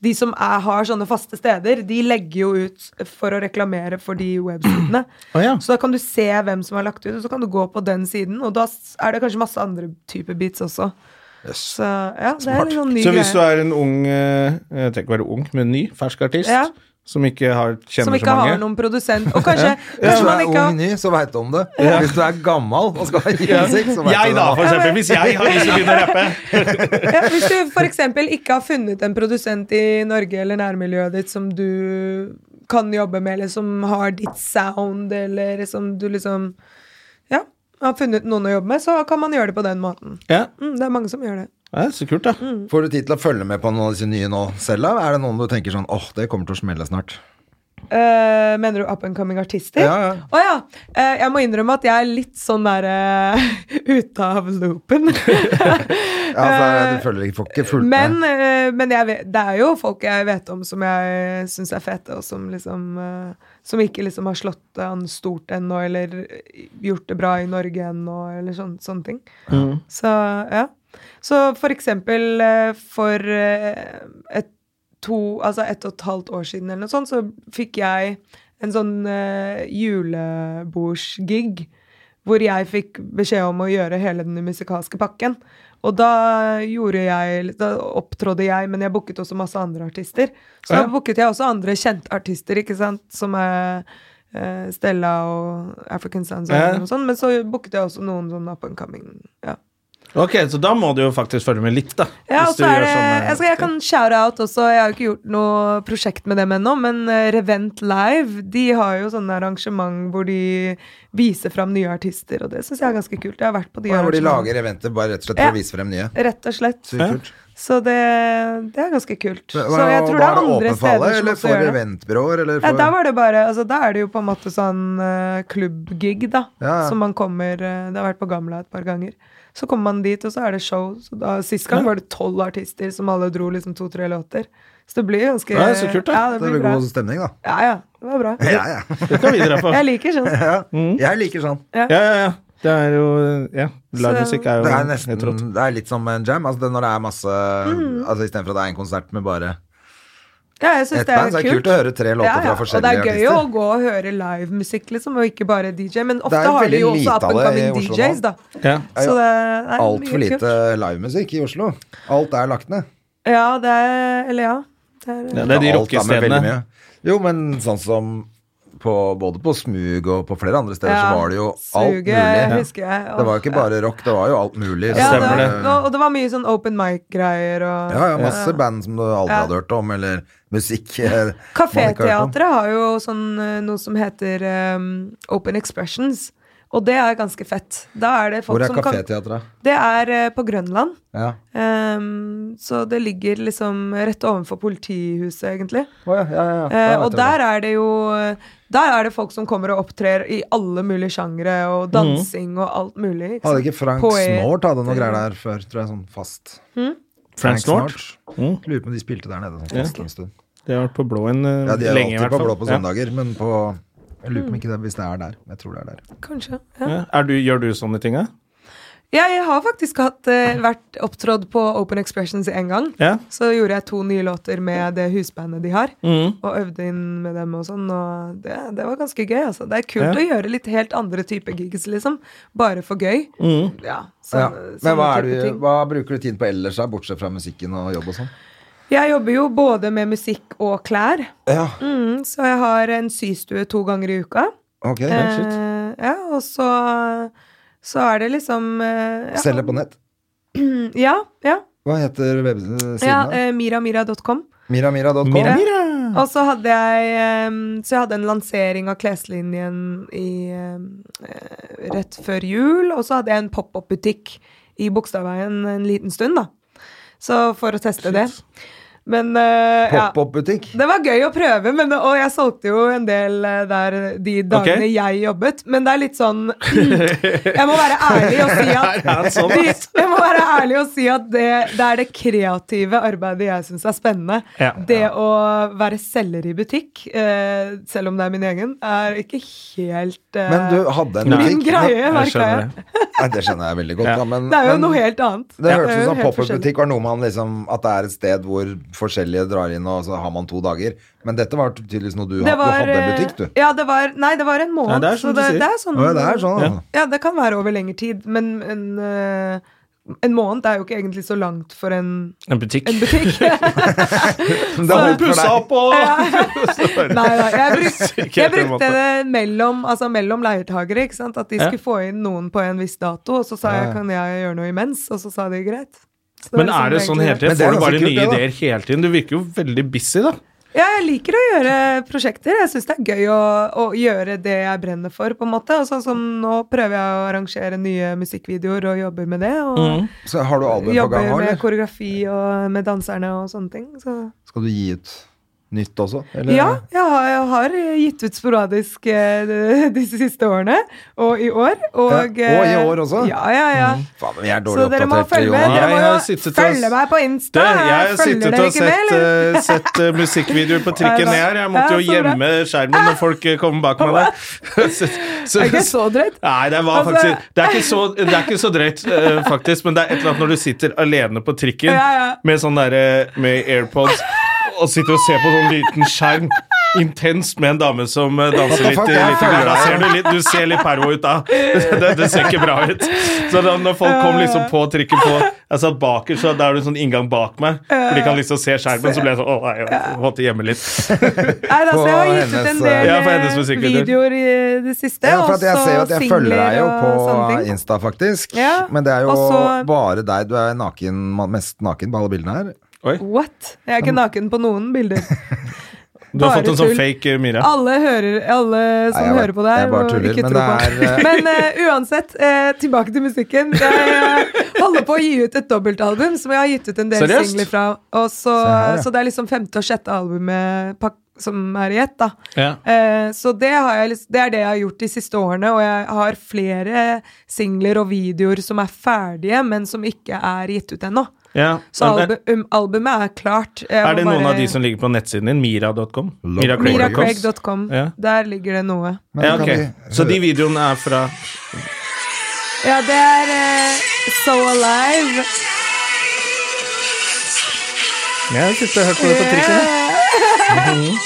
[SPEAKER 3] de som er, har sånne faste steder, de legger jo ut for å reklamere for de websidene.
[SPEAKER 2] Å ja.
[SPEAKER 3] Så da kan du se hvem som har lagt ut, og så kan du gå på den siden. Og da s- er det kanskje masse andre typer beats også. Så ja, det er litt sånn ny
[SPEAKER 2] Så hvis du
[SPEAKER 3] greie.
[SPEAKER 2] er en ung eh, Jeg trenger ikke være ung, men ny, fersk artist
[SPEAKER 3] Ja.
[SPEAKER 2] som ikke har, kjenner
[SPEAKER 3] Som ikke
[SPEAKER 2] så mange
[SPEAKER 3] har noen produsent. Og kanskje,
[SPEAKER 1] Hvis
[SPEAKER 3] kanskje
[SPEAKER 1] du
[SPEAKER 3] man
[SPEAKER 1] er
[SPEAKER 3] ikke har
[SPEAKER 1] ung ny, så veit du om det. Hvis du er gammal og skal ha
[SPEAKER 2] Ja.
[SPEAKER 1] innsikt, så veit
[SPEAKER 2] Jeg,
[SPEAKER 1] du
[SPEAKER 2] da, for
[SPEAKER 1] det.
[SPEAKER 2] eksempel. Hvis jeg har lyst til å begynne å rappe.
[SPEAKER 3] ja, Hvis du f.eks. ikke har funnet en produsent i Norge eller nærmiljøet ditt som du kan jobbe med, eller som har ditt sound, eller som du liksom Ja, har funnet noen å jobbe med, så kan man gjøre det på den måten.
[SPEAKER 2] Ja.
[SPEAKER 3] Mm, det er mange som gjør det.
[SPEAKER 2] ja, Så kult, da.
[SPEAKER 3] Mm.
[SPEAKER 1] Får du tid til å følge med på noen av disse nye nå selv? da? Er det noen du tenker sånn åh, det kommer til å smelle snart?
[SPEAKER 3] Eh, mener du up and coming artister?
[SPEAKER 1] Ja, ja.
[SPEAKER 3] Å ja. Eh, jeg må innrømme at jeg er litt sånn der eh, ute av loopen.
[SPEAKER 1] Ja, altså, du følger ikke, får ikke fulgt
[SPEAKER 3] Eh, men
[SPEAKER 1] med.
[SPEAKER 3] eh, men jeg vet, det er jo folk jeg vet om som jeg syns er fete, og som liksom eh, Som ikke liksom har slått an stort ennå, eller eh, gjort det bra i Norge ennå, eller sånn, sånne ting. Så ja. Så for eksempel eh, for eh, et, to, altså et og et halvt år siden eller noe sånt, så fikk jeg en sånn eh, julebordsgig hvor jeg fikk beskjed om å gjøre hele den musikalske pakken. Og da gjorde jeg Da opptrådde jeg, men jeg booket også masse andre artister. Så da
[SPEAKER 2] Ja.
[SPEAKER 3] booket jeg også andre kjente artister, ikke sant, som er eh, Stella og African Sounds og
[SPEAKER 2] Ja.
[SPEAKER 3] noe sånt. Men så booket jeg også noen sånn up and coming. Ja.
[SPEAKER 2] Ok, Så da må du jo faktisk følge med litt, da.
[SPEAKER 3] Ja, og
[SPEAKER 2] hvis du
[SPEAKER 3] så
[SPEAKER 2] gjør sånn, eh.
[SPEAKER 3] er det,
[SPEAKER 2] sånne
[SPEAKER 3] jeg, skal, jeg kan shout-out også. Jeg har jo ikke gjort noe prosjekt med dem ennå, men eh, Revent Live de har jo sånne arrangement hvor de viser fram nye artister, og det syns jeg er ganske kult. Jeg har vært på de
[SPEAKER 1] Ja, Hvor de
[SPEAKER 3] arrangementene.
[SPEAKER 1] lager eventer bare rett og slett for
[SPEAKER 3] Ja.
[SPEAKER 1] å vise frem nye.
[SPEAKER 3] Rett og slett.
[SPEAKER 1] Så kult.
[SPEAKER 3] Så det, det er ganske kult. Så
[SPEAKER 1] Men-
[SPEAKER 3] jeg
[SPEAKER 1] og da
[SPEAKER 3] tror det er andre
[SPEAKER 1] åpent for alle,
[SPEAKER 3] steder som
[SPEAKER 1] eller
[SPEAKER 3] også gjør
[SPEAKER 1] for
[SPEAKER 3] det.
[SPEAKER 1] eventbyråer, eller
[SPEAKER 3] Ja,
[SPEAKER 1] for
[SPEAKER 3] da var det bare, altså Da er det jo på en måte sånn eh, klubbgig, da.
[SPEAKER 1] Ja, ja.
[SPEAKER 3] Som man kommer eh, Det har vært på Gamla et par ganger. Så kommer man dit, og så er det show. Så da, sist gang var det tolv artister som alle dro liksom to-tre låter. Så det blir ganske
[SPEAKER 2] Ja, så kult, da.
[SPEAKER 3] Ja, det
[SPEAKER 1] det
[SPEAKER 3] blir
[SPEAKER 1] blir
[SPEAKER 3] bra.
[SPEAKER 1] god stemning, da.
[SPEAKER 3] Ja, ja. Det var bra.
[SPEAKER 1] Ja, ja.
[SPEAKER 2] Det kan vi dra på.
[SPEAKER 3] Jeg liker sånn.
[SPEAKER 1] ja.
[SPEAKER 2] Mm.
[SPEAKER 1] Jeg liker sånn.
[SPEAKER 2] Ja, ja, ja. Det er jo Ja, livemusikk er jo
[SPEAKER 1] Det er,
[SPEAKER 2] helt rått.
[SPEAKER 1] nesten, det er litt som en jam. Altså det, når det er masse
[SPEAKER 3] Mm.
[SPEAKER 1] Altså Istedenfor at det er en konsert med bare
[SPEAKER 3] Ja, jeg syns
[SPEAKER 1] ett
[SPEAKER 3] det er
[SPEAKER 1] band, så er det kult å høre tre låter
[SPEAKER 3] Ja, ja.
[SPEAKER 1] fra
[SPEAKER 3] Og det
[SPEAKER 1] forskjellige
[SPEAKER 3] er gøy å
[SPEAKER 1] artister.
[SPEAKER 3] gå og høre livemusikk, liksom, og ikke bare DJ. Men ofte
[SPEAKER 1] Det er
[SPEAKER 3] har de
[SPEAKER 1] veldig
[SPEAKER 3] jo også
[SPEAKER 1] lite
[SPEAKER 3] up and
[SPEAKER 1] av det i
[SPEAKER 3] coming
[SPEAKER 1] Oslo
[SPEAKER 3] DJs,
[SPEAKER 1] nå.
[SPEAKER 3] da.
[SPEAKER 2] Ja.
[SPEAKER 1] Ja,
[SPEAKER 3] Så det er
[SPEAKER 1] Altfor
[SPEAKER 3] mye
[SPEAKER 1] lite
[SPEAKER 3] kult.
[SPEAKER 1] livemusikk i Oslo. Alt er lagt ned.
[SPEAKER 3] Ja, det er Eller ja. Det er,
[SPEAKER 2] Ja, det er de
[SPEAKER 1] Alt er med veldig
[SPEAKER 2] rockestedene.
[SPEAKER 1] mye. Jo, men sånn som på, både på Smug og på flere andre steder,
[SPEAKER 3] Ja,
[SPEAKER 1] så var det jo alt
[SPEAKER 3] Suget,
[SPEAKER 1] mulig.
[SPEAKER 3] husker jeg.
[SPEAKER 1] Det var jo ikke
[SPEAKER 3] Åh,
[SPEAKER 1] bare rock, det var jo alt mulig.
[SPEAKER 3] ja,
[SPEAKER 1] Så-
[SPEAKER 3] det,
[SPEAKER 2] Stemmer
[SPEAKER 3] var- Og, og det var mye sånn open mic-greier og
[SPEAKER 1] Ja, ja, masse band som du aldri
[SPEAKER 3] Ja.
[SPEAKER 1] hadde hørt om, eller musikk eh, man ikke har hørt om.
[SPEAKER 3] Kaféteatret har jo sånn, eh, noe som heter ehm, Open Expressions, og det er ganske fett. Da er det folk
[SPEAKER 1] Hvor er
[SPEAKER 3] som kan-
[SPEAKER 1] kaféteatret?
[SPEAKER 3] Det er eh, på Grønland.
[SPEAKER 1] Ja.
[SPEAKER 3] Ehm, så det ligger liksom rett ovenfor politihuset, egentlig.
[SPEAKER 1] Å, ja, ja, ja.
[SPEAKER 3] Eh,
[SPEAKER 1] Da vet
[SPEAKER 3] og
[SPEAKER 1] jeg
[SPEAKER 3] der
[SPEAKER 1] det.
[SPEAKER 3] er det jo eh, Der er det folk som kommer og opptrer i alle mulige sjangre, og dansing og alt mulig. ikke
[SPEAKER 1] Hadde
[SPEAKER 3] sant?
[SPEAKER 1] ikke Frank
[SPEAKER 3] Poet.
[SPEAKER 1] Snort hadde noen greier der før, tror jeg, sånn fast.
[SPEAKER 3] Hmm?
[SPEAKER 2] Frank Snort. Mm.
[SPEAKER 1] Lurer på om de spilte der nede sånn fast en stund.
[SPEAKER 2] De har vært på blå en eh,
[SPEAKER 1] Ja, de er
[SPEAKER 2] lenge, i
[SPEAKER 1] alltid
[SPEAKER 2] hvert
[SPEAKER 1] på
[SPEAKER 2] fall.
[SPEAKER 1] blå på søndager, men på jeg lurer
[SPEAKER 3] Hmm.
[SPEAKER 1] på om ikke det, hvis det er der. Jeg tror det er der.
[SPEAKER 3] Kanskje.
[SPEAKER 2] Ja.
[SPEAKER 3] Ja.
[SPEAKER 2] Ja. Er du, gjør du sånne ting, da?
[SPEAKER 3] Jeg har faktisk hatt, eh, vært opptrådt på Open Expressions én gang.
[SPEAKER 2] Ja.
[SPEAKER 3] Så gjorde jeg to nye låter med det husbandet de har,
[SPEAKER 2] Mm,
[SPEAKER 3] og øvde inn med dem og sånn. Og det, det var ganske gøy, altså. Det er kult
[SPEAKER 2] Ja.
[SPEAKER 3] å gjøre litt helt andre typer gigs, liksom. Bare for gøy.
[SPEAKER 2] mm.
[SPEAKER 3] Ja,
[SPEAKER 1] Ja.
[SPEAKER 3] Sånn- sånne-
[SPEAKER 1] Men hva,
[SPEAKER 3] sånne
[SPEAKER 1] er
[SPEAKER 3] typer
[SPEAKER 1] du,
[SPEAKER 3] ting.
[SPEAKER 1] hva bruker du tid på ellers, da, bortsett fra musikken og jobb og sånn?
[SPEAKER 3] Jeg jobber jo både med musikk og klær.
[SPEAKER 1] Ja,
[SPEAKER 3] Mm, så jeg har en systue to ganger i uka.
[SPEAKER 1] ok.
[SPEAKER 3] Eh, ja, og så, så er det liksom eh, ja.
[SPEAKER 1] Selger på nett.
[SPEAKER 3] Ja. ja,
[SPEAKER 1] Hva heter
[SPEAKER 3] ja
[SPEAKER 1] websiden? da?
[SPEAKER 3] eh, miramira.com.
[SPEAKER 1] Miramira.com?
[SPEAKER 2] Mira, Mira.
[SPEAKER 3] Og så hadde jeg eh, Så jeg hadde en lansering av kleslinjen i, eh, rett før jul. Og så hadde jeg en pop-opp-butikk i Bogstadveien en liten stund, da. Så for å teste det. Men eh, ja.
[SPEAKER 1] Pop-opp-butikk?
[SPEAKER 3] Det var gøy å prøve, men, og jeg solgte jo en del eh, der de dagene
[SPEAKER 2] Ok.
[SPEAKER 3] jeg jobbet. Men det er litt sånn Jeg må være ærlig og si at
[SPEAKER 2] Her er han sånn,
[SPEAKER 3] de,
[SPEAKER 2] ass.
[SPEAKER 3] jeg må være ærlig og si at det, det er det kreative arbeidet jeg syns er spennende.
[SPEAKER 2] Ja.
[SPEAKER 3] Det å være selger i butikk, eh, selv om det er min egen, er ikke helt eh,
[SPEAKER 1] Men du hadde en
[SPEAKER 2] Nei.
[SPEAKER 3] min
[SPEAKER 1] butikk?
[SPEAKER 3] greie,
[SPEAKER 2] Jeg
[SPEAKER 3] merka jeg.
[SPEAKER 2] skjønner det.
[SPEAKER 1] Nei, det skjønner jeg veldig godt,
[SPEAKER 2] Ja.
[SPEAKER 1] da. Men,
[SPEAKER 3] Det er jo
[SPEAKER 1] men-
[SPEAKER 3] noe helt annet.
[SPEAKER 1] Det
[SPEAKER 3] er
[SPEAKER 1] hørtes ut som
[SPEAKER 3] jo helt forskjellig.
[SPEAKER 1] pop-up-butikk var noe man liksom At det er et sted hvor forskjellige drar inn, og så har man to dager. Men dette var tydeligvis noe du,
[SPEAKER 3] Det
[SPEAKER 1] hadde, du
[SPEAKER 3] var,
[SPEAKER 1] hadde en
[SPEAKER 3] eh,
[SPEAKER 1] butikk, du.
[SPEAKER 3] Ja, det var, nei, det var en måned.
[SPEAKER 2] Ja, det er
[SPEAKER 3] så
[SPEAKER 2] som du
[SPEAKER 3] det,
[SPEAKER 2] sier.
[SPEAKER 3] det er sånn,
[SPEAKER 1] Å, ja, det er sånn, ja.
[SPEAKER 3] Ja, det kan være over lengre tid, men en, eh, en måned er jo ikke egentlig så langt for en,
[SPEAKER 2] En butikk.
[SPEAKER 3] en butikk.
[SPEAKER 1] Men det holdt for
[SPEAKER 2] Pussa
[SPEAKER 1] deg.
[SPEAKER 2] opp og
[SPEAKER 3] nei, nei, jeg, bruk,
[SPEAKER 2] Ikke
[SPEAKER 3] jeg
[SPEAKER 2] helt en måte.
[SPEAKER 3] brukte det mellom, altså mellom leiertagere, ikke sant? At de
[SPEAKER 2] Ja.
[SPEAKER 3] skulle få inn noen på en viss dato, og så sa jeg, kan jeg gjøre noe imens? Og så sa de greit. Så
[SPEAKER 2] Men
[SPEAKER 3] liksom
[SPEAKER 2] er det sånn hele
[SPEAKER 3] egentlig-
[SPEAKER 1] Men
[SPEAKER 2] tiden?
[SPEAKER 1] det er
[SPEAKER 2] Får du bare
[SPEAKER 1] ganske kult,
[SPEAKER 2] nye
[SPEAKER 1] det, da.
[SPEAKER 2] ideer hele tiden? Du virker jo veldig busy, da.
[SPEAKER 3] Ja, jeg liker å gjøre prosjekter. Jeg syns det er gøy å, å gjøre det jeg brenner for, på en måte. Og sånn som nå prøver jeg å arrangere nye musikkvideoer og jobber med det. Og
[SPEAKER 2] Mm.
[SPEAKER 1] Så har du album på
[SPEAKER 3] jobber
[SPEAKER 1] gang nå,
[SPEAKER 3] med
[SPEAKER 1] eller?
[SPEAKER 3] koreografi og med danserne og sånne ting. Så.
[SPEAKER 1] Skal du gi ut nytt også? Eller?
[SPEAKER 3] Ja, jeg har, jeg har gitt ut sporadisk eh, de- disse siste årene. Og i år. Og,
[SPEAKER 1] Ja, og i
[SPEAKER 3] eh,
[SPEAKER 1] år også? Mm.
[SPEAKER 3] Ja, ja, ja.
[SPEAKER 1] Faen, vi er
[SPEAKER 3] Så
[SPEAKER 1] dårlig
[SPEAKER 3] dere må
[SPEAKER 1] oppdatert,
[SPEAKER 3] følge med.
[SPEAKER 1] Jonas.
[SPEAKER 2] Jeg
[SPEAKER 3] Dere må
[SPEAKER 2] har
[SPEAKER 3] jo
[SPEAKER 2] sittet og-
[SPEAKER 3] følge meg på
[SPEAKER 2] Du,
[SPEAKER 3] Insta.
[SPEAKER 2] jeg har sittet
[SPEAKER 3] følger
[SPEAKER 2] og
[SPEAKER 3] dere ikke med,
[SPEAKER 2] sett,
[SPEAKER 3] eller?
[SPEAKER 2] eh, sett eh, musikkvideoer på
[SPEAKER 3] Ja,
[SPEAKER 2] trikken
[SPEAKER 3] da.
[SPEAKER 2] ned her. Jeg måtte
[SPEAKER 3] Ja,
[SPEAKER 2] jo
[SPEAKER 3] så bra.
[SPEAKER 2] gjemme skjermen når folk eh, kom bak meg der. Så- så-
[SPEAKER 3] Er ikke så drøyt?
[SPEAKER 2] Nei, det, var
[SPEAKER 3] Altså-
[SPEAKER 2] faktisk, det, er ikke så, det er ikke så drøyt, eh, faktisk, men det er et eller annet når du sitter alene på trikken
[SPEAKER 3] Ja, ja.
[SPEAKER 2] med sånn derre med AirPods og sitter og ser på sånn liten skjerm. Intenst med en dame som eh, danser
[SPEAKER 1] the
[SPEAKER 2] litt.
[SPEAKER 1] fuck,
[SPEAKER 2] i-
[SPEAKER 1] jeg
[SPEAKER 2] litt i
[SPEAKER 1] følger
[SPEAKER 2] gang. Da
[SPEAKER 1] deg.
[SPEAKER 2] ser du, litt, du ser litt pervo ut da. Det, det ser ikke bra ut. Så da når folk kom liksom på trikken på Jeg satt baker, så da er det en sånn inngang bak meg. For de kan liksom se skjermen, så ble jeg sånn Å, nei, jeg måtte gjemme litt.
[SPEAKER 3] Nei, altså, jeg har
[SPEAKER 1] På
[SPEAKER 3] gitt ut en
[SPEAKER 1] hennes,
[SPEAKER 3] del
[SPEAKER 2] Ja, på
[SPEAKER 3] eh,
[SPEAKER 2] hennes musikkvideoer.
[SPEAKER 3] videoer i det siste.
[SPEAKER 1] Ja, for at jeg
[SPEAKER 3] også
[SPEAKER 1] ser jo at jeg følger deg jo
[SPEAKER 3] singler og sånne
[SPEAKER 1] på
[SPEAKER 3] ting.
[SPEAKER 1] Insta, faktisk.
[SPEAKER 3] Ja,
[SPEAKER 1] Men det er jo
[SPEAKER 3] og så-
[SPEAKER 1] bare deg. Du er naken, mest naken på alle bildene her.
[SPEAKER 3] What? Jeg er ikke
[SPEAKER 1] Sånn.
[SPEAKER 3] naken på noen bilder.
[SPEAKER 2] Du har
[SPEAKER 3] Bare
[SPEAKER 2] fått en sånn
[SPEAKER 3] tull.
[SPEAKER 2] fake eh, Mira.
[SPEAKER 3] Alle, hører, alle som
[SPEAKER 1] Nei, jeg bare-
[SPEAKER 3] hører på det her,
[SPEAKER 1] jeg bare
[SPEAKER 3] må
[SPEAKER 1] tuller,
[SPEAKER 3] ikke
[SPEAKER 1] men
[SPEAKER 3] tro
[SPEAKER 1] det
[SPEAKER 3] på.
[SPEAKER 1] er, eh,
[SPEAKER 3] Men eh, uansett, eh, tilbake til musikken. Jeg eh, holder på å gi ut et dobbeltalbum som jeg har gitt ut en del
[SPEAKER 2] Seriøst?
[SPEAKER 3] singler fra. Og så,
[SPEAKER 1] her, ja.
[SPEAKER 3] så det er liksom femte og sjette albumet pak- som er i ett, da.
[SPEAKER 2] Ja.
[SPEAKER 3] Eh, så det, har jeg, lyst- det er det jeg har gjort de siste årene, og jeg har flere singler og videoer som er ferdige, men som ikke er gitt ut ennå.
[SPEAKER 2] Ja.
[SPEAKER 3] Så albu um, albumet er klart. Jeg
[SPEAKER 2] Er
[SPEAKER 3] må
[SPEAKER 2] det noen
[SPEAKER 3] bare-
[SPEAKER 2] av de som ligger på nettsiden din? Mira.com? Mira Craig.
[SPEAKER 3] Miracraig.com.
[SPEAKER 2] Ja.
[SPEAKER 3] Der ligger det noe.
[SPEAKER 1] Men
[SPEAKER 2] Ja,
[SPEAKER 1] kan
[SPEAKER 2] ok.
[SPEAKER 1] vi-
[SPEAKER 2] Så de videoene er fra
[SPEAKER 3] Ja, det er eh, So Alive.
[SPEAKER 2] Jeg sitter og hørt på det på trikken. jeg.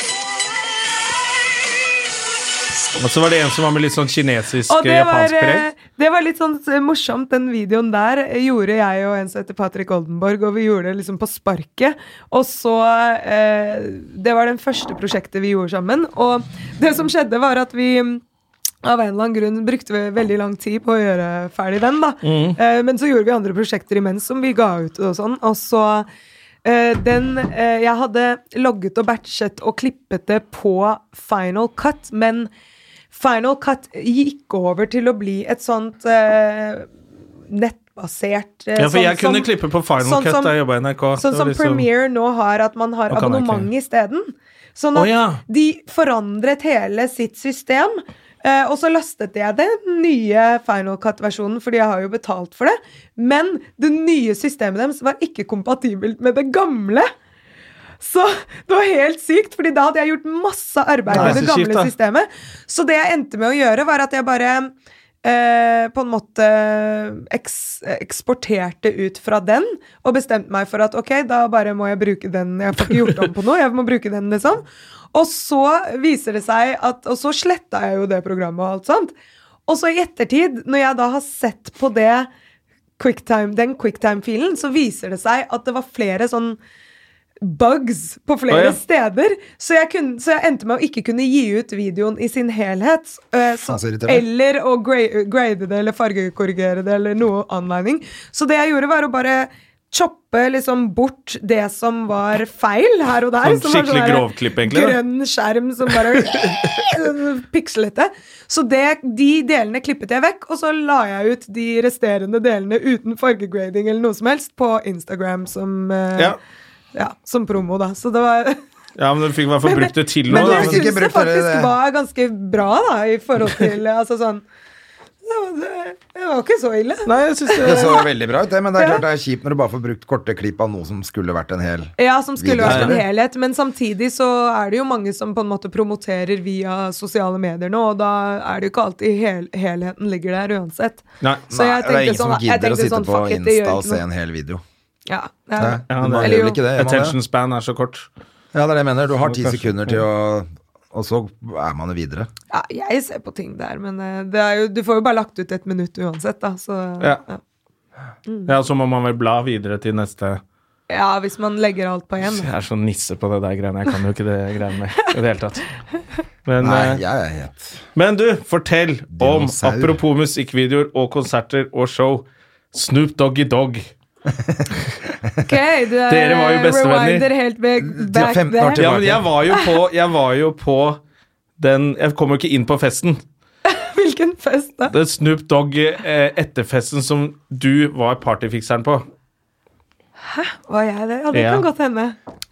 [SPEAKER 2] Og så var det en som var med litt sånn
[SPEAKER 3] Og det var,
[SPEAKER 2] kinesisk-japansk
[SPEAKER 3] eh,
[SPEAKER 2] preg.
[SPEAKER 3] det var litt sånn eh, morsomt, den videoen der eh, gjorde jeg og en som heter Patrick Oldenborg, og vi gjorde det liksom på sparket. Og så eh, Det var den første prosjektet vi gjorde sammen. Og det som skjedde, var at vi mm, av en eller annen grunn brukte vi veldig lang tid på å gjøre ferdig den, da.
[SPEAKER 2] Mm.
[SPEAKER 3] Eh, men så gjorde vi andre prosjekter imens som vi ga ut og sånn, og så eh, den eh, Jeg hadde logget og batchet og klippet det på Final Cut, men Final Cut gikk over til å bli et sånt eh, nettbasert eh,
[SPEAKER 2] Ja, for jeg
[SPEAKER 3] sånn
[SPEAKER 2] kunne
[SPEAKER 3] som-
[SPEAKER 2] klippe på Final
[SPEAKER 3] sånn
[SPEAKER 2] Cut
[SPEAKER 3] som-
[SPEAKER 2] da jeg jobba i NRK. Det
[SPEAKER 3] Sånn
[SPEAKER 2] var
[SPEAKER 3] som
[SPEAKER 2] liksom-
[SPEAKER 3] Premiere nå har, at man har
[SPEAKER 2] Nå kan jeg ikke.
[SPEAKER 3] abonnement isteden.
[SPEAKER 2] Å,
[SPEAKER 3] Sånn at
[SPEAKER 2] ja.
[SPEAKER 3] de forandret hele sitt system. eh, og så lastet jeg den nye Final Cut-versjonen, fordi jeg har jo betalt for det. Men det nye systemet deres var ikke kompatibelt med det gamle. Så det var helt sykt, fordi da hadde jeg gjort masse arbeid
[SPEAKER 2] Nei,
[SPEAKER 3] med det
[SPEAKER 2] så kjipt,
[SPEAKER 3] gamle
[SPEAKER 2] da.
[SPEAKER 3] systemet. Så det jeg endte med å gjøre, var at jeg bare eh, på en måte eks eksporterte ut fra den, og bestemte meg for at ok, da bare må jeg bruke den. Jeg får ikke gjort om på noe, jeg må bruke den, liksom. Og så viser det seg at Og så sletta jeg jo det programmet og alt sånt. Og så i ettertid, når jeg da har sett på det quicktime, den quicktime-filen, så viser det seg at det var flere sånn bugs på flere
[SPEAKER 2] Å, ja.
[SPEAKER 3] steder. Så jeg, kunne, så jeg endte med å ikke kunne gi ut videoen i sin helhet. eh, så,
[SPEAKER 1] Ja, så irriterende.
[SPEAKER 3] eller å gra- grade det, eller fargekorrigere det, eller noe anledning. Så det jeg gjorde, var å bare choppe liksom bort det som var feil her og der.
[SPEAKER 2] Sånn
[SPEAKER 3] som var
[SPEAKER 2] skikkelig
[SPEAKER 3] der
[SPEAKER 2] grovklipp, egentlig, da.
[SPEAKER 3] Grønn skjerm som bare sånn pikslete. Så det, de delene klippet jeg vekk, og så la jeg ut de resterende delene uten fargegrading eller noe som helst på Instagram som eh,
[SPEAKER 2] Ja.
[SPEAKER 3] ja, som promo, da. Så det var
[SPEAKER 2] ja, men du fikk i hvert fall brukt det til
[SPEAKER 3] Men
[SPEAKER 2] noe. da.
[SPEAKER 3] jeg
[SPEAKER 1] fikk
[SPEAKER 2] Men-
[SPEAKER 1] ikke
[SPEAKER 3] syns det
[SPEAKER 1] brukt dere
[SPEAKER 3] faktisk
[SPEAKER 1] det.
[SPEAKER 3] var ganske bra, da, i forhold til Altså sånn Det var, det, det var ikke så ille.
[SPEAKER 2] Nei, jeg synes
[SPEAKER 1] Det
[SPEAKER 2] det
[SPEAKER 1] så veldig bra ut, det, men det er klart det er kjipt når du bare får brukt korte klipp av noe som skulle vært en hel
[SPEAKER 3] Ja, som skulle
[SPEAKER 1] Videre.
[SPEAKER 3] vært en helhet, men samtidig så er det jo mange som på en måte promoterer via sosiale medier nå, og da er det jo ikke alltid hel helheten ligger der uansett.
[SPEAKER 2] Nei.
[SPEAKER 3] Så
[SPEAKER 1] Nei,
[SPEAKER 3] jeg
[SPEAKER 1] det er
[SPEAKER 3] tenkte
[SPEAKER 1] ingen som
[SPEAKER 3] sånn, jeg
[SPEAKER 1] gidder å
[SPEAKER 3] tenkte
[SPEAKER 1] sitte
[SPEAKER 3] sånn,
[SPEAKER 1] på
[SPEAKER 3] fuck it,
[SPEAKER 1] Insta
[SPEAKER 3] det gjør
[SPEAKER 1] og
[SPEAKER 3] ikke
[SPEAKER 1] se
[SPEAKER 3] noe.
[SPEAKER 1] en hel video.
[SPEAKER 3] Ja, ja.
[SPEAKER 1] Hæ?
[SPEAKER 2] Ja,
[SPEAKER 1] Man gjør
[SPEAKER 2] det-
[SPEAKER 1] vel ikke det, gjør man det?
[SPEAKER 2] Attention span er så kort.
[SPEAKER 1] Ja, det er det jeg mener. Du har ti
[SPEAKER 2] Kanskje.
[SPEAKER 1] sekunder til å Og så er man jo videre.
[SPEAKER 3] ja, jeg ser på ting der, men eh, det er jo, du får jo bare lagt ut et minutt uansett, da, så
[SPEAKER 2] Ja.
[SPEAKER 3] Mm.
[SPEAKER 2] Ja, så må man vel bla videre til neste
[SPEAKER 3] ja, hvis man legger alt på én.
[SPEAKER 2] Jeg er sånn nisse på det der greiene. Jeg kan jo ikke det greiene med i det hele tatt. Men,
[SPEAKER 1] Nei,
[SPEAKER 2] eh,
[SPEAKER 1] jeg er helt
[SPEAKER 2] Men du, fortell om,
[SPEAKER 1] Dinosaur.
[SPEAKER 2] apropos musikkvideoer og konserter og show, Snoop Doggy Dog.
[SPEAKER 3] Ok, du er, eh,
[SPEAKER 2] Dere var jo bestevenner.
[SPEAKER 3] rewinder helt back,
[SPEAKER 1] er
[SPEAKER 3] back
[SPEAKER 1] 15 år
[SPEAKER 3] there.
[SPEAKER 1] til.
[SPEAKER 2] Ja, men jeg var jo på, jeg var jo på den Jeg kom jo ikke inn på festen.
[SPEAKER 3] Hvilken fest, da?
[SPEAKER 2] Det er Snoop Dogg eh, etterfesten som du var partyfikseren på.
[SPEAKER 3] Var jeg det? Ja, det
[SPEAKER 2] Ja.
[SPEAKER 3] kan godt hende.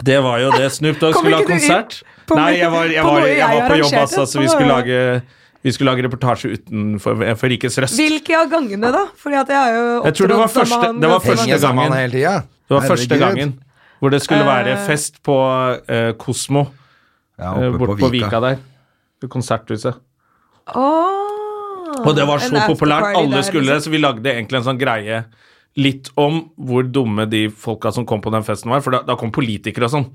[SPEAKER 2] Det var jo det. Snoop Dogg
[SPEAKER 3] Kommer
[SPEAKER 2] skulle ha
[SPEAKER 3] ikke du inn
[SPEAKER 2] konsert.
[SPEAKER 3] på
[SPEAKER 2] Nei,
[SPEAKER 3] noe-
[SPEAKER 2] jeg var, jeg
[SPEAKER 3] på
[SPEAKER 2] var,
[SPEAKER 3] noe
[SPEAKER 2] jeg
[SPEAKER 3] jeg
[SPEAKER 2] var på jobb,
[SPEAKER 3] arrangerte?
[SPEAKER 2] altså, så vi
[SPEAKER 3] Å,
[SPEAKER 2] skulle
[SPEAKER 3] ja.
[SPEAKER 2] lage, vi skulle lage reportasje utenfor for Rikets Røst.
[SPEAKER 3] Hvilke av gangene, da? Fordi at jeg har jo
[SPEAKER 2] Jeg tror det var
[SPEAKER 3] opptrådt sammen
[SPEAKER 2] første-
[SPEAKER 3] med han
[SPEAKER 2] det var
[SPEAKER 3] ganske
[SPEAKER 2] første
[SPEAKER 1] Henger
[SPEAKER 3] mange-
[SPEAKER 2] gang.
[SPEAKER 1] sammen
[SPEAKER 2] gangen.
[SPEAKER 1] hele tida.
[SPEAKER 2] Det var første gangen hvor det skulle være
[SPEAKER 3] Eh.
[SPEAKER 2] fest på eh, Kosmo
[SPEAKER 1] Ja,
[SPEAKER 2] eh,
[SPEAKER 1] oppe
[SPEAKER 2] borte
[SPEAKER 1] på Vika.
[SPEAKER 2] der. Ved Konserthuset.
[SPEAKER 3] Åh,
[SPEAKER 2] Og det var så
[SPEAKER 3] en afterparty
[SPEAKER 2] populært. Alle
[SPEAKER 3] der,
[SPEAKER 2] skulle det,
[SPEAKER 3] liksom.
[SPEAKER 2] så vi lagde egentlig en sånn greie litt om hvor dumme de folka som kom på den festen var, for da, da kom politikere og sånn.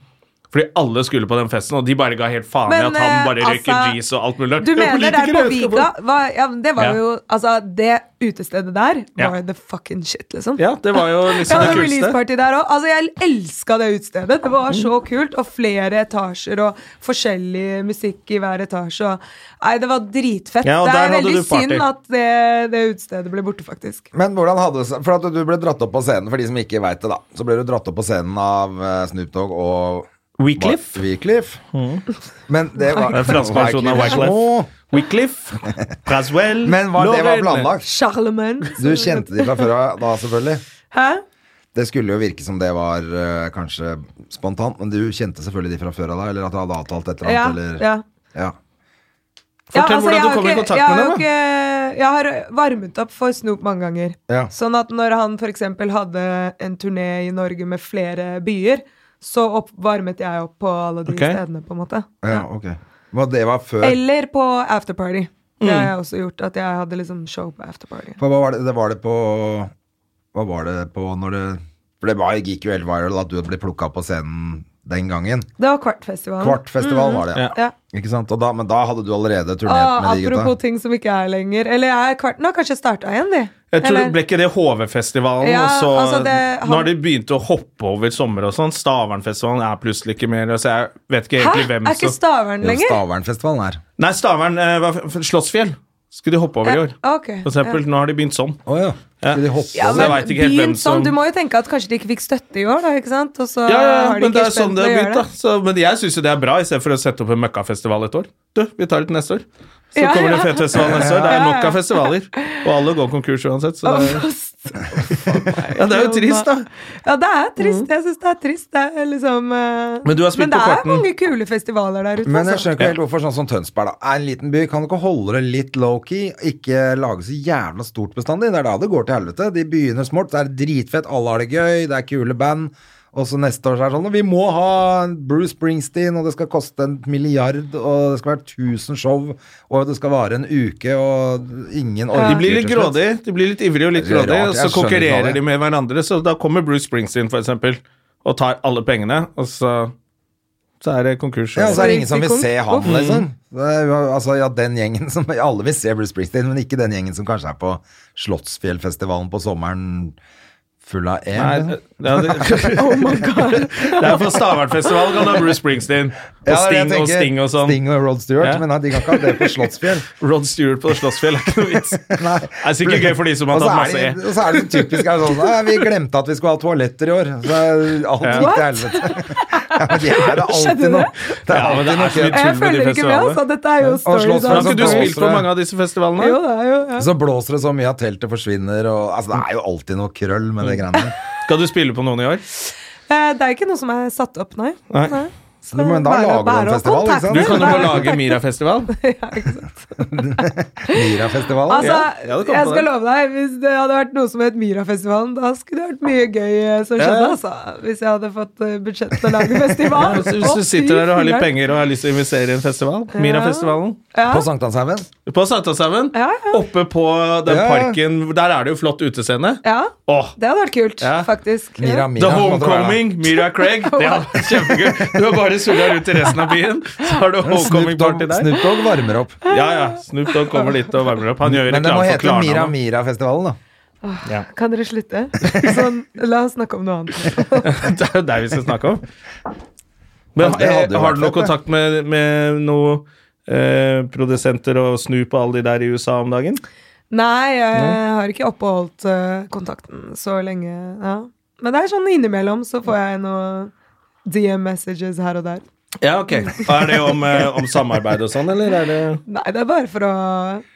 [SPEAKER 2] Fordi alle skulle på den festen, og de bare ga helt faen i
[SPEAKER 3] Men,
[SPEAKER 2] at han bare
[SPEAKER 3] eh,
[SPEAKER 2] røyker
[SPEAKER 3] altså,
[SPEAKER 2] G's og alt mulig rart.
[SPEAKER 3] Du
[SPEAKER 2] Ja,
[SPEAKER 3] mener der på
[SPEAKER 2] politikere, jeg skal
[SPEAKER 3] Vika var, ja, Det var
[SPEAKER 2] Ja.
[SPEAKER 3] jo Altså, det utestedet der var
[SPEAKER 2] Ja.
[SPEAKER 3] jo the fucking shit, liksom.
[SPEAKER 2] Ja, det var jo liksom
[SPEAKER 3] Ja,
[SPEAKER 2] det
[SPEAKER 3] det var
[SPEAKER 2] kuleste.
[SPEAKER 3] releaseparty der også. Altså, jeg elska det utestedet. Det var så
[SPEAKER 2] Mm.
[SPEAKER 3] kult. Og flere etasjer og forskjellig musikk i hver etasje. Og, nei, det var dritfett.
[SPEAKER 2] Ja, og
[SPEAKER 3] det
[SPEAKER 2] der
[SPEAKER 3] er
[SPEAKER 2] hadde du
[SPEAKER 3] veldig
[SPEAKER 2] party.
[SPEAKER 3] synd at det, det utestedet ble borte, faktisk.
[SPEAKER 1] Men hvordan hadde det seg For at du ble dratt opp på scenen, for de som ikke veit det, da. Så ble du dratt opp på scenen av eh, Snoop Dogg og
[SPEAKER 2] Wycliffe. Mm.
[SPEAKER 1] Wa- Wycliffe. Men det var
[SPEAKER 2] Den franske versjonen av Wyclef.
[SPEAKER 1] Åh.
[SPEAKER 2] Wycliffe, Braswell
[SPEAKER 1] Men var, det var
[SPEAKER 2] Lovell.
[SPEAKER 1] planlagt.
[SPEAKER 3] Charlemagne.
[SPEAKER 1] Du kjente de fra før av da, selvfølgelig.
[SPEAKER 3] Hæ?
[SPEAKER 1] Det skulle jo virke som det var eh, kanskje spontant, men du kjente selvfølgelig de fra før av da? Eller at du hadde avtalt et eller
[SPEAKER 3] Ja.
[SPEAKER 1] annet? eller...
[SPEAKER 3] ja.
[SPEAKER 1] Ja.
[SPEAKER 3] Ja,
[SPEAKER 2] Fortell
[SPEAKER 3] altså,
[SPEAKER 2] hvordan
[SPEAKER 3] jeg
[SPEAKER 2] du
[SPEAKER 3] har
[SPEAKER 2] kom i
[SPEAKER 3] ikke-
[SPEAKER 2] kontakt
[SPEAKER 3] jeg
[SPEAKER 2] med
[SPEAKER 3] har
[SPEAKER 2] dem,
[SPEAKER 3] jo ikke- Jeg har varmet opp for Snoop mange ganger.
[SPEAKER 1] Ja.
[SPEAKER 3] Sånn at når han f.eks. hadde en turné i Norge med flere byer, så opp, varmet jeg opp på alle de
[SPEAKER 2] Ok.
[SPEAKER 3] stedene, på en måte.
[SPEAKER 1] Ja, ok. Men det var før
[SPEAKER 3] Eller på afterparty.
[SPEAKER 2] Mm.
[SPEAKER 3] Det har jeg også gjort, at jeg hadde liksom show på afterparty.
[SPEAKER 1] For hva var det, det var det på Hva var det på når det For det var, gikk jo helt viral at du ble plukka på scenen den gangen.
[SPEAKER 3] Det var Kvartfestivalen. Mm.
[SPEAKER 1] Kvartfestival var det, ja.
[SPEAKER 3] Ja.
[SPEAKER 1] Ikke sant? Og da, men da hadde du allerede turnert
[SPEAKER 3] Ah,
[SPEAKER 1] med de
[SPEAKER 3] apropos
[SPEAKER 1] gutta.
[SPEAKER 3] ting som ikke er lenger. Eller er kvarten har kanskje starta igjen, de.
[SPEAKER 2] Jeg tror,
[SPEAKER 3] Eller-
[SPEAKER 2] Ble ikke det HV-festivalen?
[SPEAKER 3] Ja,
[SPEAKER 2] og så,
[SPEAKER 3] altså det-
[SPEAKER 2] Nå har de begynt å hoppe over sommer og sånn. Stavernfestivalen er plutselig ikke mer. Så jeg vet ikke egentlig
[SPEAKER 3] Hæ?
[SPEAKER 2] hvem
[SPEAKER 3] Er
[SPEAKER 2] som
[SPEAKER 3] ikke Stavern
[SPEAKER 1] Jo,
[SPEAKER 3] lenger?
[SPEAKER 1] Stavernfestivalen her.
[SPEAKER 2] Nei, Stavern eh, var f- Slottsfjell skulle de hoppe over i år.
[SPEAKER 3] Ja, ok.
[SPEAKER 2] For eksempel, Nå har de begynt sånn.
[SPEAKER 1] Å ja. Skulle de hoppe
[SPEAKER 3] Ja,
[SPEAKER 2] Så
[SPEAKER 1] over?
[SPEAKER 2] jeg
[SPEAKER 3] men
[SPEAKER 2] vet ikke helt hvem
[SPEAKER 3] begynt sånn,
[SPEAKER 2] som-
[SPEAKER 3] Du må jo tenke at kanskje de ikke fikk støtte i år, da, ikke sant? Og
[SPEAKER 2] Ja,
[SPEAKER 3] så
[SPEAKER 2] ja, ja,
[SPEAKER 3] har de
[SPEAKER 2] men
[SPEAKER 3] ikke
[SPEAKER 2] det er
[SPEAKER 3] spent
[SPEAKER 2] sånn det har
[SPEAKER 3] til å gjøre
[SPEAKER 2] begynt. da så, Men jeg syns jo det er bra, istedenfor å sette opp en møkkafestival et år. Du, vi tar det til neste år. Så
[SPEAKER 3] Ja,
[SPEAKER 2] kommer det
[SPEAKER 3] ja.
[SPEAKER 2] fet festival neste år. Det er
[SPEAKER 3] Ja, ja.
[SPEAKER 2] nok av festivaler. Og alle går konkurs uansett. Så det,
[SPEAKER 3] Å, fast.
[SPEAKER 2] ja, det er jo trist, da.
[SPEAKER 3] Ja, det er
[SPEAKER 1] Mm.
[SPEAKER 3] trist. Jeg syns det er trist. Det er liksom eh,
[SPEAKER 2] Men du har spilt
[SPEAKER 3] det
[SPEAKER 2] på
[SPEAKER 3] er
[SPEAKER 2] kvarten.
[SPEAKER 3] mange kule festivaler der ute.
[SPEAKER 1] Men jeg
[SPEAKER 3] altså.
[SPEAKER 1] skjønner ikke helt hvorfor sånn som Tønsberg da, er en liten by. Kan du ikke holde det litt low-key? Ikke lage så jævla stort bestandig. Det er da det går til helvete. De begynner smått, det er dritfett, alle har det gøy, det er kule band. Og så neste år så er det sånn Vi må ha Bruce Springsteen, og det skal koste en milliard, og det skal være 1000 show, og det skal vare en uke, og ingen orker
[SPEAKER 2] De blir litt
[SPEAKER 1] til slutt.
[SPEAKER 2] grådige, de blir litt ivrige og litt
[SPEAKER 1] Det er rart,
[SPEAKER 2] grådige, og så
[SPEAKER 1] jeg skjønner ikke
[SPEAKER 2] konkurrerer
[SPEAKER 1] det.
[SPEAKER 2] de med hverandre. Så da kommer Bruce Springsteen, for eksempel, og tar alle pengene, og så, så er det konkurs.
[SPEAKER 1] Ja, og så er det ingen som vil
[SPEAKER 3] Springsteen
[SPEAKER 1] se han,
[SPEAKER 3] kom.
[SPEAKER 1] liksom. Det er, jo- altså, ja, den gjengen som Alle vil se Bruce Springsteen, men ikke den gjengen som kanskje er på Slottsfjellfestivalen på sommeren full av el.
[SPEAKER 2] Nei,
[SPEAKER 1] liksom.
[SPEAKER 2] det, ja, det,
[SPEAKER 1] Oh
[SPEAKER 2] det er for Stavernfestival kan du ha Bruce Springsteen, og
[SPEAKER 1] Ja, det er
[SPEAKER 2] Sting
[SPEAKER 1] det jeg
[SPEAKER 2] og
[SPEAKER 1] tenker.
[SPEAKER 2] Sting og sånn.
[SPEAKER 1] Sting og Rod Stewart,
[SPEAKER 2] Ja.
[SPEAKER 1] men nei, de kan ikke ha det på Slottsfjell.
[SPEAKER 2] Rod Stewart på Slottsfjell er ikke noe vits.
[SPEAKER 1] Nei.
[SPEAKER 2] Det er sikkert gøy for de som
[SPEAKER 1] Og
[SPEAKER 2] har
[SPEAKER 1] så er
[SPEAKER 2] tatt masse
[SPEAKER 1] det-
[SPEAKER 2] E.
[SPEAKER 1] Og så er det så typisk er det sånn Nei, vi glemte at vi skulle ha toaletter i år. Så alt
[SPEAKER 2] Ja.
[SPEAKER 1] gikk til helvete. Ja, men det er det alltid
[SPEAKER 3] Skjønner
[SPEAKER 1] noe. Det er
[SPEAKER 2] Ja,
[SPEAKER 1] alltid
[SPEAKER 2] men det
[SPEAKER 1] noe
[SPEAKER 2] er så
[SPEAKER 1] kødd.
[SPEAKER 2] mye tull
[SPEAKER 3] Jeg
[SPEAKER 2] med de
[SPEAKER 3] følger ikke med, altså.
[SPEAKER 2] festivalene.
[SPEAKER 3] Dette er jo
[SPEAKER 1] Og
[SPEAKER 3] stories.
[SPEAKER 1] Slottsfjell
[SPEAKER 2] Har
[SPEAKER 3] altså.
[SPEAKER 2] ikke du spilt på mange av disse
[SPEAKER 3] Jo,
[SPEAKER 2] festivalene?
[SPEAKER 3] det er jo ja.
[SPEAKER 1] Så blåser det så mye at teltet forsvinner, og altså, det er jo alltid noe krøll med det greiene der.
[SPEAKER 2] Skal du spille på noen i år?
[SPEAKER 3] Eh, Det er ikke noe som er satt opp, nei.
[SPEAKER 2] Nei.
[SPEAKER 3] Så
[SPEAKER 1] Du må- men da
[SPEAKER 3] bare-
[SPEAKER 1] lager du en
[SPEAKER 3] bare å
[SPEAKER 1] festival, ikke sant?
[SPEAKER 2] Du
[SPEAKER 3] kontakte-
[SPEAKER 2] kan jo
[SPEAKER 3] bare
[SPEAKER 2] bare
[SPEAKER 3] å
[SPEAKER 2] lage Mira-festival.
[SPEAKER 3] kontakte- Ja, ikke sant?
[SPEAKER 1] Myrafestivalen.
[SPEAKER 3] Altså,
[SPEAKER 2] Ja, det kom
[SPEAKER 3] jeg
[SPEAKER 2] på
[SPEAKER 3] skal
[SPEAKER 2] det.
[SPEAKER 3] love deg, hvis det hadde vært noe som het Myrafestivalen, da skulle det vært mye gøy eh, som skjedde,
[SPEAKER 2] Ja.
[SPEAKER 3] altså. Hvis jeg hadde fått eh, budsjett til å lage festival.
[SPEAKER 2] Hvis hvis du
[SPEAKER 3] Å,
[SPEAKER 2] sitter
[SPEAKER 3] fy
[SPEAKER 2] der og har litt
[SPEAKER 3] filleren.
[SPEAKER 2] penger og har lyst til å investere i en festival, Mira-festivalen
[SPEAKER 3] Ja.
[SPEAKER 1] På Sankthanshaugen.
[SPEAKER 2] På Sankthanshaugen,
[SPEAKER 3] Ja, ja.
[SPEAKER 2] oppe på den
[SPEAKER 1] Ja, ja.
[SPEAKER 2] parken Der er det jo flott utescene.
[SPEAKER 3] ja,
[SPEAKER 2] Åh,
[SPEAKER 3] det hadde vært kult,
[SPEAKER 2] Ja.
[SPEAKER 3] faktisk.
[SPEAKER 1] Mira, Mira,
[SPEAKER 2] The
[SPEAKER 1] måtte være der.
[SPEAKER 2] Homecoming, Mira Craig. Det hadde vært kjempegøy. Du har bare surra rundt i resten av byen, så har du
[SPEAKER 1] Snoop Dogg,
[SPEAKER 2] homecoming-party der.
[SPEAKER 1] Snoop Dogg varmer opp.
[SPEAKER 2] Ja, ja, Snoop Dogg kommer dit og varmer opp. Han gjør jo
[SPEAKER 1] Men det må
[SPEAKER 2] reklame for
[SPEAKER 1] hete Mira
[SPEAKER 2] Klarna. nå.
[SPEAKER 1] Mira-festivalen, da.
[SPEAKER 3] Kan dere slutte? Sånn, la oss snakke om noe annet.
[SPEAKER 2] Det er jo der vi skal snakke om. Men
[SPEAKER 1] Ja, det hadde
[SPEAKER 2] eh,
[SPEAKER 1] jo vært
[SPEAKER 2] har du noe
[SPEAKER 1] fett, det.
[SPEAKER 2] kontakt med, med noe eh, produsenter og Snoop og alle de der i USA om dagen?
[SPEAKER 3] Nei, jeg har ikke oppholdt eh, kontakten så lenge. Ja. Men det er sånn innimellom så får jeg noe DM-messages her og der.
[SPEAKER 2] Ja, ok. Og er det om, eh, om samarbeid og sånn, eller er det
[SPEAKER 3] Nei, det er bare for å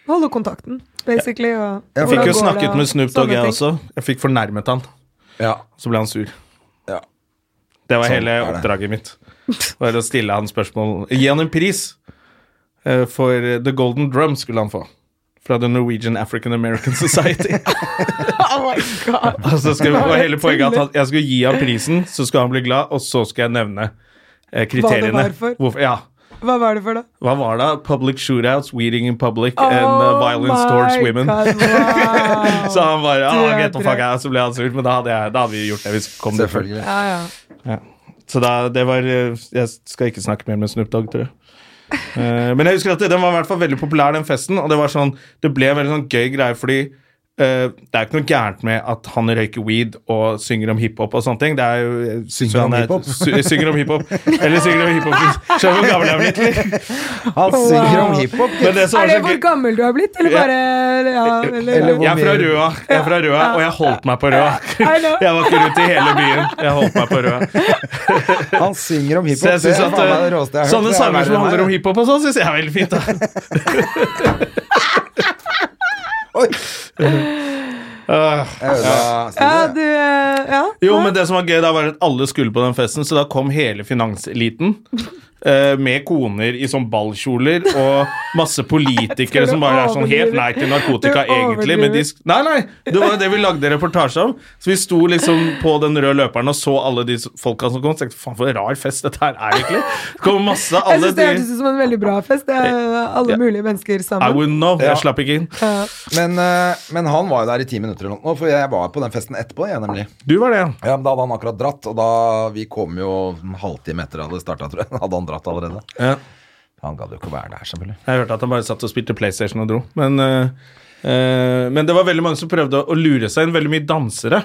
[SPEAKER 3] holde kontakten, basically. Og,
[SPEAKER 1] Jeg
[SPEAKER 2] Jeg
[SPEAKER 3] hvordan
[SPEAKER 2] fikk jo
[SPEAKER 3] går det,
[SPEAKER 2] snakket
[SPEAKER 3] og
[SPEAKER 2] med Snoop Dogg,
[SPEAKER 3] sånne
[SPEAKER 2] jeg
[SPEAKER 3] ting.
[SPEAKER 2] også. Jeg fikk fornærmet han,
[SPEAKER 1] Ja.
[SPEAKER 2] så ble han sur.
[SPEAKER 1] Ja.
[SPEAKER 2] Det var
[SPEAKER 1] Sånn
[SPEAKER 2] hele
[SPEAKER 1] er det.
[SPEAKER 2] oppdraget mitt. Var å stille han spørsmål Gi han en pris! Eh, For eh, The Golden Drum skulle han få. Fra The Norwegian African American Society.
[SPEAKER 3] Oh my god.
[SPEAKER 2] Og så skulle, var hele poenget at han, jeg skulle gi han prisen, så skulle han bli glad, og så skulle jeg nevne eh, kriteriene.
[SPEAKER 3] var for.
[SPEAKER 2] Hvorfor, ja.
[SPEAKER 3] Hva var det for noe?
[SPEAKER 2] Hva var det? Public shootouts, weeding in public, and uh, violence
[SPEAKER 3] Oh my
[SPEAKER 2] towards women.
[SPEAKER 3] God, wow.
[SPEAKER 2] Så han bare ah,
[SPEAKER 3] Det er
[SPEAKER 2] get the fuck out, så ble han sur. Men da hadde, jeg, da hadde vi gjort det. Hvis kom det før.
[SPEAKER 1] Selvfølgelig.
[SPEAKER 3] ja, ja.
[SPEAKER 2] Så da, det var eh, Jeg skal ikke snakke mer med Snoop Dogg, tror jeg. Eh, men jeg husker at det- den var i hvert fall veldig populær, den festen. Og det var sånn Det ble en veldig sånn gøy greie, fordi eh, det er ikke noe gærent med at han røyker weed og synger om hiphop og sånne ting. Det er jo jeg synes
[SPEAKER 1] Synger om
[SPEAKER 2] er-
[SPEAKER 1] hiphop?
[SPEAKER 2] sy- Synger om hiphop. Eller synger om hiphop. Skjønner du hvor gammel jeg er blitt? eller?
[SPEAKER 1] Han synger om hiphop.
[SPEAKER 2] Men det som var
[SPEAKER 3] Er
[SPEAKER 2] så
[SPEAKER 3] det
[SPEAKER 2] gøy-
[SPEAKER 3] hvor gammel du har blitt, eller
[SPEAKER 2] Ja.
[SPEAKER 3] bare ja, eller,
[SPEAKER 1] Eller hvor-
[SPEAKER 2] Jeg er fra Røa, jeg er fra Røa og jeg holdt meg på Røa.
[SPEAKER 3] I know.
[SPEAKER 2] Jeg var ikke rundt i hele byen. Jeg holdt meg på Røa.
[SPEAKER 1] Han synger om
[SPEAKER 2] Så
[SPEAKER 1] hiphop.
[SPEAKER 2] jeg synes
[SPEAKER 1] Det er
[SPEAKER 2] at
[SPEAKER 1] faen meg det
[SPEAKER 2] eh,
[SPEAKER 1] råeste jeg har hørt.
[SPEAKER 2] Sånne
[SPEAKER 1] Det er
[SPEAKER 2] sanger
[SPEAKER 1] verre
[SPEAKER 2] som
[SPEAKER 1] enn
[SPEAKER 2] handler om
[SPEAKER 1] meg.
[SPEAKER 2] hiphop og sånn, syns jeg er veldig fint. da
[SPEAKER 1] Oi,
[SPEAKER 2] Øh.
[SPEAKER 1] jeg ødela
[SPEAKER 3] Ja,
[SPEAKER 1] studiet.
[SPEAKER 3] du eh, Ja.
[SPEAKER 2] Jo, men det som var gøy da var at alle skulle på den festen, så da kom hele finanseliten. eh, med koner i sånn ballkjoler og masse politikere
[SPEAKER 3] Jeg tror
[SPEAKER 2] som
[SPEAKER 3] du
[SPEAKER 2] bare er sånn helt
[SPEAKER 3] overdriver.
[SPEAKER 2] nei til narkotika
[SPEAKER 3] Du
[SPEAKER 2] egentlig, men de sk- Nei, nei! Det var jo det vi lagde reportasje om. Så vi sto liksom på den røde løperen og så alle de s- folka som kom, og tenkte faen for en rar fest dette her er, egentlig. Det kom masse
[SPEAKER 3] Jeg
[SPEAKER 2] alle
[SPEAKER 3] syns det
[SPEAKER 2] de
[SPEAKER 3] hørtes ut som en veldig bra fest. Det er alle
[SPEAKER 2] Ja.
[SPEAKER 3] mulige mennesker
[SPEAKER 2] I
[SPEAKER 3] sammen.
[SPEAKER 2] wouldn't know.
[SPEAKER 1] Ja.
[SPEAKER 2] Jeg slapp ikke inn.
[SPEAKER 3] Ja.
[SPEAKER 1] Men, eh, men han var jo der i ti minutter eller noe, for jeg var på den festen etterpå, jeg nemlig.
[SPEAKER 2] Du var det, ja.
[SPEAKER 1] Ja, men Da hadde han akkurat dratt, og da vi kom jo en halvtime etter det hadde starta, tror jeg. Hadde han dratt allerede?
[SPEAKER 2] Ja.
[SPEAKER 1] Han gadd jo ikke å være der, selvfølgelig.
[SPEAKER 2] Jeg hørte at han bare satt og spilte PlayStation og dro. Men, øh, øh, men det var veldig mange som prøvde å lure seg inn. Veldig mye dansere.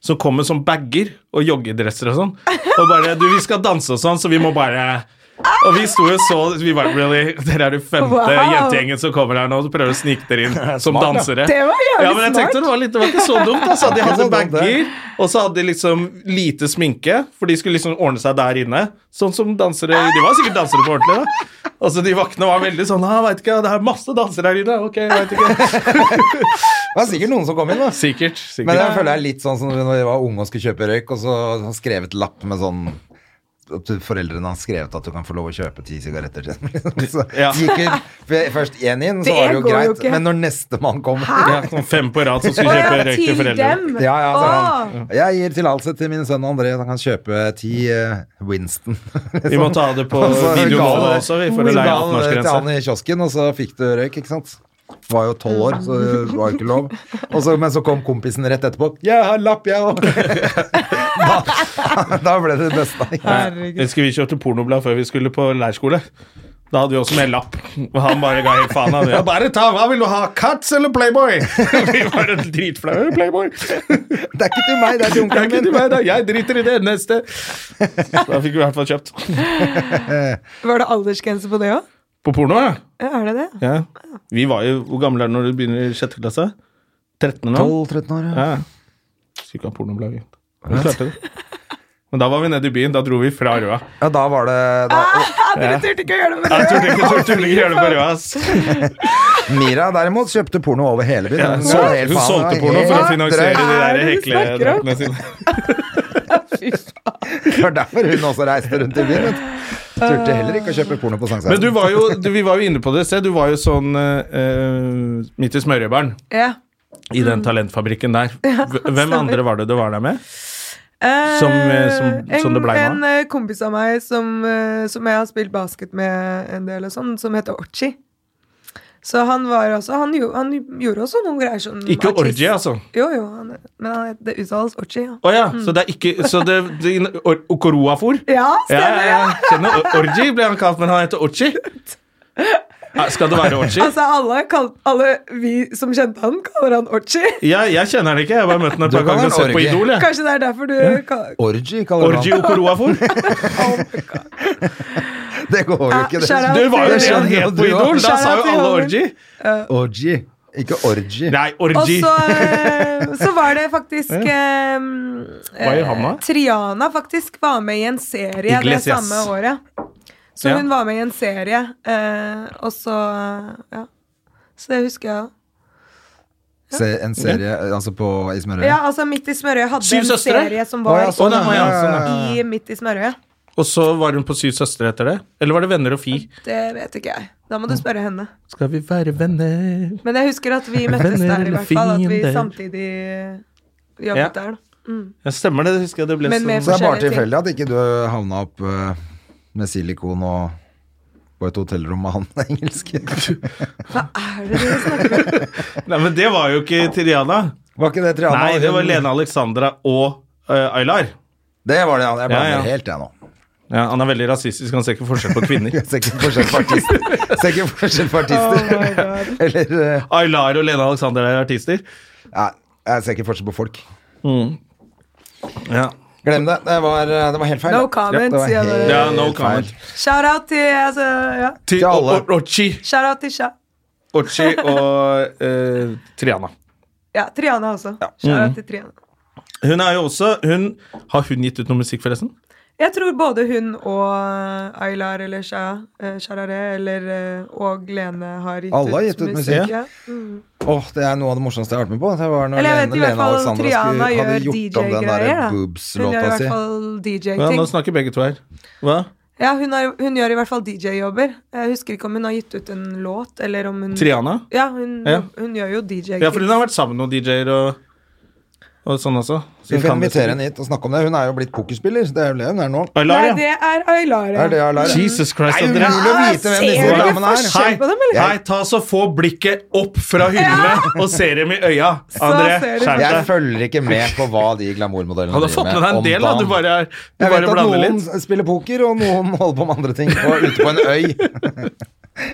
[SPEAKER 2] Som kom med sånn bager og joggedresser og sånn. Og bare Du, vi skal danse og sånn, så vi må bare Og vi sto jo så Vi bare Really? Dere er den femte
[SPEAKER 3] Wow.
[SPEAKER 2] jentegjengen som kommer her nå og prøver å snike dere inn som
[SPEAKER 1] Smart, da.
[SPEAKER 2] dansere.
[SPEAKER 3] Det var jævlig
[SPEAKER 2] ja, men jeg tenkte
[SPEAKER 3] smart.
[SPEAKER 2] det var, litt, det var ikke så dumt. Altså. De hadde
[SPEAKER 1] Det var dumt, det.
[SPEAKER 2] bager, og så hadde de liksom lite sminke, for de skulle liksom ordne seg der inne. Sånn som dansere De var sikkert dansere på ordentlig, da. Altså, de vaktene var veldig sånn «Ah, vet ikke, det er masse dansere her inne. Ok, jeg vet ikke.
[SPEAKER 1] Det var sikkert noen som kom inn, da.
[SPEAKER 2] Sikkert.
[SPEAKER 1] Men
[SPEAKER 2] sikkert.
[SPEAKER 1] jeg føler jeg er litt sånn som når vi var unge og skulle kjøpe røyk, og så har skrevet lapp med sånn at du- Foreldrene har skrevet at du kan få lov å kjøpe ti sigaretter. til. liksom. så
[SPEAKER 2] Ja.
[SPEAKER 1] gikk jo f- først én inn, så
[SPEAKER 3] Det
[SPEAKER 1] var det jo
[SPEAKER 3] går jo
[SPEAKER 1] greit.
[SPEAKER 3] ikke.
[SPEAKER 1] men når nestemann kommer
[SPEAKER 2] Ja, sånn fem på rad som
[SPEAKER 3] Å
[SPEAKER 2] skulle
[SPEAKER 3] ja,
[SPEAKER 2] kjøpe røyk til foreldre.
[SPEAKER 3] dem!
[SPEAKER 1] Ja, ja, så
[SPEAKER 3] Å,
[SPEAKER 1] han, jeg gir tillatelse til min sønn André, så han kan kjøpe ti eh, Winston.
[SPEAKER 2] Vi må ta det på
[SPEAKER 1] Og så
[SPEAKER 2] videomål
[SPEAKER 1] ga han-
[SPEAKER 2] også, vi, for å
[SPEAKER 1] ga
[SPEAKER 2] leie
[SPEAKER 1] han det til han
[SPEAKER 2] 18-årsgrense.
[SPEAKER 1] i kiosken, og så fikk du røyk, ikke sant? Du var jo tolv år, så det var jo ikke lov. Og så, men så kom kompisen rett etterpå. 'Jeg har lapp, jeg òg'. da, da ble det det beste.
[SPEAKER 3] Herregud.
[SPEAKER 2] Husker vi kjøpte pornoblad før vi skulle på leirskole. Da hadde vi også med lapp. Og han bare ga helt faen. Han, ja, bare ta, Hva vil du ha? Cats eller Playboy? vi var dritflaue. Playboy.
[SPEAKER 1] Det er ikke til meg, det er til
[SPEAKER 2] Det er ikke
[SPEAKER 1] onkelen
[SPEAKER 2] til
[SPEAKER 1] min.
[SPEAKER 2] meg, da. Jeg driter i det neste. Da fikk vi i hvert fall kjøpt.
[SPEAKER 3] Var det aldersgrense på det òg?
[SPEAKER 2] På porno, ja.
[SPEAKER 3] Ja, er det det?
[SPEAKER 2] ja. Vi var jo Hvor gammel er du når du begynner i sjette klasse? 13 nå?
[SPEAKER 1] 12-13 år, ja.
[SPEAKER 2] Ja. Skulle ikke ha pornoblad. vi. Vi klarte det. Men da var vi nede i byen. Da dro vi fra Røa.
[SPEAKER 1] ja. Da var det da.
[SPEAKER 3] Ja, dere turte ikke å gjøre det med
[SPEAKER 2] Jeg
[SPEAKER 3] det!
[SPEAKER 2] turte ikke, jeg turte ikke gjøre det på Røa. ass.
[SPEAKER 1] Mira derimot kjøpte porno over hele byen.
[SPEAKER 2] Ja,
[SPEAKER 1] Hun
[SPEAKER 2] så,
[SPEAKER 1] var helt
[SPEAKER 2] hun
[SPEAKER 1] faen,
[SPEAKER 2] solgte
[SPEAKER 1] det var
[SPEAKER 2] porno for å
[SPEAKER 1] helt
[SPEAKER 2] finansiere
[SPEAKER 1] drøyt.
[SPEAKER 2] de der
[SPEAKER 3] Hva er det du snakker om?
[SPEAKER 2] hekledraktene sine.
[SPEAKER 3] Fy faen.
[SPEAKER 1] Det var derfor hun også reiste rundt i byen. vet du. Turte heller ikke å kjøpe porno på Sankthanshaugen.
[SPEAKER 2] Men du var jo, du, vi var jo inne på det et sted. Du var jo sånn eh, eh, midt i smørjebæren.
[SPEAKER 3] Ja.
[SPEAKER 2] I den talentfabrikken der. Hvem andre var det du var der med?
[SPEAKER 3] Eh,
[SPEAKER 2] Som, eh, som- som det ble nå?
[SPEAKER 3] En, en eh, kompis av meg som, eh, som jeg har spilt basket med en del, og sånn, som heter Orchi. Så han var også Han, gjo- han gjorde også noen greier som
[SPEAKER 2] Ikke
[SPEAKER 3] artist.
[SPEAKER 2] orgie, altså.
[SPEAKER 3] Jo, jo, han, men han, det uttales Orchi. Ja.
[SPEAKER 2] Å ja, så det er ikke Så det, det or, Okoroafor?
[SPEAKER 3] ja,
[SPEAKER 2] Ja,
[SPEAKER 3] stemmer!
[SPEAKER 2] ja,
[SPEAKER 3] Ja,
[SPEAKER 2] ja. Kjenner or- Orgi ble han kalt, men han heter Orchi. Ja, skal det være Orchi?
[SPEAKER 3] Altså, alle, kall, alle vi som kjente han, kaller han Orchi.
[SPEAKER 2] Ja, jeg kjenner han ikke. Jeg har bare møtt han et
[SPEAKER 1] Du
[SPEAKER 2] par
[SPEAKER 1] kan
[SPEAKER 2] ganger og
[SPEAKER 1] være
[SPEAKER 2] sett på
[SPEAKER 1] orgie.
[SPEAKER 2] Idol. jeg.
[SPEAKER 3] Kanskje det er derfor du kaller
[SPEAKER 1] Orgy, kaller
[SPEAKER 2] Orgi
[SPEAKER 1] han
[SPEAKER 2] Okoroafor.
[SPEAKER 1] det. går jo ikke,
[SPEAKER 3] Ja, shout out
[SPEAKER 2] Det
[SPEAKER 1] det.
[SPEAKER 2] var jo
[SPEAKER 3] Det
[SPEAKER 2] det han
[SPEAKER 1] skjønner
[SPEAKER 2] het
[SPEAKER 1] jo
[SPEAKER 2] på
[SPEAKER 1] du
[SPEAKER 2] Idol.
[SPEAKER 1] også.
[SPEAKER 2] Da sa jo alle Orgi.
[SPEAKER 1] Orgy, ikke orgy.
[SPEAKER 2] Nei,
[SPEAKER 3] Og
[SPEAKER 2] Orgi.
[SPEAKER 3] så, eh, så var det faktisk ehm,
[SPEAKER 2] Hva gjør han da?
[SPEAKER 3] eh, Triana faktisk var med i en serie det
[SPEAKER 2] Iglesias.
[SPEAKER 3] samme året. Så
[SPEAKER 2] Ja.
[SPEAKER 3] hun var med i en serie, eh, og så Ja. Så det husker jeg.
[SPEAKER 1] Se, en serie altså på i smørøyet?
[SPEAKER 3] Ja, altså Midt i smørøyet hadde
[SPEAKER 2] Syv
[SPEAKER 3] en
[SPEAKER 2] søstre?
[SPEAKER 3] serie som var
[SPEAKER 1] Å, ja, sånn,
[SPEAKER 2] Å, nei,
[SPEAKER 1] ja,
[SPEAKER 2] ja,
[SPEAKER 1] sånn,
[SPEAKER 3] i Midt i smørøyet.
[SPEAKER 2] Og så var hun på Syv søstre etter det? Eller var det Venner og Fi?
[SPEAKER 3] Det vet ikke jeg. Da må du spørre henne.
[SPEAKER 2] Skal vi være venner?
[SPEAKER 3] Men jeg husker at vi møttes
[SPEAKER 2] Venner
[SPEAKER 3] der, i
[SPEAKER 2] eller
[SPEAKER 3] hvert fall. At vi
[SPEAKER 2] fiender?
[SPEAKER 3] samtidig eh,
[SPEAKER 2] Ja.
[SPEAKER 3] jobbet der. da. Mm.
[SPEAKER 2] Ja, stemmer det. det husker jeg det ble
[SPEAKER 3] Men med
[SPEAKER 1] Så
[SPEAKER 2] sånn.
[SPEAKER 1] det er bare
[SPEAKER 3] forskjellige ting.
[SPEAKER 1] tilfeldig at ikke du havna opp eh, med silikon og på et hotellrom med han engelske.
[SPEAKER 3] Hva er det dere snakker om?
[SPEAKER 2] Nei, men det var jo ikke Triana.
[SPEAKER 1] Var ikke det Triana?
[SPEAKER 2] Nei, det var Lene Alexandra og eh, Aylar.
[SPEAKER 1] Det var det, ja. Jeg blander
[SPEAKER 2] Ja, ja.
[SPEAKER 1] helt, jeg nå.
[SPEAKER 2] Ja, han er veldig rasistisk, han ser ikke forskjell på kvinner.
[SPEAKER 1] Jeg ser ikke forskjell på artister. Ser ikke forskjell
[SPEAKER 3] Oh
[SPEAKER 1] på artister. Eller eh,
[SPEAKER 2] Aylar og Lene Alexander er artister.
[SPEAKER 1] Nei, jeg ser ikke forskjell på folk.
[SPEAKER 2] Mm. Ja,
[SPEAKER 1] Glem det. Det var, eh, det var helt feil.
[SPEAKER 3] No
[SPEAKER 1] da.
[SPEAKER 3] comments,
[SPEAKER 1] Det var
[SPEAKER 3] sier
[SPEAKER 1] helt
[SPEAKER 3] det.
[SPEAKER 2] Ja, no
[SPEAKER 1] feil.
[SPEAKER 2] comment.
[SPEAKER 3] Shout-out til altså, ja.
[SPEAKER 2] Eh, Til
[SPEAKER 1] Til alle.
[SPEAKER 2] O- O- Ochi.
[SPEAKER 3] Shout-out til Sha.
[SPEAKER 2] Ochi og eh, Triana.
[SPEAKER 3] Ja, Triana også.
[SPEAKER 1] Mm.
[SPEAKER 3] Shout-out til Triana.
[SPEAKER 2] Hun er jo også hun, Har hun gitt ut noe musikk, forresten?
[SPEAKER 3] Jeg tror både hun og eh, Aylar eller Sha, eh, Sharare eller, eh, og Lene har gitt
[SPEAKER 1] Alle har gitt ut musikk.
[SPEAKER 3] Ja. Mm.
[SPEAKER 1] Åh, det er noe av det morsomste jeg har vært med på. Det var når
[SPEAKER 3] Eller
[SPEAKER 1] Lene,
[SPEAKER 3] jeg vet i hvert
[SPEAKER 1] Lene
[SPEAKER 3] fall om
[SPEAKER 1] Alexandra
[SPEAKER 3] Triana
[SPEAKER 1] skulle, hadde
[SPEAKER 3] gjør
[SPEAKER 1] gjort om den der
[SPEAKER 3] DJ-greier. da. Hun gjør i
[SPEAKER 1] boobs-låta
[SPEAKER 3] hvert
[SPEAKER 1] si.
[SPEAKER 3] fall
[SPEAKER 2] Ja, nå
[SPEAKER 3] DJ-ting.
[SPEAKER 2] snakker begge to her. Hva?
[SPEAKER 3] Ja, hun, har, hun gjør i hvert fall DJ-jobber. Jeg husker ikke om hun har gitt ut en låt, eller om hun
[SPEAKER 2] Triana?
[SPEAKER 3] Ja, hun,
[SPEAKER 2] Ja.
[SPEAKER 3] hun gjør jo DJ.
[SPEAKER 2] Ja, for hun har vært sammen med noen DJ-er og, og sånn også. Så
[SPEAKER 1] Vi
[SPEAKER 2] hun
[SPEAKER 1] får
[SPEAKER 2] kan det
[SPEAKER 1] invitere
[SPEAKER 2] sikkert.
[SPEAKER 1] henne hit og snakke om det. Hun er jo blitt pokerspiller. så Det er jo det hun er nå.
[SPEAKER 2] Aylar,
[SPEAKER 3] Nei,
[SPEAKER 2] ja.
[SPEAKER 3] det er Aylara.
[SPEAKER 1] Er det Aylar?
[SPEAKER 2] Jesus Christ,
[SPEAKER 1] Det er
[SPEAKER 2] André.
[SPEAKER 1] umulig å vite hvem disse
[SPEAKER 3] Ser du
[SPEAKER 1] damene er.
[SPEAKER 3] forskjell?
[SPEAKER 2] Hei,
[SPEAKER 3] Kjenn på dem, eller?
[SPEAKER 2] hei, ta så få blikket opp fra hyllene og se dem i øya. André,
[SPEAKER 3] ser du
[SPEAKER 2] skjerp
[SPEAKER 1] Jeg
[SPEAKER 2] deg.
[SPEAKER 1] følger ikke med på hva de glamourmodellene
[SPEAKER 2] Han har fått med deg en
[SPEAKER 1] om
[SPEAKER 2] del, da. Du
[SPEAKER 1] dagen.
[SPEAKER 2] bare, er, du
[SPEAKER 1] Jeg vet
[SPEAKER 2] bare
[SPEAKER 1] at
[SPEAKER 2] blander
[SPEAKER 1] noen
[SPEAKER 2] litt.
[SPEAKER 1] spiller poker, og noen holder på med andre ting og ute på en øy.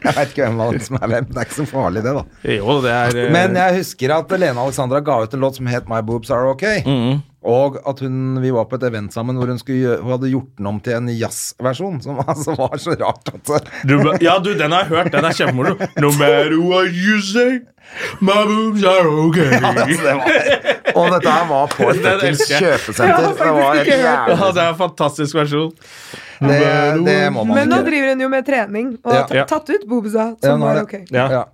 [SPEAKER 1] Jeg veit ikke hvem av dem som er hvem. Det er ikke så farlig, det, da.
[SPEAKER 2] Jo, det er eh,
[SPEAKER 1] Men jeg husker at Lene Alexandra ga ut en låt som het My Boobs Are OK.
[SPEAKER 2] Mm.
[SPEAKER 1] Og at hun, vi var på et event sammen hvor hun, skulle, gjø- hun hadde gjort den om til en jazzversjon, som altså var så rart at
[SPEAKER 2] du, ba- Ja, du, den har jeg hørt. Den er kjempemoro. No matter what you say, my boobs are okay.
[SPEAKER 1] altså, det var, Og dette her var på et
[SPEAKER 2] Den
[SPEAKER 1] fuckings
[SPEAKER 2] elsker jeg.
[SPEAKER 1] kjøpesenter. Det var helt jævlig.
[SPEAKER 2] Ja, det er en fantastisk versjon.
[SPEAKER 1] Det, det må man
[SPEAKER 3] Men
[SPEAKER 1] ikke
[SPEAKER 3] nå
[SPEAKER 1] gjøre.
[SPEAKER 3] driver hun jo med trening, og
[SPEAKER 1] Ja.
[SPEAKER 3] har ta-
[SPEAKER 2] Ja.
[SPEAKER 3] tatt ut boobsa,
[SPEAKER 1] Ja,
[SPEAKER 3] som
[SPEAKER 1] nå
[SPEAKER 3] var
[SPEAKER 1] er
[SPEAKER 3] ok.
[SPEAKER 1] det-
[SPEAKER 2] Ja.
[SPEAKER 1] Ja.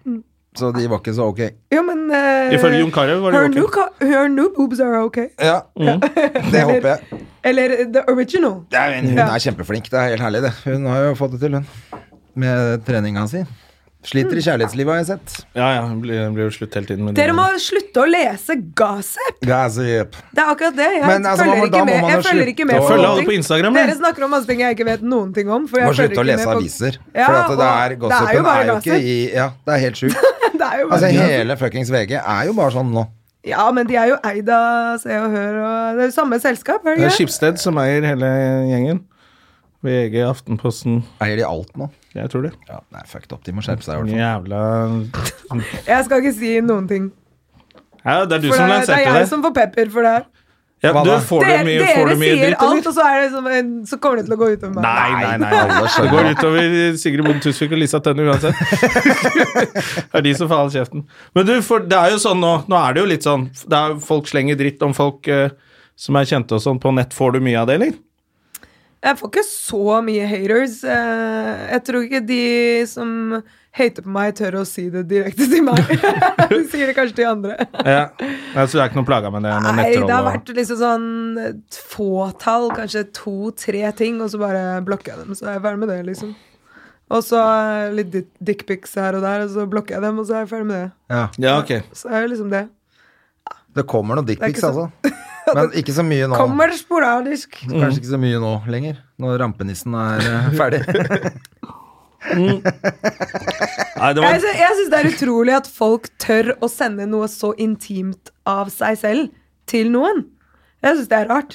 [SPEAKER 1] Så de var ikke så ok.
[SPEAKER 3] Jo, men eh,
[SPEAKER 2] Ifølge Jon Carew var de
[SPEAKER 3] her
[SPEAKER 2] ok.
[SPEAKER 3] new ca- her new boobs are ok.
[SPEAKER 1] Ja,
[SPEAKER 2] Mm.
[SPEAKER 1] det håper jeg.
[SPEAKER 3] Eller eh, the original.
[SPEAKER 1] Ja, men hun
[SPEAKER 3] Ja.
[SPEAKER 1] er kjempeflink. Det er helt herlig, det. Hun har jo fått det til, hun. Med treninga si. Sliter i kjærlighetslivet, har jeg sett.
[SPEAKER 2] Ja, ja, den blir den blir jo slutt hele tiden. men-
[SPEAKER 3] Dere må slutte å lese gossip!
[SPEAKER 1] Gossip.
[SPEAKER 3] Det er akkurat det. Jeg
[SPEAKER 1] Men, altså, man
[SPEAKER 3] følger
[SPEAKER 1] må- da
[SPEAKER 3] ikke
[SPEAKER 1] må
[SPEAKER 3] med.
[SPEAKER 1] man
[SPEAKER 3] Jeg
[SPEAKER 1] jo
[SPEAKER 3] følger
[SPEAKER 1] slutte
[SPEAKER 3] ikke med
[SPEAKER 1] å-
[SPEAKER 3] på
[SPEAKER 2] Følg
[SPEAKER 3] noen
[SPEAKER 2] alle på
[SPEAKER 3] ting.
[SPEAKER 2] Instagram.
[SPEAKER 3] Dere
[SPEAKER 2] da.
[SPEAKER 3] snakker om masse ting jeg ikke vet noen ting om. For
[SPEAKER 1] Må slutte å
[SPEAKER 3] jeg følger ikke
[SPEAKER 1] lese
[SPEAKER 3] med på...
[SPEAKER 1] aviser.
[SPEAKER 3] Ja,
[SPEAKER 1] for at det
[SPEAKER 3] og
[SPEAKER 1] er gossipen
[SPEAKER 3] bare
[SPEAKER 1] er jo ikke
[SPEAKER 3] gossip.
[SPEAKER 1] i Ja, det er helt sjukt.
[SPEAKER 3] Det er jo bare
[SPEAKER 1] Altså,
[SPEAKER 3] gossip.
[SPEAKER 1] hele fuckings VG er jo bare sånn nå.
[SPEAKER 3] Ja, men de er jo eid av Se og Hør og Det er jo samme selskap, er
[SPEAKER 2] Det
[SPEAKER 3] det
[SPEAKER 2] er
[SPEAKER 3] ikke?
[SPEAKER 2] Skipsted som eier hele gjengen. VG, Aftenposten
[SPEAKER 1] Eier de alt nå?
[SPEAKER 2] Jeg tror det.
[SPEAKER 1] Ja, det er fucked up. De må skjerpe seg, i hvert fall.
[SPEAKER 2] Jævla
[SPEAKER 3] Jeg skal ikke si noen ting.
[SPEAKER 2] ja, Det er du
[SPEAKER 3] For
[SPEAKER 2] som
[SPEAKER 3] det, er- det er
[SPEAKER 2] lanserte
[SPEAKER 3] jeg
[SPEAKER 2] det.
[SPEAKER 3] som får pepper for det her.
[SPEAKER 2] Ja,
[SPEAKER 1] Hva
[SPEAKER 2] du,
[SPEAKER 1] da?
[SPEAKER 2] får du
[SPEAKER 3] Dere,
[SPEAKER 2] mye,
[SPEAKER 3] dere
[SPEAKER 2] får du mye
[SPEAKER 3] sier
[SPEAKER 2] dritt,
[SPEAKER 3] alt,
[SPEAKER 2] eller?
[SPEAKER 3] og så, er det som en, så kommer det til å gå utover meg.
[SPEAKER 2] Nei, nei, nei.
[SPEAKER 1] Alle
[SPEAKER 2] Det går
[SPEAKER 1] skjønner.
[SPEAKER 2] utover Sigrid Bonde Tusvik og Lisa Tønne uansett. det er de som faller kjeften. Men du, for det er jo sånn nå Nå er det jo litt sånn det er, Folk slenger dritt om folk eh, som er kjente og sånn på nett. Får du mye av det, eller?
[SPEAKER 3] Jeg får ikke så mye haters. Eh, Jeg tror ikke de som hater på meg, tør å si det direkte til meg. De sier det kanskje til andre.
[SPEAKER 2] Ja. Nei, så du er ikke noe plaga med det? Med
[SPEAKER 3] Nei,
[SPEAKER 2] nettroll
[SPEAKER 3] det har
[SPEAKER 2] og-
[SPEAKER 3] vært liksom sånn et fåtall, kanskje to-tre ting, og så bare blokker jeg dem. Så er jeg ferdig med det, liksom. Og så eh, litt di- dickpics her og der, og så blokker jeg dem, og så er jeg ferdig med det.
[SPEAKER 1] Ja.
[SPEAKER 2] Ja, ok.
[SPEAKER 3] Så er det liksom det.
[SPEAKER 1] Det kommer noen
[SPEAKER 3] Det er
[SPEAKER 1] dickpics,
[SPEAKER 3] ikke
[SPEAKER 1] altså. Men ikke så mye nå.
[SPEAKER 3] Kommer sporadisk.
[SPEAKER 1] Kanskje ikke så mye nå lenger, når rampenissen er eh, ferdig.
[SPEAKER 2] Nei, det
[SPEAKER 3] Jeg,
[SPEAKER 2] var
[SPEAKER 3] sy jeg syns det er utrolig at folk tør å sende noe så intimt av seg selv til noen. Jeg syns det er rart.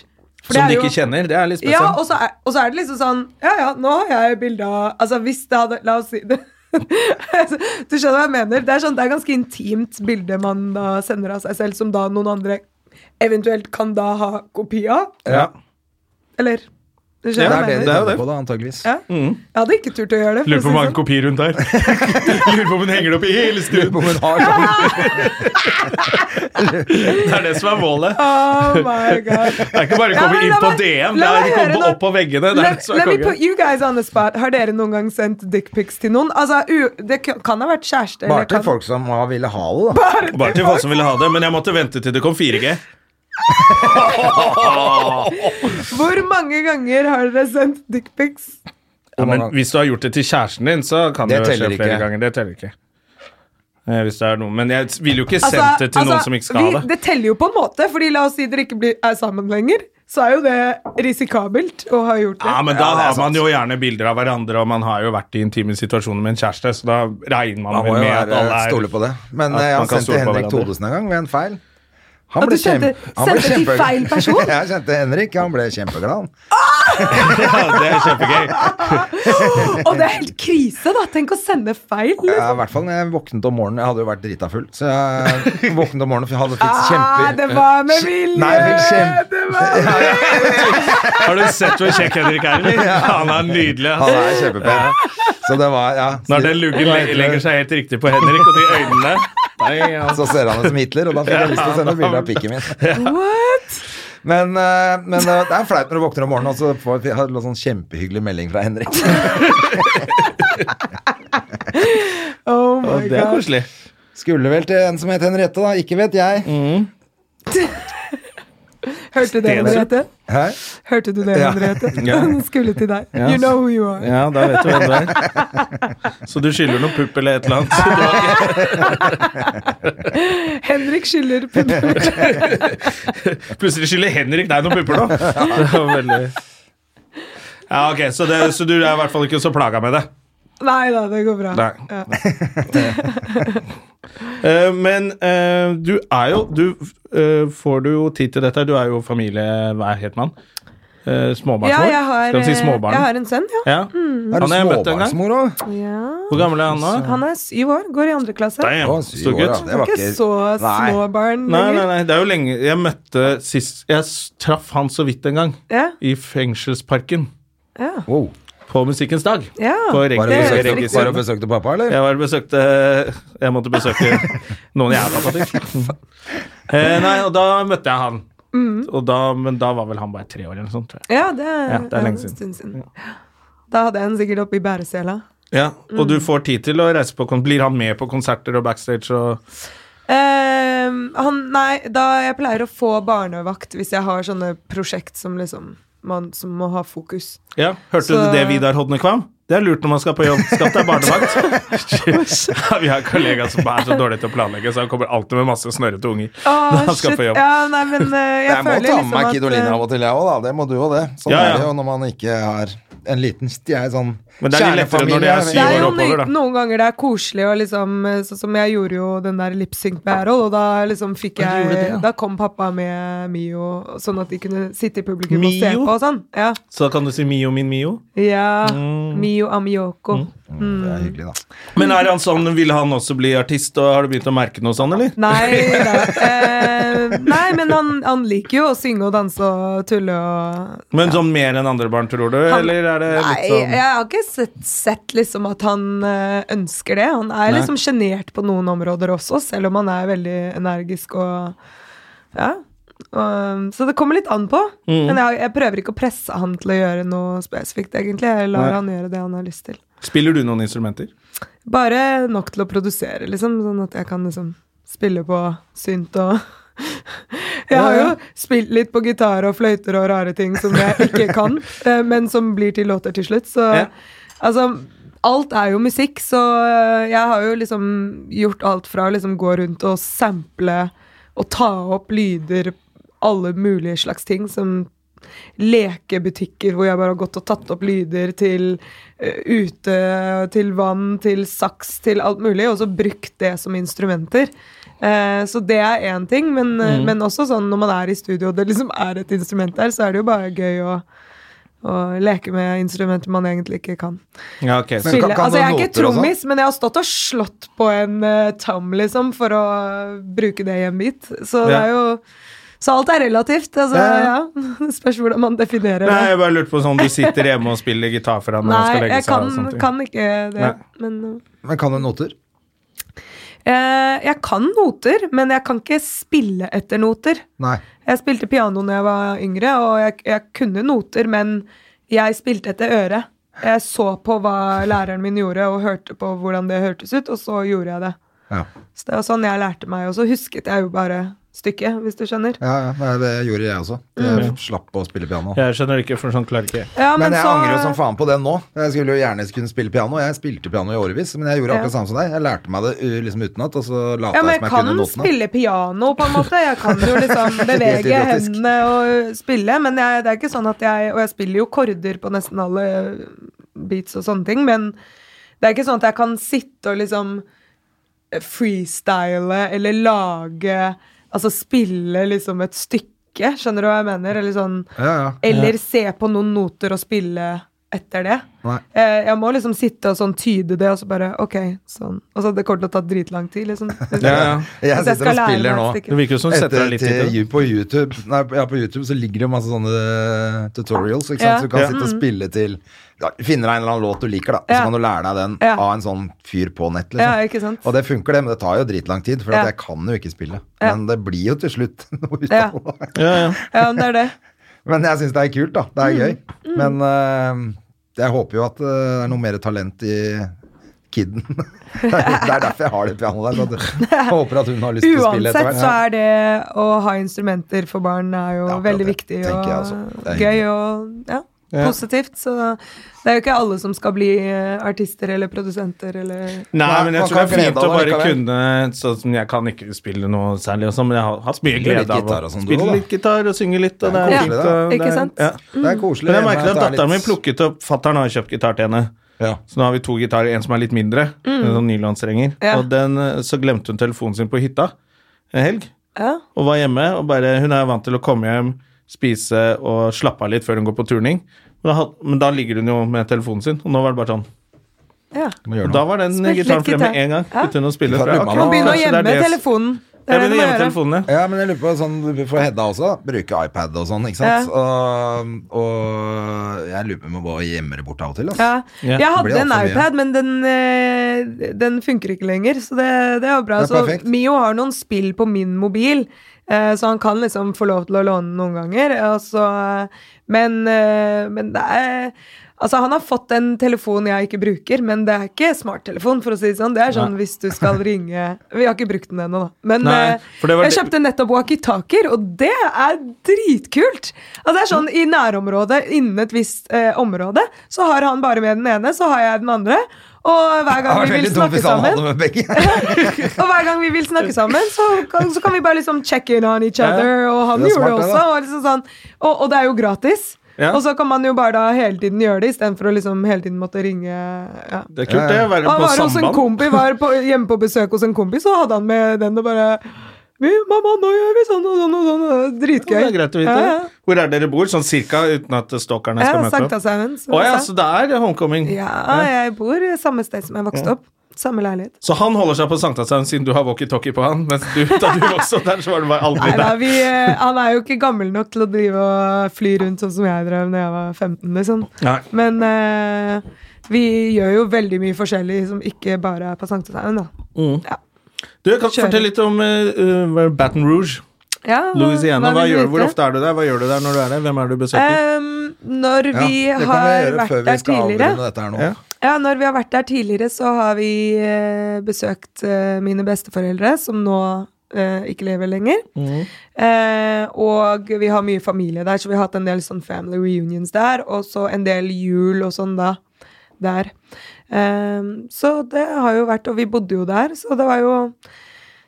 [SPEAKER 3] For
[SPEAKER 2] Som de
[SPEAKER 3] det er
[SPEAKER 2] ikke
[SPEAKER 3] jo-
[SPEAKER 2] kjenner. liksom? Det er litt
[SPEAKER 3] Ja,
[SPEAKER 2] spesielt.
[SPEAKER 3] og så, er, og så er det liksom sånn Ja, ja, nå har jeg bilde av Altså, hvis det hadde La oss si det. Altså, du skjønner hva jeg mener? Det er, sånn, det er ganske intimt bilde man da sender av seg selv, som da noen andre eventuelt kan da ha kopi av.
[SPEAKER 1] Ja.
[SPEAKER 3] Eller
[SPEAKER 1] Det
[SPEAKER 3] Du skjønner
[SPEAKER 1] er det
[SPEAKER 3] hva jeg
[SPEAKER 1] de
[SPEAKER 3] mener?
[SPEAKER 2] jo
[SPEAKER 1] holder
[SPEAKER 2] det.
[SPEAKER 1] på, da, antageligvis.
[SPEAKER 3] Ja. Jeg hadde ikke turt å gjøre det. for å
[SPEAKER 2] Lurer på
[SPEAKER 3] si
[SPEAKER 2] hvor mange
[SPEAKER 3] det sånn.
[SPEAKER 2] kopier rundt her. Lurer på om hun henger det opp i hele stuen.
[SPEAKER 1] Hvor hun har sånn
[SPEAKER 2] Det er det som er målet.
[SPEAKER 3] Oh my god.
[SPEAKER 2] Det er ikke bare å
[SPEAKER 3] Ja,
[SPEAKER 2] komme
[SPEAKER 3] men
[SPEAKER 2] inn
[SPEAKER 3] la
[SPEAKER 2] på
[SPEAKER 3] meg-
[SPEAKER 2] DM, det
[SPEAKER 3] la
[SPEAKER 2] er
[SPEAKER 3] meg
[SPEAKER 2] å
[SPEAKER 3] høre
[SPEAKER 2] komme
[SPEAKER 3] nå.
[SPEAKER 2] opp på veggene. Det er det
[SPEAKER 3] Let,
[SPEAKER 2] som
[SPEAKER 3] let
[SPEAKER 2] er
[SPEAKER 3] me put
[SPEAKER 2] konge.
[SPEAKER 3] you guys on the spot. Har dere noen gang sendt dickpics til noen? Altså, u Det kan- kan ha vært kjæreste. eller
[SPEAKER 1] Bare til
[SPEAKER 3] kan-
[SPEAKER 1] folk som har ville ha det, da.
[SPEAKER 2] Bare til folk som ville ha det, men jeg måtte vente til det kom 4G.
[SPEAKER 3] Hvor mange ganger har dere sendt dickpics?
[SPEAKER 2] Ja, men hvis du har gjort det til kjæresten din, så kan det,
[SPEAKER 1] Det
[SPEAKER 2] jo skje
[SPEAKER 1] teller ikke.
[SPEAKER 2] flere ganger. Det teller ikke. Eh, Hvis det er noe. Men jeg vil jo ikke
[SPEAKER 3] Altså,
[SPEAKER 2] sende det til
[SPEAKER 3] altså,
[SPEAKER 2] noen som ikke skal
[SPEAKER 3] vi,
[SPEAKER 2] ha det.
[SPEAKER 3] Det teller jo på en måte, Fordi la oss si dere ikke blir, er sammen lenger. Så er jo det risikabelt å ha gjort det.
[SPEAKER 2] Ja, men da
[SPEAKER 1] Ja, det er
[SPEAKER 2] har
[SPEAKER 1] sant.
[SPEAKER 2] man jo gjerne bilder av hverandre, og man har jo vært i intime situasjoner med en kjæreste, så da regner man
[SPEAKER 1] Man må
[SPEAKER 2] vel
[SPEAKER 1] jo
[SPEAKER 2] med at
[SPEAKER 1] være,
[SPEAKER 2] alle er
[SPEAKER 1] stole på det. Men
[SPEAKER 2] at
[SPEAKER 1] eh, jeg
[SPEAKER 2] man
[SPEAKER 1] har
[SPEAKER 2] kan
[SPEAKER 1] sendt til
[SPEAKER 2] stole på
[SPEAKER 1] Henrik
[SPEAKER 2] hverandre.
[SPEAKER 1] Thodesen en gang ved en feil. Han
[SPEAKER 3] At du sendte-
[SPEAKER 1] han ble
[SPEAKER 3] sendte til
[SPEAKER 1] kjempe-
[SPEAKER 3] feil person?
[SPEAKER 1] jeg sendte Henrik, han ble kjempeglad.
[SPEAKER 2] Ja, det er kjempegøy.
[SPEAKER 3] Og det er helt krise, da! Tenk å sende feil.
[SPEAKER 1] Ja, I hvert fall når jeg våknet om morgenen. Jeg hadde jo vært drita full. Så jeg våknet om morgenen for jeg hadde fikk
[SPEAKER 3] Ah, det
[SPEAKER 1] kjempe...
[SPEAKER 3] var med vilje!
[SPEAKER 1] Nei, jeg fikk kjempe...
[SPEAKER 3] det var
[SPEAKER 2] Har du sett hvor kjekk Henrik er, eller? Han er nydelig. ass.
[SPEAKER 1] Han er kjempepen. Så det var, ja.
[SPEAKER 2] Når den luggen le- legger seg helt riktig på Henrik og de øynene Nei, ja.
[SPEAKER 1] Så ser han ut som Hitler, og da fikk jeg lyst til å sende bilde av pikken min.
[SPEAKER 3] What?
[SPEAKER 1] Men, eh, men eh, det er flaut når du våkner om morgenen og så får jeg hadde en sånn kjempehyggelig melding fra Henrik.
[SPEAKER 3] Oh my
[SPEAKER 2] Det er
[SPEAKER 3] god.
[SPEAKER 2] koselig. Mm.
[SPEAKER 1] Skulle vel til en som het Henriette, da. Ikke vet jeg.
[SPEAKER 3] Hørte det, Henriette?
[SPEAKER 1] Hæ?
[SPEAKER 3] Hørte du det,
[SPEAKER 1] Ja.
[SPEAKER 3] Henriette?
[SPEAKER 2] Ja.
[SPEAKER 3] Den skulle til deg.
[SPEAKER 2] Ja.
[SPEAKER 3] You know who you are.
[SPEAKER 2] Ja, da vet du hvem det er. Så du skylder noen pupp eller et eller annet. Så du har ikke-
[SPEAKER 3] Henrik skylder publikum.
[SPEAKER 2] Plutselig skylder Henrik deg noen pupper nå. Det var veldig... Ja, ok, så, det, så du er i hvert fall ikke så plaga med det.
[SPEAKER 3] Nei da, det går bra.
[SPEAKER 2] Nei.
[SPEAKER 3] Ja.
[SPEAKER 2] Eh, men eh, du er jo Du eh, får du jo tid til dette. Du er jo familie... Hva het man? Uh, småbarnsmor?
[SPEAKER 3] Ja, jeg har,
[SPEAKER 2] Skal vi si
[SPEAKER 3] eh,
[SPEAKER 2] småbarn?
[SPEAKER 3] jeg har en sønn, ja.
[SPEAKER 2] Ja.
[SPEAKER 1] Er du
[SPEAKER 2] Han har jeg møtt en gang.
[SPEAKER 1] småbarnsmor òg?
[SPEAKER 3] ja.
[SPEAKER 2] Hvor gammel er han nå?
[SPEAKER 3] Han er syv år, går i andre klasse.
[SPEAKER 2] Damn, stor gutt.
[SPEAKER 3] Det var ikke så
[SPEAKER 1] Nei.
[SPEAKER 3] små barn
[SPEAKER 2] Nei, nei,
[SPEAKER 3] lenger.
[SPEAKER 2] nei, det er jo lenge Jeg møtte sist Jeg s- traff han så vidt en gang
[SPEAKER 3] Ja,
[SPEAKER 2] I fengselsparken
[SPEAKER 3] ja,
[SPEAKER 1] Wow.
[SPEAKER 2] På musikkens dag På
[SPEAKER 3] ja.
[SPEAKER 2] reg-
[SPEAKER 1] Var det
[SPEAKER 2] reg-
[SPEAKER 3] er helt
[SPEAKER 1] besøkte,
[SPEAKER 3] riktig.
[SPEAKER 1] var det besøkte pappa, eller?
[SPEAKER 2] Jeg var og besøkte Jeg måtte besøke noen jævla faktisk eh, Nei, og da møtte jeg han Og da, Men da var vel han bare tre år eller sånt tror jeg.
[SPEAKER 3] ja det er,
[SPEAKER 2] Ja, det er
[SPEAKER 3] ja,
[SPEAKER 2] lenge
[SPEAKER 3] en
[SPEAKER 2] siden.
[SPEAKER 3] stund siden. Da hadde jeg den sikkert oppe i bæresela.
[SPEAKER 2] Ja, og du får tid til å reise på kon- Blir han med på konserter og backstage og
[SPEAKER 3] Ehm, han, nei, da jeg pleier å få barnevakt hvis jeg har sånne prosjekt som liksom man, som må ha fokus.
[SPEAKER 2] Ja, hørte
[SPEAKER 3] Så-
[SPEAKER 2] du det Vidar Hodne Kvam? Det er lurt når man skal på jobb Skatt deg barnevakt Ja, Vi har en kollega som er så dårlig til å planlegge Så han kommer alltid med masse snørrete unger Når han skal
[SPEAKER 3] shit.
[SPEAKER 2] på jobb
[SPEAKER 3] Ja, nei, men eh, jeg,
[SPEAKER 1] Jeg må
[SPEAKER 3] føler
[SPEAKER 1] ta
[SPEAKER 3] liksom
[SPEAKER 1] med meg
[SPEAKER 3] at,
[SPEAKER 1] Kidolina
[SPEAKER 3] eh,
[SPEAKER 1] av og til, jeg òg, da. Det må du og det. Sånn
[SPEAKER 2] Ja, ja.
[SPEAKER 1] er det jo når man ikke har en liten sti- er sånn
[SPEAKER 2] Men det er litt lettere når de
[SPEAKER 1] kjernefamilie.
[SPEAKER 2] er
[SPEAKER 3] Det
[SPEAKER 2] syv
[SPEAKER 3] er
[SPEAKER 2] år
[SPEAKER 3] jo
[SPEAKER 2] oppover, da.
[SPEAKER 3] ny- noen ganger det er koselig og liksom eh, Sånn som jeg gjorde jo den der lipsync battle, og da liksom
[SPEAKER 1] Ja,
[SPEAKER 3] fikk
[SPEAKER 1] du
[SPEAKER 3] jeg
[SPEAKER 1] gjorde det, ja.
[SPEAKER 3] Da kom pappa med Mio, sånn at de kunne sitte i publikum og se
[SPEAKER 2] Mio?
[SPEAKER 3] på og sånn. Ja.
[SPEAKER 2] Så da kan du si Mio, min Mio.
[SPEAKER 3] ja.
[SPEAKER 1] Mm.
[SPEAKER 3] Mio Amioko. Mm.
[SPEAKER 1] Det er hyggelig, da.
[SPEAKER 2] Men er han sånn, ville han også bli artist, og har du begynt å merke noe sånn, eller?
[SPEAKER 3] Nei da. Eh, nei, men han, han liker jo å synge og danse og tulle og
[SPEAKER 2] Men sånn mer enn andre barn, tror du?
[SPEAKER 3] Han-
[SPEAKER 2] eller er det
[SPEAKER 3] Nei,
[SPEAKER 2] litt sånn
[SPEAKER 3] jeg har ikke sett, sett liksom at han eh, ønsker det. Han er liksom sjenert på noen områder også, selv om han er veldig energisk og Ja. Og, så det kommer litt an på.
[SPEAKER 2] Mm.
[SPEAKER 3] Men jeg, har- jeg prøver ikke å presse han til å gjøre noe spesifikt, egentlig. Jeg lar
[SPEAKER 2] Nei.
[SPEAKER 3] han gjøre det han har lyst til.
[SPEAKER 2] Spiller du noen instrumenter?
[SPEAKER 3] Bare nok til å produsere, liksom. Sånn at jeg kan liksom spille på synt og Jeg har jo spilt litt på gitar og fløyter og rare ting som jeg ikke kan, eh, men som blir til låter til slutt, så
[SPEAKER 2] Ja.
[SPEAKER 3] Altså, alt er jo musikk, så eh, jeg har jo liksom gjort alt fra å liksom gå rundt og sample og ta opp lyder, alle mulige slags ting, som lekebutikker hvor jeg bare har gått og tatt opp lyder til eh, ute, til vann, til saks, til alt mulig, og så brukt det som instrumenter. Eh, så det er én ting, men, eh, men også sånn når man er i studio og det liksom er et instrument der, så er det jo bare gøy å, å leke med instrumenter man egentlig ikke kan
[SPEAKER 2] Ja, ok. Så,
[SPEAKER 1] Men-
[SPEAKER 3] spille.
[SPEAKER 1] kan- kan
[SPEAKER 3] altså, jeg
[SPEAKER 1] du
[SPEAKER 3] er
[SPEAKER 1] noter
[SPEAKER 3] ikke
[SPEAKER 1] og sånn?
[SPEAKER 3] trommis, men jeg har stått og slått på en eh, tam, liksom, for å bruke det i en bit. Så det
[SPEAKER 2] Ja.
[SPEAKER 3] er jo Så alt er relativt. Altså,
[SPEAKER 2] Ja,
[SPEAKER 3] ja. Det spørs hvordan man definerer
[SPEAKER 2] nei,
[SPEAKER 3] det.
[SPEAKER 2] jeg bare lurte på sånn, du sitter hjemme og spiller gitar for han når han skal
[SPEAKER 3] Nei,
[SPEAKER 2] legge
[SPEAKER 3] jeg
[SPEAKER 2] seg
[SPEAKER 3] kan,
[SPEAKER 2] og sånne ting.
[SPEAKER 3] kan ikke det.
[SPEAKER 2] Nei.
[SPEAKER 3] Men
[SPEAKER 1] Men kan du noter?
[SPEAKER 3] eh, Jeg kan noter, men jeg kan ikke spille etter noter.
[SPEAKER 1] Nei.
[SPEAKER 3] Jeg spilte piano da jeg var yngre, og jeg, jeg kunne noter, men jeg spilte etter øret. Jeg så på hva læreren min gjorde, og hørte på hvordan det hørtes ut, og så gjorde jeg det.
[SPEAKER 1] Ja,
[SPEAKER 3] Så det var sånn jeg lærte meg, og så husket jeg jo bare stykket, hvis du skjønner.
[SPEAKER 1] ja, ja nei, det gjorde jeg også. Jeg slapp å spille piano.
[SPEAKER 2] Jeg skjønner ikke, for sånn klarer ikke jeg.
[SPEAKER 3] Mm. Ja,
[SPEAKER 1] Men jeg
[SPEAKER 3] så-
[SPEAKER 1] angrer jo som faen på det nå. Jeg skulle jo gjerne kunne spille piano. Jeg spilte piano i årevis, men jeg gjorde
[SPEAKER 3] Ja.
[SPEAKER 1] akkurat samme som deg. Jeg lærte meg det uh, liksom utenat, og så lata
[SPEAKER 3] Ja, men
[SPEAKER 1] jeg som
[SPEAKER 3] jeg
[SPEAKER 1] jeg
[SPEAKER 3] kan
[SPEAKER 1] kunne notene.
[SPEAKER 3] spille piano, på en måte. Jeg kan jo liksom
[SPEAKER 1] Helt
[SPEAKER 3] bevege
[SPEAKER 1] idiotisk.
[SPEAKER 3] hendene og øh, spille, men jeg, det er ikke sånn at jeg Og jeg spiller jo korder på nesten alle øh, beats og sånne ting, men det er ikke sånn at jeg kan sitte og liksom freestyle eller lage Altså spille liksom et stykke, skjønner du hva jeg mener? Eller sånn
[SPEAKER 1] Ja, ja.
[SPEAKER 3] Eller se på noen noter og spille etter det.
[SPEAKER 1] Nei.
[SPEAKER 3] Eh, Jeg må liksom sitte og sånn tyde det, og så bare OK, sånn. Og så det kommer til å ta dritlang tid, liksom.
[SPEAKER 2] Ja, ja.
[SPEAKER 1] Jeg
[SPEAKER 3] Hvis jeg
[SPEAKER 1] sitter og
[SPEAKER 3] skal lære
[SPEAKER 1] spiller
[SPEAKER 3] meg
[SPEAKER 1] nå.
[SPEAKER 3] et stykke.
[SPEAKER 2] Det virker jo som du setter deg
[SPEAKER 1] Etter,
[SPEAKER 2] litt i
[SPEAKER 1] til,
[SPEAKER 2] det.
[SPEAKER 1] på, YouTube, nei, ja, på YouTube så ligger det masse sånne eh, tutorials. Ikke sant?
[SPEAKER 3] Ja. Mm.
[SPEAKER 1] Så du kan
[SPEAKER 2] Ja.
[SPEAKER 1] sitte og spille til ja, Finne deg en eller annen låt du liker, da. Og
[SPEAKER 3] Ja.
[SPEAKER 1] så kan du lære deg den
[SPEAKER 3] Ja.
[SPEAKER 1] av en sånn fyr på nett.
[SPEAKER 3] Ja,
[SPEAKER 1] Liksom.
[SPEAKER 3] ikke sant?
[SPEAKER 1] Og det funker, det, men det tar jo dritlang tid, for
[SPEAKER 3] Ja.
[SPEAKER 1] at jeg kan jo ikke spille.
[SPEAKER 3] Ja.
[SPEAKER 1] Men det blir jo til slutt noe ut
[SPEAKER 3] Ja.
[SPEAKER 1] av det.
[SPEAKER 2] Ja, ja.
[SPEAKER 3] Ja, men det er det.
[SPEAKER 1] Men jeg syns det er kult, da.
[SPEAKER 3] Mm.
[SPEAKER 1] Det er gøy. Men eh, jeg håper jo at eh, det er noe mer talent i kiden. det er derfor jeg har det pianoet der. så at Jeg håper at hun har lyst til å spille etter
[SPEAKER 3] Uansett
[SPEAKER 1] hvert.
[SPEAKER 3] så er det å ha instrumenter for barn er jo
[SPEAKER 1] Det er akkurat
[SPEAKER 3] veldig
[SPEAKER 1] det,
[SPEAKER 3] viktig
[SPEAKER 1] tenker
[SPEAKER 3] og
[SPEAKER 1] jeg også. Det er
[SPEAKER 3] gøy
[SPEAKER 1] hyggelig.
[SPEAKER 3] og ja, positivt. Så det er jo ikke alle som skal bli eh, artister eller produsenter eller
[SPEAKER 2] Nei,
[SPEAKER 1] Nei,
[SPEAKER 2] men jeg
[SPEAKER 1] man
[SPEAKER 2] tror det
[SPEAKER 1] kan
[SPEAKER 2] er fint
[SPEAKER 1] glede
[SPEAKER 2] å
[SPEAKER 1] av det
[SPEAKER 2] bare
[SPEAKER 1] likevel.
[SPEAKER 2] kunne Sånn som jeg kan ikke spille noe særlig, og sånn, men jeg har hatt mye
[SPEAKER 1] Spiller litt
[SPEAKER 2] glede av
[SPEAKER 1] gitar
[SPEAKER 2] å
[SPEAKER 1] og sånn, du
[SPEAKER 2] spille
[SPEAKER 1] også, da.
[SPEAKER 2] litt gitar og synge litt. Og
[SPEAKER 1] Det
[SPEAKER 2] det er
[SPEAKER 1] er
[SPEAKER 2] fint,
[SPEAKER 1] koselig,
[SPEAKER 2] og
[SPEAKER 3] det.
[SPEAKER 2] det er-
[SPEAKER 3] Ikke sant?
[SPEAKER 2] Ja.
[SPEAKER 1] Det er koselig.
[SPEAKER 2] Men jeg
[SPEAKER 1] men
[SPEAKER 2] merker at
[SPEAKER 1] det er
[SPEAKER 2] datteren min
[SPEAKER 1] litt-
[SPEAKER 2] plukket opp Fattern har kjøpt gitar til henne.
[SPEAKER 1] Ja.
[SPEAKER 2] Så nå har vi to gitarer, en som er litt mindre, en sånn nylandsrenger.
[SPEAKER 3] Mm. Ja.
[SPEAKER 2] Og den, eh, så glemte hun telefonen sin på hytta en helg,
[SPEAKER 3] ja.
[SPEAKER 2] og var hjemme. Og bare, hun er vant til å komme hjem, spise og slappe av litt før hun går på turning. Men da, had- men da ligger hun jo med telefonen sin, og nå var det bare sånn.
[SPEAKER 3] ja.
[SPEAKER 1] Du må gjøre
[SPEAKER 2] Og
[SPEAKER 1] noe.
[SPEAKER 2] da var den
[SPEAKER 3] Spilt litt
[SPEAKER 2] gitaren fremme
[SPEAKER 3] gitar.
[SPEAKER 2] en gang.
[SPEAKER 3] Ja.
[SPEAKER 2] Begynte hun å
[SPEAKER 1] Da
[SPEAKER 2] spille. tror jeg.
[SPEAKER 1] blir man-
[SPEAKER 2] Ok,
[SPEAKER 3] Man begynner å
[SPEAKER 2] kanskje det er
[SPEAKER 3] gjemme
[SPEAKER 2] det-
[SPEAKER 3] telefonen. Det
[SPEAKER 2] Jeg
[SPEAKER 3] er det
[SPEAKER 2] begynner å
[SPEAKER 3] du
[SPEAKER 2] gjemme
[SPEAKER 3] må gjøre.
[SPEAKER 2] telefonen, ja.
[SPEAKER 1] Ja, men jeg lurer på sånn, For Hedda også, da, bruke iPad og sånn, ikke sant? Og, og jeg lurer på om jeg bare gjemmer det bort av og til. Altså.
[SPEAKER 3] Ja.
[SPEAKER 2] Ja.
[SPEAKER 3] Jeg
[SPEAKER 1] Det
[SPEAKER 3] hadde
[SPEAKER 1] blir
[SPEAKER 3] en
[SPEAKER 1] alt for mye.
[SPEAKER 3] iPad, men den, eh, den funker ikke lenger, så det, det er jo bra.
[SPEAKER 1] Det er perfekt.
[SPEAKER 3] så Mio har noen spill på min mobil, eh, så han kan liksom få lov til å låne noen ganger. og så- men, eh, men det er Altså, han har fått en telefon jeg ikke bruker, men det er ikke smarttelefon, for å si det sånn. Det er sånn
[SPEAKER 2] Nei.
[SPEAKER 3] hvis du skal ringe Vi har ikke brukt den ennå, da. Men
[SPEAKER 2] Nei,
[SPEAKER 3] eh,
[SPEAKER 2] for det var
[SPEAKER 3] jeg
[SPEAKER 2] det-
[SPEAKER 3] kjøpte nettopp walkietalkier, og det er dritkult! Altså det er sånn I nærområdet, innen et visst eh, område, så har han bare med den ene, så har jeg den andre. Og hver
[SPEAKER 1] Det
[SPEAKER 3] gang
[SPEAKER 1] var
[SPEAKER 3] vi vil
[SPEAKER 1] veldig dumt
[SPEAKER 3] snakke
[SPEAKER 1] hvis han hadde
[SPEAKER 3] sammen,
[SPEAKER 1] med begge.
[SPEAKER 3] Og hver gang vi vil snakke sammen så, kan, så kan vi bare liksom check in on each other. Og han
[SPEAKER 1] Det er
[SPEAKER 3] gjorde
[SPEAKER 1] smart,
[SPEAKER 3] det
[SPEAKER 1] det,
[SPEAKER 3] også.
[SPEAKER 1] da.
[SPEAKER 3] Og, liksom sånn, og, og det er jo gratis.
[SPEAKER 2] Ja.
[SPEAKER 3] Og så kan man jo bare da hele tiden gjøre det, istedenfor å liksom hele tiden måtte ringe. Ja.
[SPEAKER 2] Det er kult, det. Å være på
[SPEAKER 3] Han var hos en
[SPEAKER 2] samband.
[SPEAKER 3] kompi, var på, hjemme på besøk hos en kompis, og hadde han med den og bare vi, 'Mamma, nå gjør vi sånn og sånn og sånn.' og
[SPEAKER 2] Ja,
[SPEAKER 3] Dritgøy.
[SPEAKER 2] Det er greit å vite.
[SPEAKER 3] Ja, ja.
[SPEAKER 2] Hvor er dere bor, sånn cirka, uten at stalkerne
[SPEAKER 3] Ja,
[SPEAKER 2] skal møte opp?
[SPEAKER 3] Sankthanshaugen. som
[SPEAKER 2] Å
[SPEAKER 3] jeg
[SPEAKER 2] ja,
[SPEAKER 3] sa.
[SPEAKER 2] så det er homecoming.
[SPEAKER 3] ja, jeg bor samme sted som jeg vokste opp. Samme leilighet.
[SPEAKER 2] Så han holder seg på Sankthanshaugen siden du har walkietalkie på han, mens du, da du vokste opp der, så var det bare aldri
[SPEAKER 3] Nei, da,
[SPEAKER 2] der.
[SPEAKER 3] vi, eh, han er jo ikke gammel nok til å drive og fly rundt sånn som jeg drev da jeg var 15. Liksom.
[SPEAKER 2] Nei.
[SPEAKER 3] Men eh, vi gjør jo veldig mye forskjellig som ikke bare er på Sankthanshaugen. da.
[SPEAKER 2] Du, jeg kan
[SPEAKER 3] Kjører.
[SPEAKER 2] fortelle litt om eh, eh, Baton Rouge,
[SPEAKER 3] Ja, hva-
[SPEAKER 2] Louisiana. Hva
[SPEAKER 3] vil du
[SPEAKER 2] gjør, hvor
[SPEAKER 3] vite?
[SPEAKER 2] ofte er du der? Hva gjør du der når du er der? Hvem er det du
[SPEAKER 3] Eh,
[SPEAKER 2] besøker?
[SPEAKER 3] Em, Ehm, når
[SPEAKER 1] Ja,
[SPEAKER 3] vi
[SPEAKER 1] det kan vi
[SPEAKER 3] har
[SPEAKER 1] gjøre
[SPEAKER 3] vært
[SPEAKER 1] før vi
[SPEAKER 3] der
[SPEAKER 1] skal
[SPEAKER 3] tidligere
[SPEAKER 1] avrunde dette her nå.
[SPEAKER 2] Ja.
[SPEAKER 3] Ja, når vi har vært der tidligere, så har vi eh, besøkt eh, mine besteforeldre, som nå eh, ikke lever lenger. Eh, og vi har mye familie der, så vi har hatt en del sånn family reunions der, og så en del jul og sånn da. Der. Eh, så det har jo vært Og vi bodde jo der, så det var jo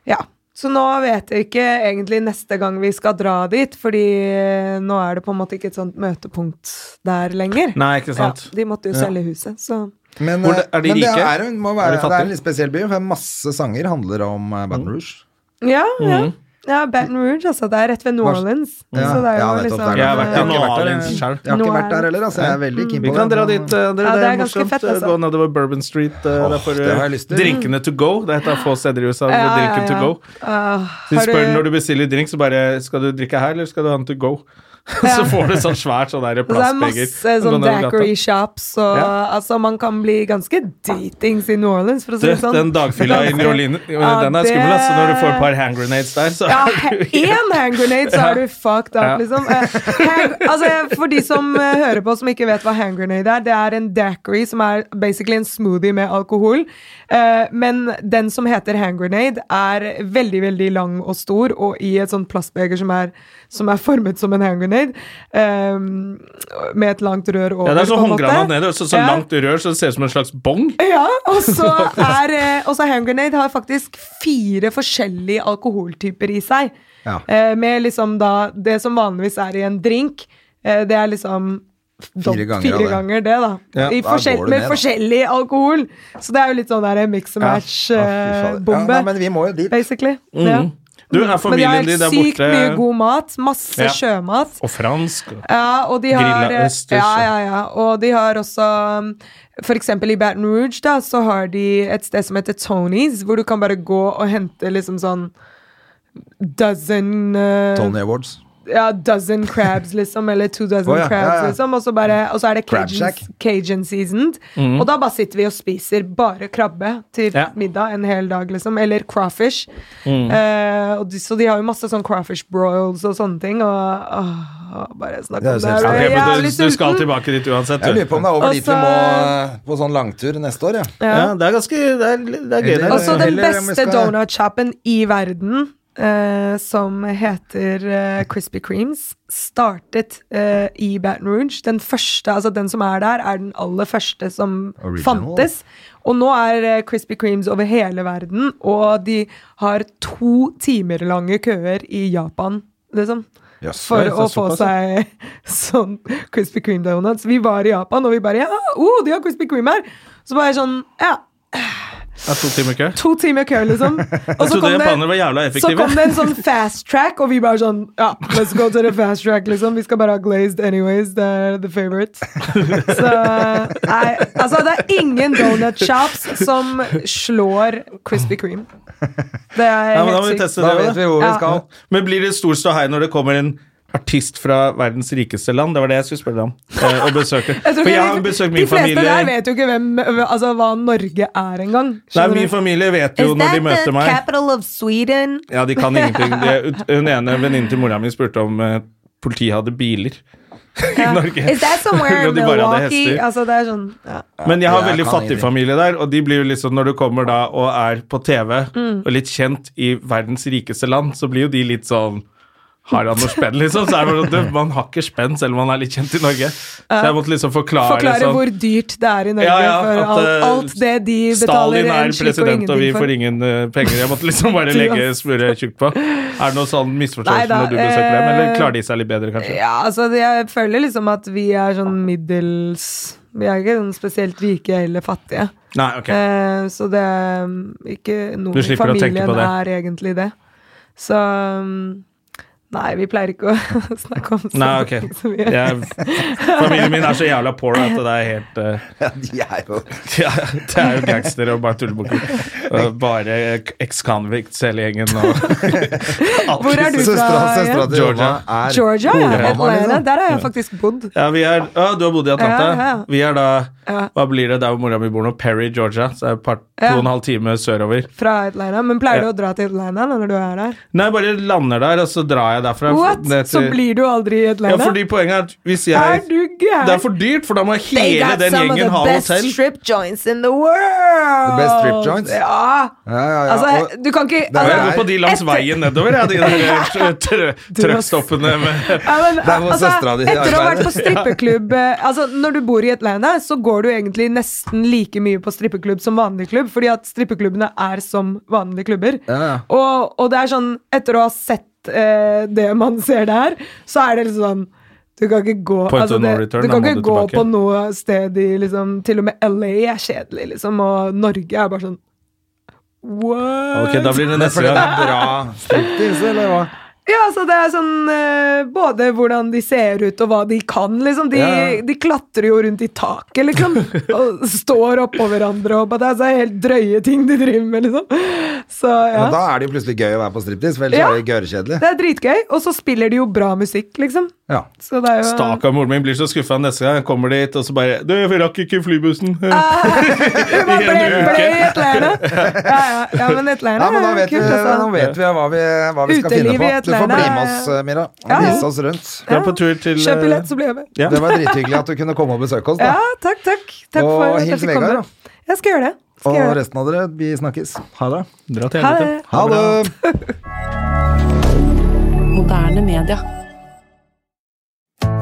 [SPEAKER 3] ja. Så nå vet jeg ikke egentlig neste gang vi skal dra dit, fordi eh, nå er det på en måte ikke et sånt møtepunkt der lenger.
[SPEAKER 2] Nei, ikke sant?
[SPEAKER 3] Ja, de måtte jo selge huset, så
[SPEAKER 1] Men,
[SPEAKER 2] Hvor det-
[SPEAKER 1] eh,
[SPEAKER 2] er de
[SPEAKER 1] men det,
[SPEAKER 2] rike?
[SPEAKER 1] er, en- må
[SPEAKER 2] Er de
[SPEAKER 1] være, det
[SPEAKER 2] fattige?
[SPEAKER 1] er en litt spesiell by, for masse sanger handler om eh,
[SPEAKER 2] Mm.
[SPEAKER 1] Baton Rouge.
[SPEAKER 3] Ja,
[SPEAKER 2] Mhm.
[SPEAKER 3] ja. ja Baton Rouge, altså. Det er rett ved New
[SPEAKER 1] Hva-
[SPEAKER 3] Orleans.
[SPEAKER 1] Ja,
[SPEAKER 3] så det er jo
[SPEAKER 1] ja, nettopp,
[SPEAKER 3] liksom
[SPEAKER 1] det er
[SPEAKER 2] Jeg har vært i
[SPEAKER 1] Jeg har
[SPEAKER 2] New
[SPEAKER 1] ikke vært der,
[SPEAKER 2] Orleans
[SPEAKER 1] jeg. Jeg
[SPEAKER 2] selv.
[SPEAKER 1] har
[SPEAKER 3] Nå
[SPEAKER 1] ikke
[SPEAKER 3] er
[SPEAKER 1] vært der
[SPEAKER 3] det-
[SPEAKER 1] heller, altså. Jeg er veldig keen
[SPEAKER 2] Vi
[SPEAKER 1] på det.
[SPEAKER 2] kan dra
[SPEAKER 1] men-
[SPEAKER 2] dit. eh, Dere,
[SPEAKER 3] Ja,
[SPEAKER 2] det
[SPEAKER 3] det
[SPEAKER 2] er
[SPEAKER 3] er ganske
[SPEAKER 2] morsomt.
[SPEAKER 3] fett, altså.
[SPEAKER 2] Gå nedover Bourbon Street. eh,
[SPEAKER 1] Åh,
[SPEAKER 2] der får du-
[SPEAKER 1] det har jeg lyst til.
[SPEAKER 2] drinkene to go. Det er et av få steder i USA hvor
[SPEAKER 3] Ja, ja,
[SPEAKER 2] drikken to
[SPEAKER 3] ja.
[SPEAKER 2] go.
[SPEAKER 3] Ah,
[SPEAKER 2] Så de
[SPEAKER 3] har
[SPEAKER 2] spør når du bestiller drink, så bare Skal du drikke her, eller skal du ha den to go? så får du sånn svært sånn der
[SPEAKER 3] Og så er det
[SPEAKER 2] plastbeger.
[SPEAKER 3] masse
[SPEAKER 2] Gå
[SPEAKER 3] sånn
[SPEAKER 2] ned i gata.
[SPEAKER 3] daiquiri shops, og
[SPEAKER 2] Ja.
[SPEAKER 3] altså, man kan bli ganske dritings i New Orleans, for å si
[SPEAKER 2] Du,
[SPEAKER 3] det sånn.
[SPEAKER 2] Den dagfylla i
[SPEAKER 3] Ganske-
[SPEAKER 2] New Orleans, jo,
[SPEAKER 3] Ja,
[SPEAKER 2] den er
[SPEAKER 3] det-
[SPEAKER 2] skummel, ass. Så Når du får et par hand grenades der, så
[SPEAKER 3] Ja, én hand grenade, så er du fucked up,
[SPEAKER 2] Ja.
[SPEAKER 3] liksom. Eh, hand, altså, for de som eh, hører på som ikke vet hva hand grenade er, det er en daiquiri som er basically en smoothie med alkohol. Eh, men den som heter hand grenade, er veldig, veldig lang og stor, og i et sånt plastbeger som er, som er formet som en hand grenade, eh, med et langt rør over.
[SPEAKER 2] Ja, det er
[SPEAKER 3] på
[SPEAKER 2] sånn
[SPEAKER 3] en måte.
[SPEAKER 2] håndgranat nede, og så, så
[SPEAKER 3] Ja.
[SPEAKER 2] langt rør, så det ser ut som en slags bong.
[SPEAKER 3] Ja, og så er eh, også hand grenade har faktisk fire forskjellige alkoholtyper i seg.
[SPEAKER 1] Ja.
[SPEAKER 3] Eh, Med liksom da Det som vanligvis er i en drink, eh, det er liksom f- dobbelt
[SPEAKER 1] Fire ganger av
[SPEAKER 3] fire
[SPEAKER 1] det.
[SPEAKER 3] ganger det, da.
[SPEAKER 1] Ja,
[SPEAKER 3] I
[SPEAKER 1] da
[SPEAKER 3] forskjell,
[SPEAKER 1] går det
[SPEAKER 3] med
[SPEAKER 1] ned, da.
[SPEAKER 3] forskjellig alkohol. Så det er jo litt sånn der mix and
[SPEAKER 1] Ja.
[SPEAKER 2] eh,
[SPEAKER 1] Ja, fy fader. Ja,
[SPEAKER 3] match-bombe,
[SPEAKER 1] nei, men vi må jo dit.
[SPEAKER 3] basically. Ja.
[SPEAKER 2] Mm. Du, er
[SPEAKER 3] Men de
[SPEAKER 2] familien
[SPEAKER 3] har
[SPEAKER 2] din der
[SPEAKER 3] sykt mye
[SPEAKER 2] borte
[SPEAKER 3] god mat. Masse
[SPEAKER 2] Ja.
[SPEAKER 3] sjømat.
[SPEAKER 2] Og fransk. og-
[SPEAKER 3] Ja, og de har
[SPEAKER 2] Grilla østers,
[SPEAKER 3] Ja,
[SPEAKER 2] ja.
[SPEAKER 3] ja, ja. Og de har også um, For eksempel i Baton Rouge da, så har de et sted som heter Tony's, hvor du kan bare gå og hente liksom sånn dozen eh,
[SPEAKER 1] Tony Awards.
[SPEAKER 3] ja, dozen crabs, liksom, eller two dozen
[SPEAKER 1] Å, ja,
[SPEAKER 3] crabs,
[SPEAKER 1] ja, ja.
[SPEAKER 3] liksom. Og så, bare, og så er det
[SPEAKER 1] Crab
[SPEAKER 3] Cajun,
[SPEAKER 1] shack.
[SPEAKER 3] Cajun seasoned. Og da bare sitter vi og spiser bare krabbe til
[SPEAKER 2] Mm. Ja. Mm.
[SPEAKER 3] middag en hel dag, liksom. Eller crawfish. Eh, og de, så de har jo masse sånn crawfish broils og sånne ting, og åh, bare snakk
[SPEAKER 1] Det er jo
[SPEAKER 3] om det.
[SPEAKER 1] Ja,
[SPEAKER 3] her,
[SPEAKER 2] Ok,
[SPEAKER 3] og jeg er
[SPEAKER 2] men du,
[SPEAKER 3] jævlig
[SPEAKER 2] du skal
[SPEAKER 3] sulten.
[SPEAKER 2] tilbake dit
[SPEAKER 1] Jeg
[SPEAKER 2] uansett, du.
[SPEAKER 1] lurer på om det er over dit vi
[SPEAKER 3] Og
[SPEAKER 1] må
[SPEAKER 3] så-
[SPEAKER 1] eh, på sånn langtur neste år, ja.
[SPEAKER 2] Ja, det er ganske Det er, det er gøy, det.
[SPEAKER 1] Eller-
[SPEAKER 3] Og så den
[SPEAKER 1] Heller om vi
[SPEAKER 3] beste
[SPEAKER 1] skal-
[SPEAKER 3] donutshoppen i verden, eh, som heter eh, Krispy Kremes, startet eh, i Baton Rouge. Den første, altså den som er der, er den aller første som
[SPEAKER 1] Original.
[SPEAKER 3] fantes. Og nå er eh, Krispy Kremes over hele verden, og de har to timer lange køer i Japan, liksom.
[SPEAKER 1] Jøss,
[SPEAKER 3] For
[SPEAKER 1] det er
[SPEAKER 3] å få
[SPEAKER 1] såpass, ja.
[SPEAKER 3] seg sånn Krispy Kreme donuts. Vi var i Japan, og vi bare ja, oh, de har Krispy Kreme her! Så bare sånn, ja,
[SPEAKER 2] Det er to timer kø.
[SPEAKER 3] to timer kø, liksom. Og
[SPEAKER 2] Jeg trodde japanere var jævla
[SPEAKER 3] så
[SPEAKER 2] effektive.
[SPEAKER 3] kom det en sånn fast track, og vi bare sånn Ja, let's go to the fast track, liksom. Vi skal bare ha glazed anyways. Det er the favorite. Så Nei, altså, det er ingen donut shops som slår Krispy Kreme. Det er
[SPEAKER 2] Ja, men da må vi
[SPEAKER 3] helt sykt.
[SPEAKER 2] teste
[SPEAKER 1] Da
[SPEAKER 2] det.
[SPEAKER 1] vet vi hvor vi
[SPEAKER 3] Ja.
[SPEAKER 1] skal.
[SPEAKER 2] Men blir det stor ståhei når det kommer en artist fra verdens rikeste land? Det var det jeg skulle spørre deg om. eh, Og besøke.
[SPEAKER 3] Jeg tror
[SPEAKER 2] For
[SPEAKER 3] ikke
[SPEAKER 2] jeg
[SPEAKER 3] de-
[SPEAKER 2] har besøkt min
[SPEAKER 3] De fleste der
[SPEAKER 2] familie.
[SPEAKER 3] vet jo ikke hvem, altså, hva Norge er engang.
[SPEAKER 2] Nei,
[SPEAKER 3] Skjønner
[SPEAKER 2] min
[SPEAKER 3] du?
[SPEAKER 2] familie vet jo når de møter meg.
[SPEAKER 4] capital of Sweden?
[SPEAKER 2] Ja, de kan ingenting. De, hun ene venninnen til mora mi spurte om eh, politiet hadde biler i Norge.
[SPEAKER 4] Is that somewhere
[SPEAKER 2] Og
[SPEAKER 4] in
[SPEAKER 2] de bare hadde
[SPEAKER 4] Milwaukee?
[SPEAKER 2] hester.
[SPEAKER 3] Altså, det er sånn ja.
[SPEAKER 2] Men jeg har
[SPEAKER 1] Jeg
[SPEAKER 2] veldig
[SPEAKER 1] kan
[SPEAKER 2] fattig
[SPEAKER 1] ingenting.
[SPEAKER 2] familie der, og de blir jo liksom, når du kommer da og er på TV
[SPEAKER 3] Mm.
[SPEAKER 2] og litt kjent i verdens rikeste land, så blir jo de litt sånn har han noe spenn, liksom? Så er det bare sånn, du, Man har ikke spenn, selv om man er litt kjent i Norge. Så jeg måtte liksom forklare,
[SPEAKER 3] Forklare
[SPEAKER 2] sånn,
[SPEAKER 3] hvor dyrt det er i Norge
[SPEAKER 2] Ja, ja,
[SPEAKER 3] for
[SPEAKER 2] at,
[SPEAKER 3] alt,
[SPEAKER 2] eh,
[SPEAKER 3] alt det de betaler
[SPEAKER 2] Stalin
[SPEAKER 3] en
[SPEAKER 2] er
[SPEAKER 3] slikk og
[SPEAKER 2] president, og vi
[SPEAKER 3] ingenting
[SPEAKER 2] får
[SPEAKER 3] for.
[SPEAKER 2] ingen eh, penger. Jeg måtte liksom bare legge smøre tjukt på. Er det noe sånn
[SPEAKER 3] Nei
[SPEAKER 2] misforståelse
[SPEAKER 3] da,
[SPEAKER 2] når du besøker dem, eller
[SPEAKER 3] eh,
[SPEAKER 2] klarer de seg litt bedre, kanskje?
[SPEAKER 3] Ja, altså det- jeg føler liksom at vi er sånn middels Vi er ikke sånn spesielt rike eller fattige.
[SPEAKER 2] Nei, ok.
[SPEAKER 3] Eh, så det er mm, ikke noen
[SPEAKER 2] Du
[SPEAKER 3] i
[SPEAKER 2] slipper å tenke
[SPEAKER 3] familien
[SPEAKER 2] på
[SPEAKER 3] er egentlig det. Så mm, Nei, vi pleier ikke å snakke om sånne
[SPEAKER 2] Nei, ok.
[SPEAKER 3] ting så mye.
[SPEAKER 2] Jeg, familien min er så jævla poor at det er helt eh,
[SPEAKER 1] Ja, de er jo
[SPEAKER 2] Ja, det er jo gangstere og bare tullebukker. Og Bare eks-convicts hele gjengen. Og
[SPEAKER 3] Hvor er du
[SPEAKER 1] Søstera
[SPEAKER 3] fra?
[SPEAKER 1] søstera
[SPEAKER 3] Jørgen?
[SPEAKER 1] til Jonna
[SPEAKER 2] Georgia.
[SPEAKER 1] er
[SPEAKER 3] Georgia, ja.
[SPEAKER 1] Boligmamma,
[SPEAKER 3] Atlanta.
[SPEAKER 1] liksom.
[SPEAKER 3] Der har jeg faktisk bodd.
[SPEAKER 2] ja, vi er, å, du har bodd i Atlanta.
[SPEAKER 3] Ja, ja.
[SPEAKER 2] Vi er da
[SPEAKER 3] Ja.
[SPEAKER 2] Hva blir det der hvor mora mi bor nå? Perry, Georgia. Så er det et par, to
[SPEAKER 3] Ja.
[SPEAKER 2] og en halv time sørover.
[SPEAKER 3] Fra Atlanta. Men pleier
[SPEAKER 2] Ja.
[SPEAKER 3] du å dra til Atlanta da, når du er der?
[SPEAKER 2] Nei, bare lander der, og så drar jeg derfra.
[SPEAKER 3] What?
[SPEAKER 2] Ned til-
[SPEAKER 3] Så blir du aldri i
[SPEAKER 2] ja,
[SPEAKER 3] Atlanta?
[SPEAKER 2] fordi Poenget er at hvis
[SPEAKER 3] er
[SPEAKER 2] jeg
[SPEAKER 3] du gæren?
[SPEAKER 2] Det er for dyrt, for da må
[SPEAKER 4] They
[SPEAKER 2] hele
[SPEAKER 4] got
[SPEAKER 2] den
[SPEAKER 4] some of
[SPEAKER 2] gjengen
[SPEAKER 4] the
[SPEAKER 2] ha
[SPEAKER 4] best
[SPEAKER 2] hotell.
[SPEAKER 4] strip joints in the world.
[SPEAKER 1] The best strip joints?
[SPEAKER 3] Ja.
[SPEAKER 1] Ja, ja, ja.
[SPEAKER 3] Altså,
[SPEAKER 1] Og-
[SPEAKER 3] du kan ikke
[SPEAKER 1] er
[SPEAKER 2] Og
[SPEAKER 3] altså,
[SPEAKER 2] jeg går på de langs
[SPEAKER 3] etter-
[SPEAKER 2] veien nedover, jeg. De der eh, trø- trø- trøkstoppene med
[SPEAKER 3] Ja, men, altså,
[SPEAKER 1] Der hvor søstera di
[SPEAKER 3] etter å ha
[SPEAKER 1] arbeider.
[SPEAKER 3] vært på strippeklubb eh, Altså, Når du bor i Atlanta, så går du egentlig nesten like mye på strippeklubb som vanlig klubb, fordi at strippeklubbene er som vanlige klubber.
[SPEAKER 1] Ja, ja.
[SPEAKER 3] Og, og det er sånn, etter å ha sett eh, det man ser der, så er det liksom sånn du kan ikke gå, altså,
[SPEAKER 2] Point of no
[SPEAKER 3] det,
[SPEAKER 2] return,
[SPEAKER 3] du
[SPEAKER 2] da
[SPEAKER 3] kan
[SPEAKER 2] må
[SPEAKER 3] ikke
[SPEAKER 2] du
[SPEAKER 3] gå
[SPEAKER 2] tilbake.
[SPEAKER 3] på noe sted i liksom Til og med LA er kjedelig, liksom, og Norge er bare sånn What?
[SPEAKER 2] Ok, da blir
[SPEAKER 1] Det
[SPEAKER 2] det
[SPEAKER 1] er
[SPEAKER 2] neste
[SPEAKER 1] fordi det
[SPEAKER 2] gang.
[SPEAKER 1] er bra striptease, eller hva?
[SPEAKER 3] Ja, så det er sånn eh, Både hvordan de ser ut og hva de kan, liksom. De,
[SPEAKER 1] Ja.
[SPEAKER 3] de klatrer jo rundt i taket, liksom. Og står oppå hverandre og bare altså, Det er så helt drøye ting de driver med, liksom. Så ja.
[SPEAKER 1] Men da er det jo plutselig gøy å være på striptease, for ellers
[SPEAKER 3] Ja.
[SPEAKER 1] er det gørrkjedelig.
[SPEAKER 3] Det er dritgøy, og så spiller de jo bra musikk, liksom.
[SPEAKER 1] Ja.
[SPEAKER 3] Så det er jo
[SPEAKER 2] Stakkar moren min blir så skuffa neste gang jeg kommer dit, og så bare Du, vi rakk ikke flybussen.
[SPEAKER 3] Det var ble, ble i Atlanta. Ja, ja. ja, men Atlanta
[SPEAKER 1] Nei, men da
[SPEAKER 3] er
[SPEAKER 1] vet,
[SPEAKER 3] kult,
[SPEAKER 1] vi,
[SPEAKER 3] altså.
[SPEAKER 1] nå vet vi hva vi, hva vi skal
[SPEAKER 3] Uteliv
[SPEAKER 1] finne på.
[SPEAKER 3] i et
[SPEAKER 1] Du får
[SPEAKER 3] leire.
[SPEAKER 1] bli med oss, eh, Mira.
[SPEAKER 3] Ja, ja.
[SPEAKER 1] Vise oss rundt.
[SPEAKER 2] Vi er på tur til
[SPEAKER 3] Kjøp
[SPEAKER 2] eh,
[SPEAKER 3] billett, så blir jeg med.
[SPEAKER 2] Ja.
[SPEAKER 1] Det var drithyggelig at du kunne komme og besøke oss.
[SPEAKER 3] Ja,
[SPEAKER 1] Da.
[SPEAKER 3] takk, takk. takk
[SPEAKER 1] Og
[SPEAKER 3] for at jeg
[SPEAKER 1] hils
[SPEAKER 3] fikk komme.
[SPEAKER 1] Vegard,
[SPEAKER 3] Jeg skal gjøre det. Skal
[SPEAKER 1] Og
[SPEAKER 3] gjøre det.
[SPEAKER 1] resten av dere, vi snakkes. Ha det.
[SPEAKER 2] Dra til
[SPEAKER 3] Ha
[SPEAKER 2] helvete.
[SPEAKER 3] det.
[SPEAKER 1] Ha det!
[SPEAKER 5] Moderne media.